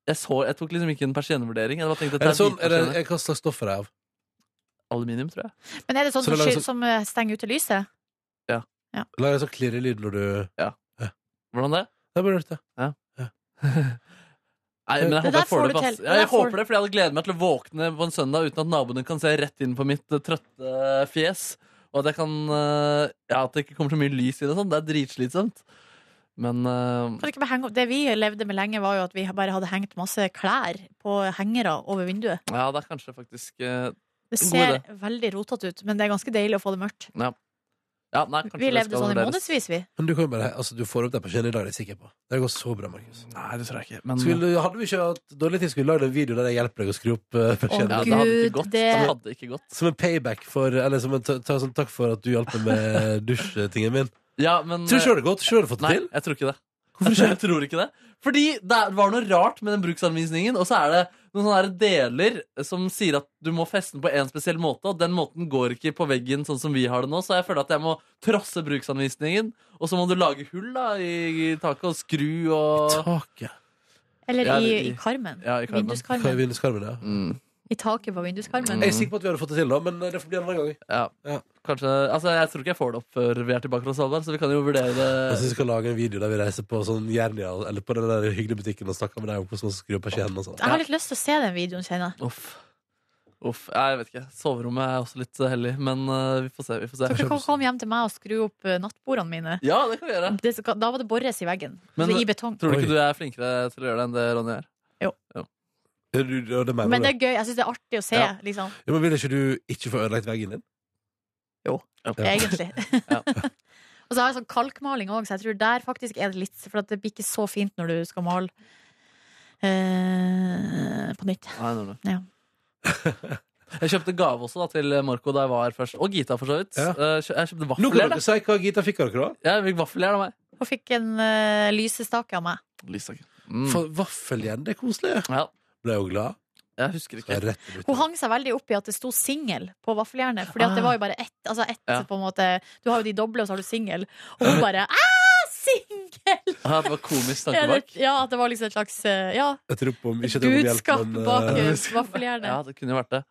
Jeg, så, jeg tok liksom ikke en persiennevurdering. Jeg bare tenkte
Er
at det
det
er
sånn,
hvite
er det,
persienner.
er- hva slags stoff er det av?
Aluminium, tror jeg.
Men er det sånn
Så det
som,
lager
sky-
sånn-
som eh, stenger ute lyset?
Lager en sånn klirrelyd når du
Hvordan det?
Det burde du gjort, det.
Nei, men jeg
Det der
håper jeg får
får
det
du
opp, ass.
til. Det
Ja, jeg
der får
håper det, fordi jeg hadde gledet meg til å våkne på en søndag uten at naboene kan se rett inn på mitt eh, trøtte fjes Og at, jeg kan, eh, ja, at det ikke kommer så mye lys i det. og Sånn. Det er dritslitsomt. Men eh,
Kan du ikke bare henge opp? Det vi levde med lenge, var jo at vi bare hadde hengt masse klær på hengere over vinduet.
ja, det er kanskje faktisk eh,
Det
God
ser veldig rotete ut, men det er ganske deilig å få det mørkt.
Ja, nei, kanskje
Vi
det
levde
skal
sånn i
vurderes.
månedsvis, vi.
Men du kan jo bare Altså, du får opp deg på kjedelige dager, det er jeg sikker på. Det går så bra, Markus.
Nei, det tror jeg ikke. Men eh,
Skulle, hadde vi ikke hatt dårlig tid, skulle vi lagd en video der jeg hjelper deg å skru opp uh,
Å,
ja,
persiennene.
det hadde
Gud,
ikke gått. Det
det-
hadde ikke gått.
Som en payback for Eller som en ta, ta, som takk for at du hjalp meg med dusjtingen min.
Ja, men eh,
Tror du ikke det hadde gått? Tror du hadde fått det
Nei,
til?
jeg tror ikke det. Jeg tror ikke det. Fordi det var noe rart med den bruksanvisningen, og så er det noen sånne her deler som sier at du må feste den på en spesiell måte, og den måten går ikke på veggen sånn som vi har det nå, så jeg føler at jeg må trosse bruksanvisningen, og så må du lage hull da i, i taket og skru og
Taket.
Eller
Ja,
i,
i-
i karmen.
Ja, i karmen.
Hva er
Vinduskarmen.
vinduskarmen, ja?
mm,
I taket på vinduskarmen.
Jeg er sikker på at vi hadde fått det til, da, men eh, det får bli en annen
Eh.
gang.
ja.
Ja.
Kanskje Altså, jeg tror ikke jeg får det opp før vi er tilbake fra Svalbard, så vi kan jo vurdere
Jeg
det.
syns Altså, vi skal lage en video der vi reiser på sånn Jernia eller på den der hyggelige butikken og snakker med deg om hvordan man skrur opp persiennene og sånn.
Jeg har litt lyst til å se den videoen, kjenner jeg.
Uff. Uff. Jeg vet ikke. Soverommet er også litt hellig, men eh, vi får se. Vi får
Dere
se.
kan komme hjem til meg og skru opp eh, nattbordene mine.
Ja, det kan vi gjøre.
Det skal, da var det borres i veggen.
Men-
altså I betong.
Tror du
Oi.
ikke du er flinkere til å gjøre det enn det Ronny er?
Ja, du- ja, det mener
Men det
du.
er gøy. Jeg syns det er artig å se,
Ja.
liksom.
Ja, men vil ikke du ikke få ødelagt veggen din? Ja.
Egentlig.
Ja.
Og så har jeg sånn kalkmaling òg, så jeg tror der faktisk er det litt For at det blir ikke så fint når du skal male eh, på nytt.
Nei, nei, nei.
Ja.
Jeg kjøpte gave også da, til Marco da jeg var først. Og Gita, for så vidt.
Ja.
Eh, kjø- Jeg kjøpte
Nå kan
vaffeljern.
dere si hva Gita fikk av dere, da.
da. Jeg fikk vaffeljern av meg.
Og fikk en eh, lysestake av meg.
Lyssaken. Mm.
For vaffeljern, det er koselig.
Ja,
Ble jo glad.
jeg husker ikke.
Jeg er rett i
Hun
butikken.
hang seg veldig opp i at det sto singel på vaffeljernet. Fordi at det var jo bare ett. Altså ett
Ah. Ja.
på en måte Du har jo de doble, og så har du singel. Og hun bare «Ah, Singel!
Ja, det var komisk tanke
Ja, det-
bak.
ja, at det var liksom et slags eh, ja,
Jeg tror på, ikke at jeg må hjelpe,
budskap
men,
bak
eh,
eh,
Ja,
vaffeljernet.
det kunne jo vært det.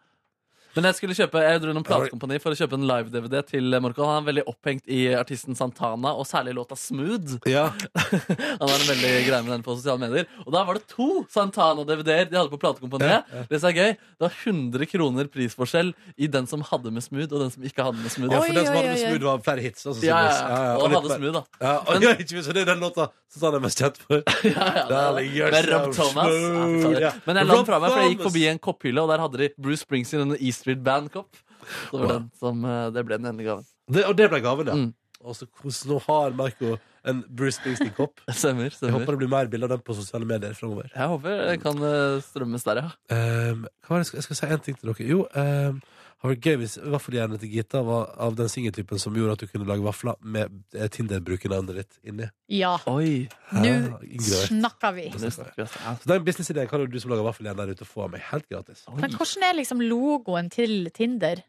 Men jeg skulle kjøpe, jeg dro innom platekompani for å kjøpe en live-DVD til Marco. Han er veldig opphengt i artisten Santana, og særlig låta Smooth.
ja.
Han har en veldig greie med den på sosiale medier. Og da var det to Santana-DVD-er de hadde på platekompaniet. Det som er gøy, det var 100 kroner prisforskjell i den som hadde med smooth, og den som ikke hadde med smooth.
ja,
Oi,
for den som
oi,
hadde med
oi, oi.
smooth, var flere hits. Altså,
Ja, ja,
sannsynligvis.
ja.
litt
Og han hadde
mer-
smooth, da.
Ja, og, ja, ikke minst, og det er den låta som han er mest kjent for.
Ja, ja,
Darling,
det
you're
var det.
so
Med Rob Thomas. Ja, fy
smooth,
fader.
ja.
Men jeg la
Rob
den fra meg, for jeg gikk
Thomas.
forbi en kopphylle, og der hadde de Bruce Springsteen og en E Street Band-kopp. Det, var
Wow.
den som, eh, det ble den ene gaven.
Det, og det ble gaven, ja.
Mm.
Og så hvordan nå har Marco en Bruce Springsteen-kopp.
Stemmer.
Jeg
stemmer.
håper det blir mer bilder av den på sosiale medier framover.
Jeg håper det kan eh, strømmes der, ja.
Um, hva var det, jeg skal- jeg skal si en ting til dere. Jo, um, har vært gøy hvis vaffeljernet til Gita var av den singeltypen som gjorde at du kunne lage vafler med eh, Tinder-brukernavnet ditt inni.
Ja.
Oi.
Ja,
Nå
greit.
snakker vi.
Nå snakker vi, altså.
Så den businessideen kan jo du som lager vaffeljern der ute, få av meg helt gratis.
Oi.
Men hvordan er liksom logoen til Tinder?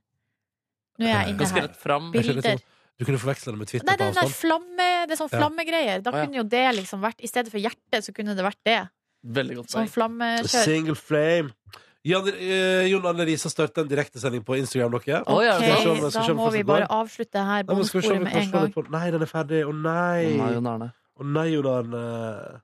Nå er jeg inne
Ganske
her.
rett fram.
Jeg skjønner
Bilder.
litt sånn- Du kunne forveksle det med Twitter.
Nei,
på
den der
avstand.
flamme, det er sånn
Ja.
flammegreier. Da
Å, ja.
kunne jo det liksom vært I stedet for hjerte, så kunne det vært det.
Veldig godt
Sånn
poeng.
flammekjør.
Single flame. Jan, eh, Jon Arne Riise har startet en direktesending på Instagram. Dere.
Oi, er
Ok,
det sant?
Skal vi se om- skal vi
da
se om
må
fortsatt
vi
går?
bare avslutte det her
Nei, men skal vi se om
bomsporet
vi
med
kan
en
slå
gang.
det på- Nei, den er ferdig. Å
Å nei,
nei!
Jon Arne.
Å nei, Jon Arne.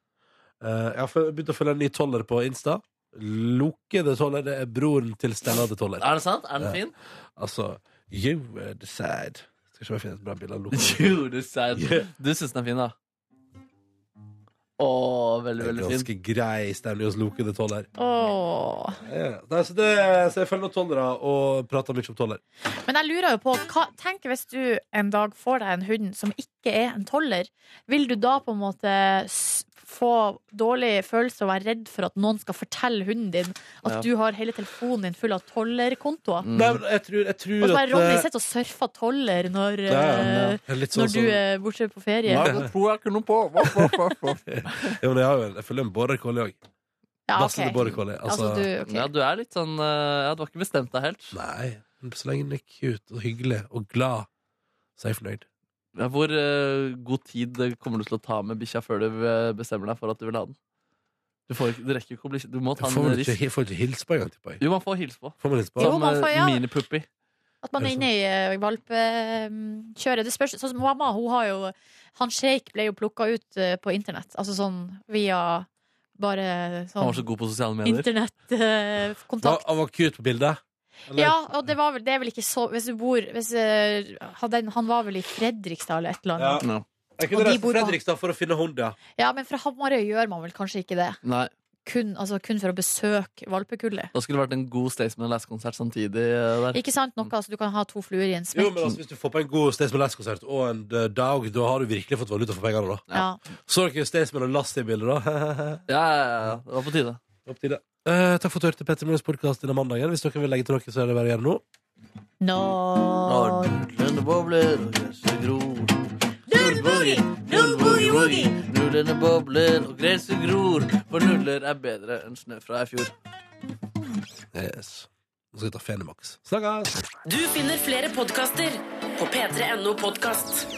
Eh, jeg har fø- begynt å følge en ny toller på Insta. Loke the toller. Det er broren til Stella the toller.
Er det sant? Er den fin?
Altså You were the sad. Skal ikke bare finne et bra bilde av Loke.
Jo, du sad.
Yeah.
Du syns den er fin, da? Å, veldig,
Det er
veldig
Ganske
fin.
grei stemning hos Loke the toller.
Åh.
Ja. Nei, så, det, så jeg følger noen tollere og prater mye om toller.
Men jeg lurer jo på, hva, tenk hvis du en dag får deg en hund som ikke er en toller. Vil du da på en måte s- få dårlig følelse og være redd for at noen skal fortelle hunden din at
Ja.
du har hele telefonen din full av tollerkontoer?
Nei, men jeg tror, jeg tror
Og så
Mm. at
bare Ronny
eh,
sitter og surfer toller når,
Ja, ja,
eh,
ja. Litt sånn
når du
som-
er borte på ferie.
Nei, det tror jeg ikke noe på. Voff, voff, voff, voff.
Ja, men jeg, har jo, en- jeg følger en border collie òg.
Ja,
Basse
ok.
til border collie. Altså,
Altså, du, ok.
Ja, du er litt sånn eh, Ja, du har ikke bestemt deg helt.
Nei, men så lenge den er cute og hyggelig og glad, så er jeg fornøyd.
Ja, hvor eh, god tid eh, kommer du til å ta med bikkja før du eh, bestemmer deg for at du vil ha den? Du, får ikke, du rekker jo ikke å bli Du må ta
Jeg får
en
vel
risk.
ikke, jeg får ikke hilse på engang, tipper jeg.
Jo, man får hilse på.
Får man hilse på?
Jo,
Som
man får,
eh,
eh, ja.
minipuppi.
At man er inne i eh, valpekjøret. Det spørs, sånn som mamma, hun har jo Han Sheikh ble jo plukka ut eh, på internett. Altså sånn via bare
Han var så
sånn
god på sosiale
Han,
medier.
internettkontakt.
han var cute på bildet. Eller-
Ja, og det, var vel, det er vel ikke så Hvis du bor hvis, eh, han- den, Han var vel i Fredrikstad eller et eller annet.
Ja.
Ja.
Jeg
Og
kunne
de
reist
bor
til
på-
Fredrikstad for å finne hund, ja.
Ja. men fra Hamarøy gjør man vel kanskje ikke det.
Nei,
Kun, altså, kun for å besøke valpekullet.
Da skulle det vært en god Staysman Last-konsert samtidig. eh, Der.
Ikke sant? Noe, altså, du kan ha to fluer i en
Jo,
smekk.
men altså, Hvis du får på en god Staysman Lass-konsert og en eh, Dag, da har du virkelig fått valuta for pengene. da
ja.
Så dere Staysman og Lass i bildet, da?
Ja, ja, ja, det var på tide.
Opp til det. Eh, takk for at du hørte Petter Møllers podkast denne mandagen. Hvis dere vil legge til noe, så er det bare å gjøre det nå.
Nå
Nudlene bobler og gresset gror. Nullboogie, nullboogie-woogie. Nudlene bobler og gresset gror. For nudler er bedre enn snø fra i fjor.
Yes. Nå skal vi ta Fenimax. Snakkes!
Du finner flere podkaster på p3.no podkast.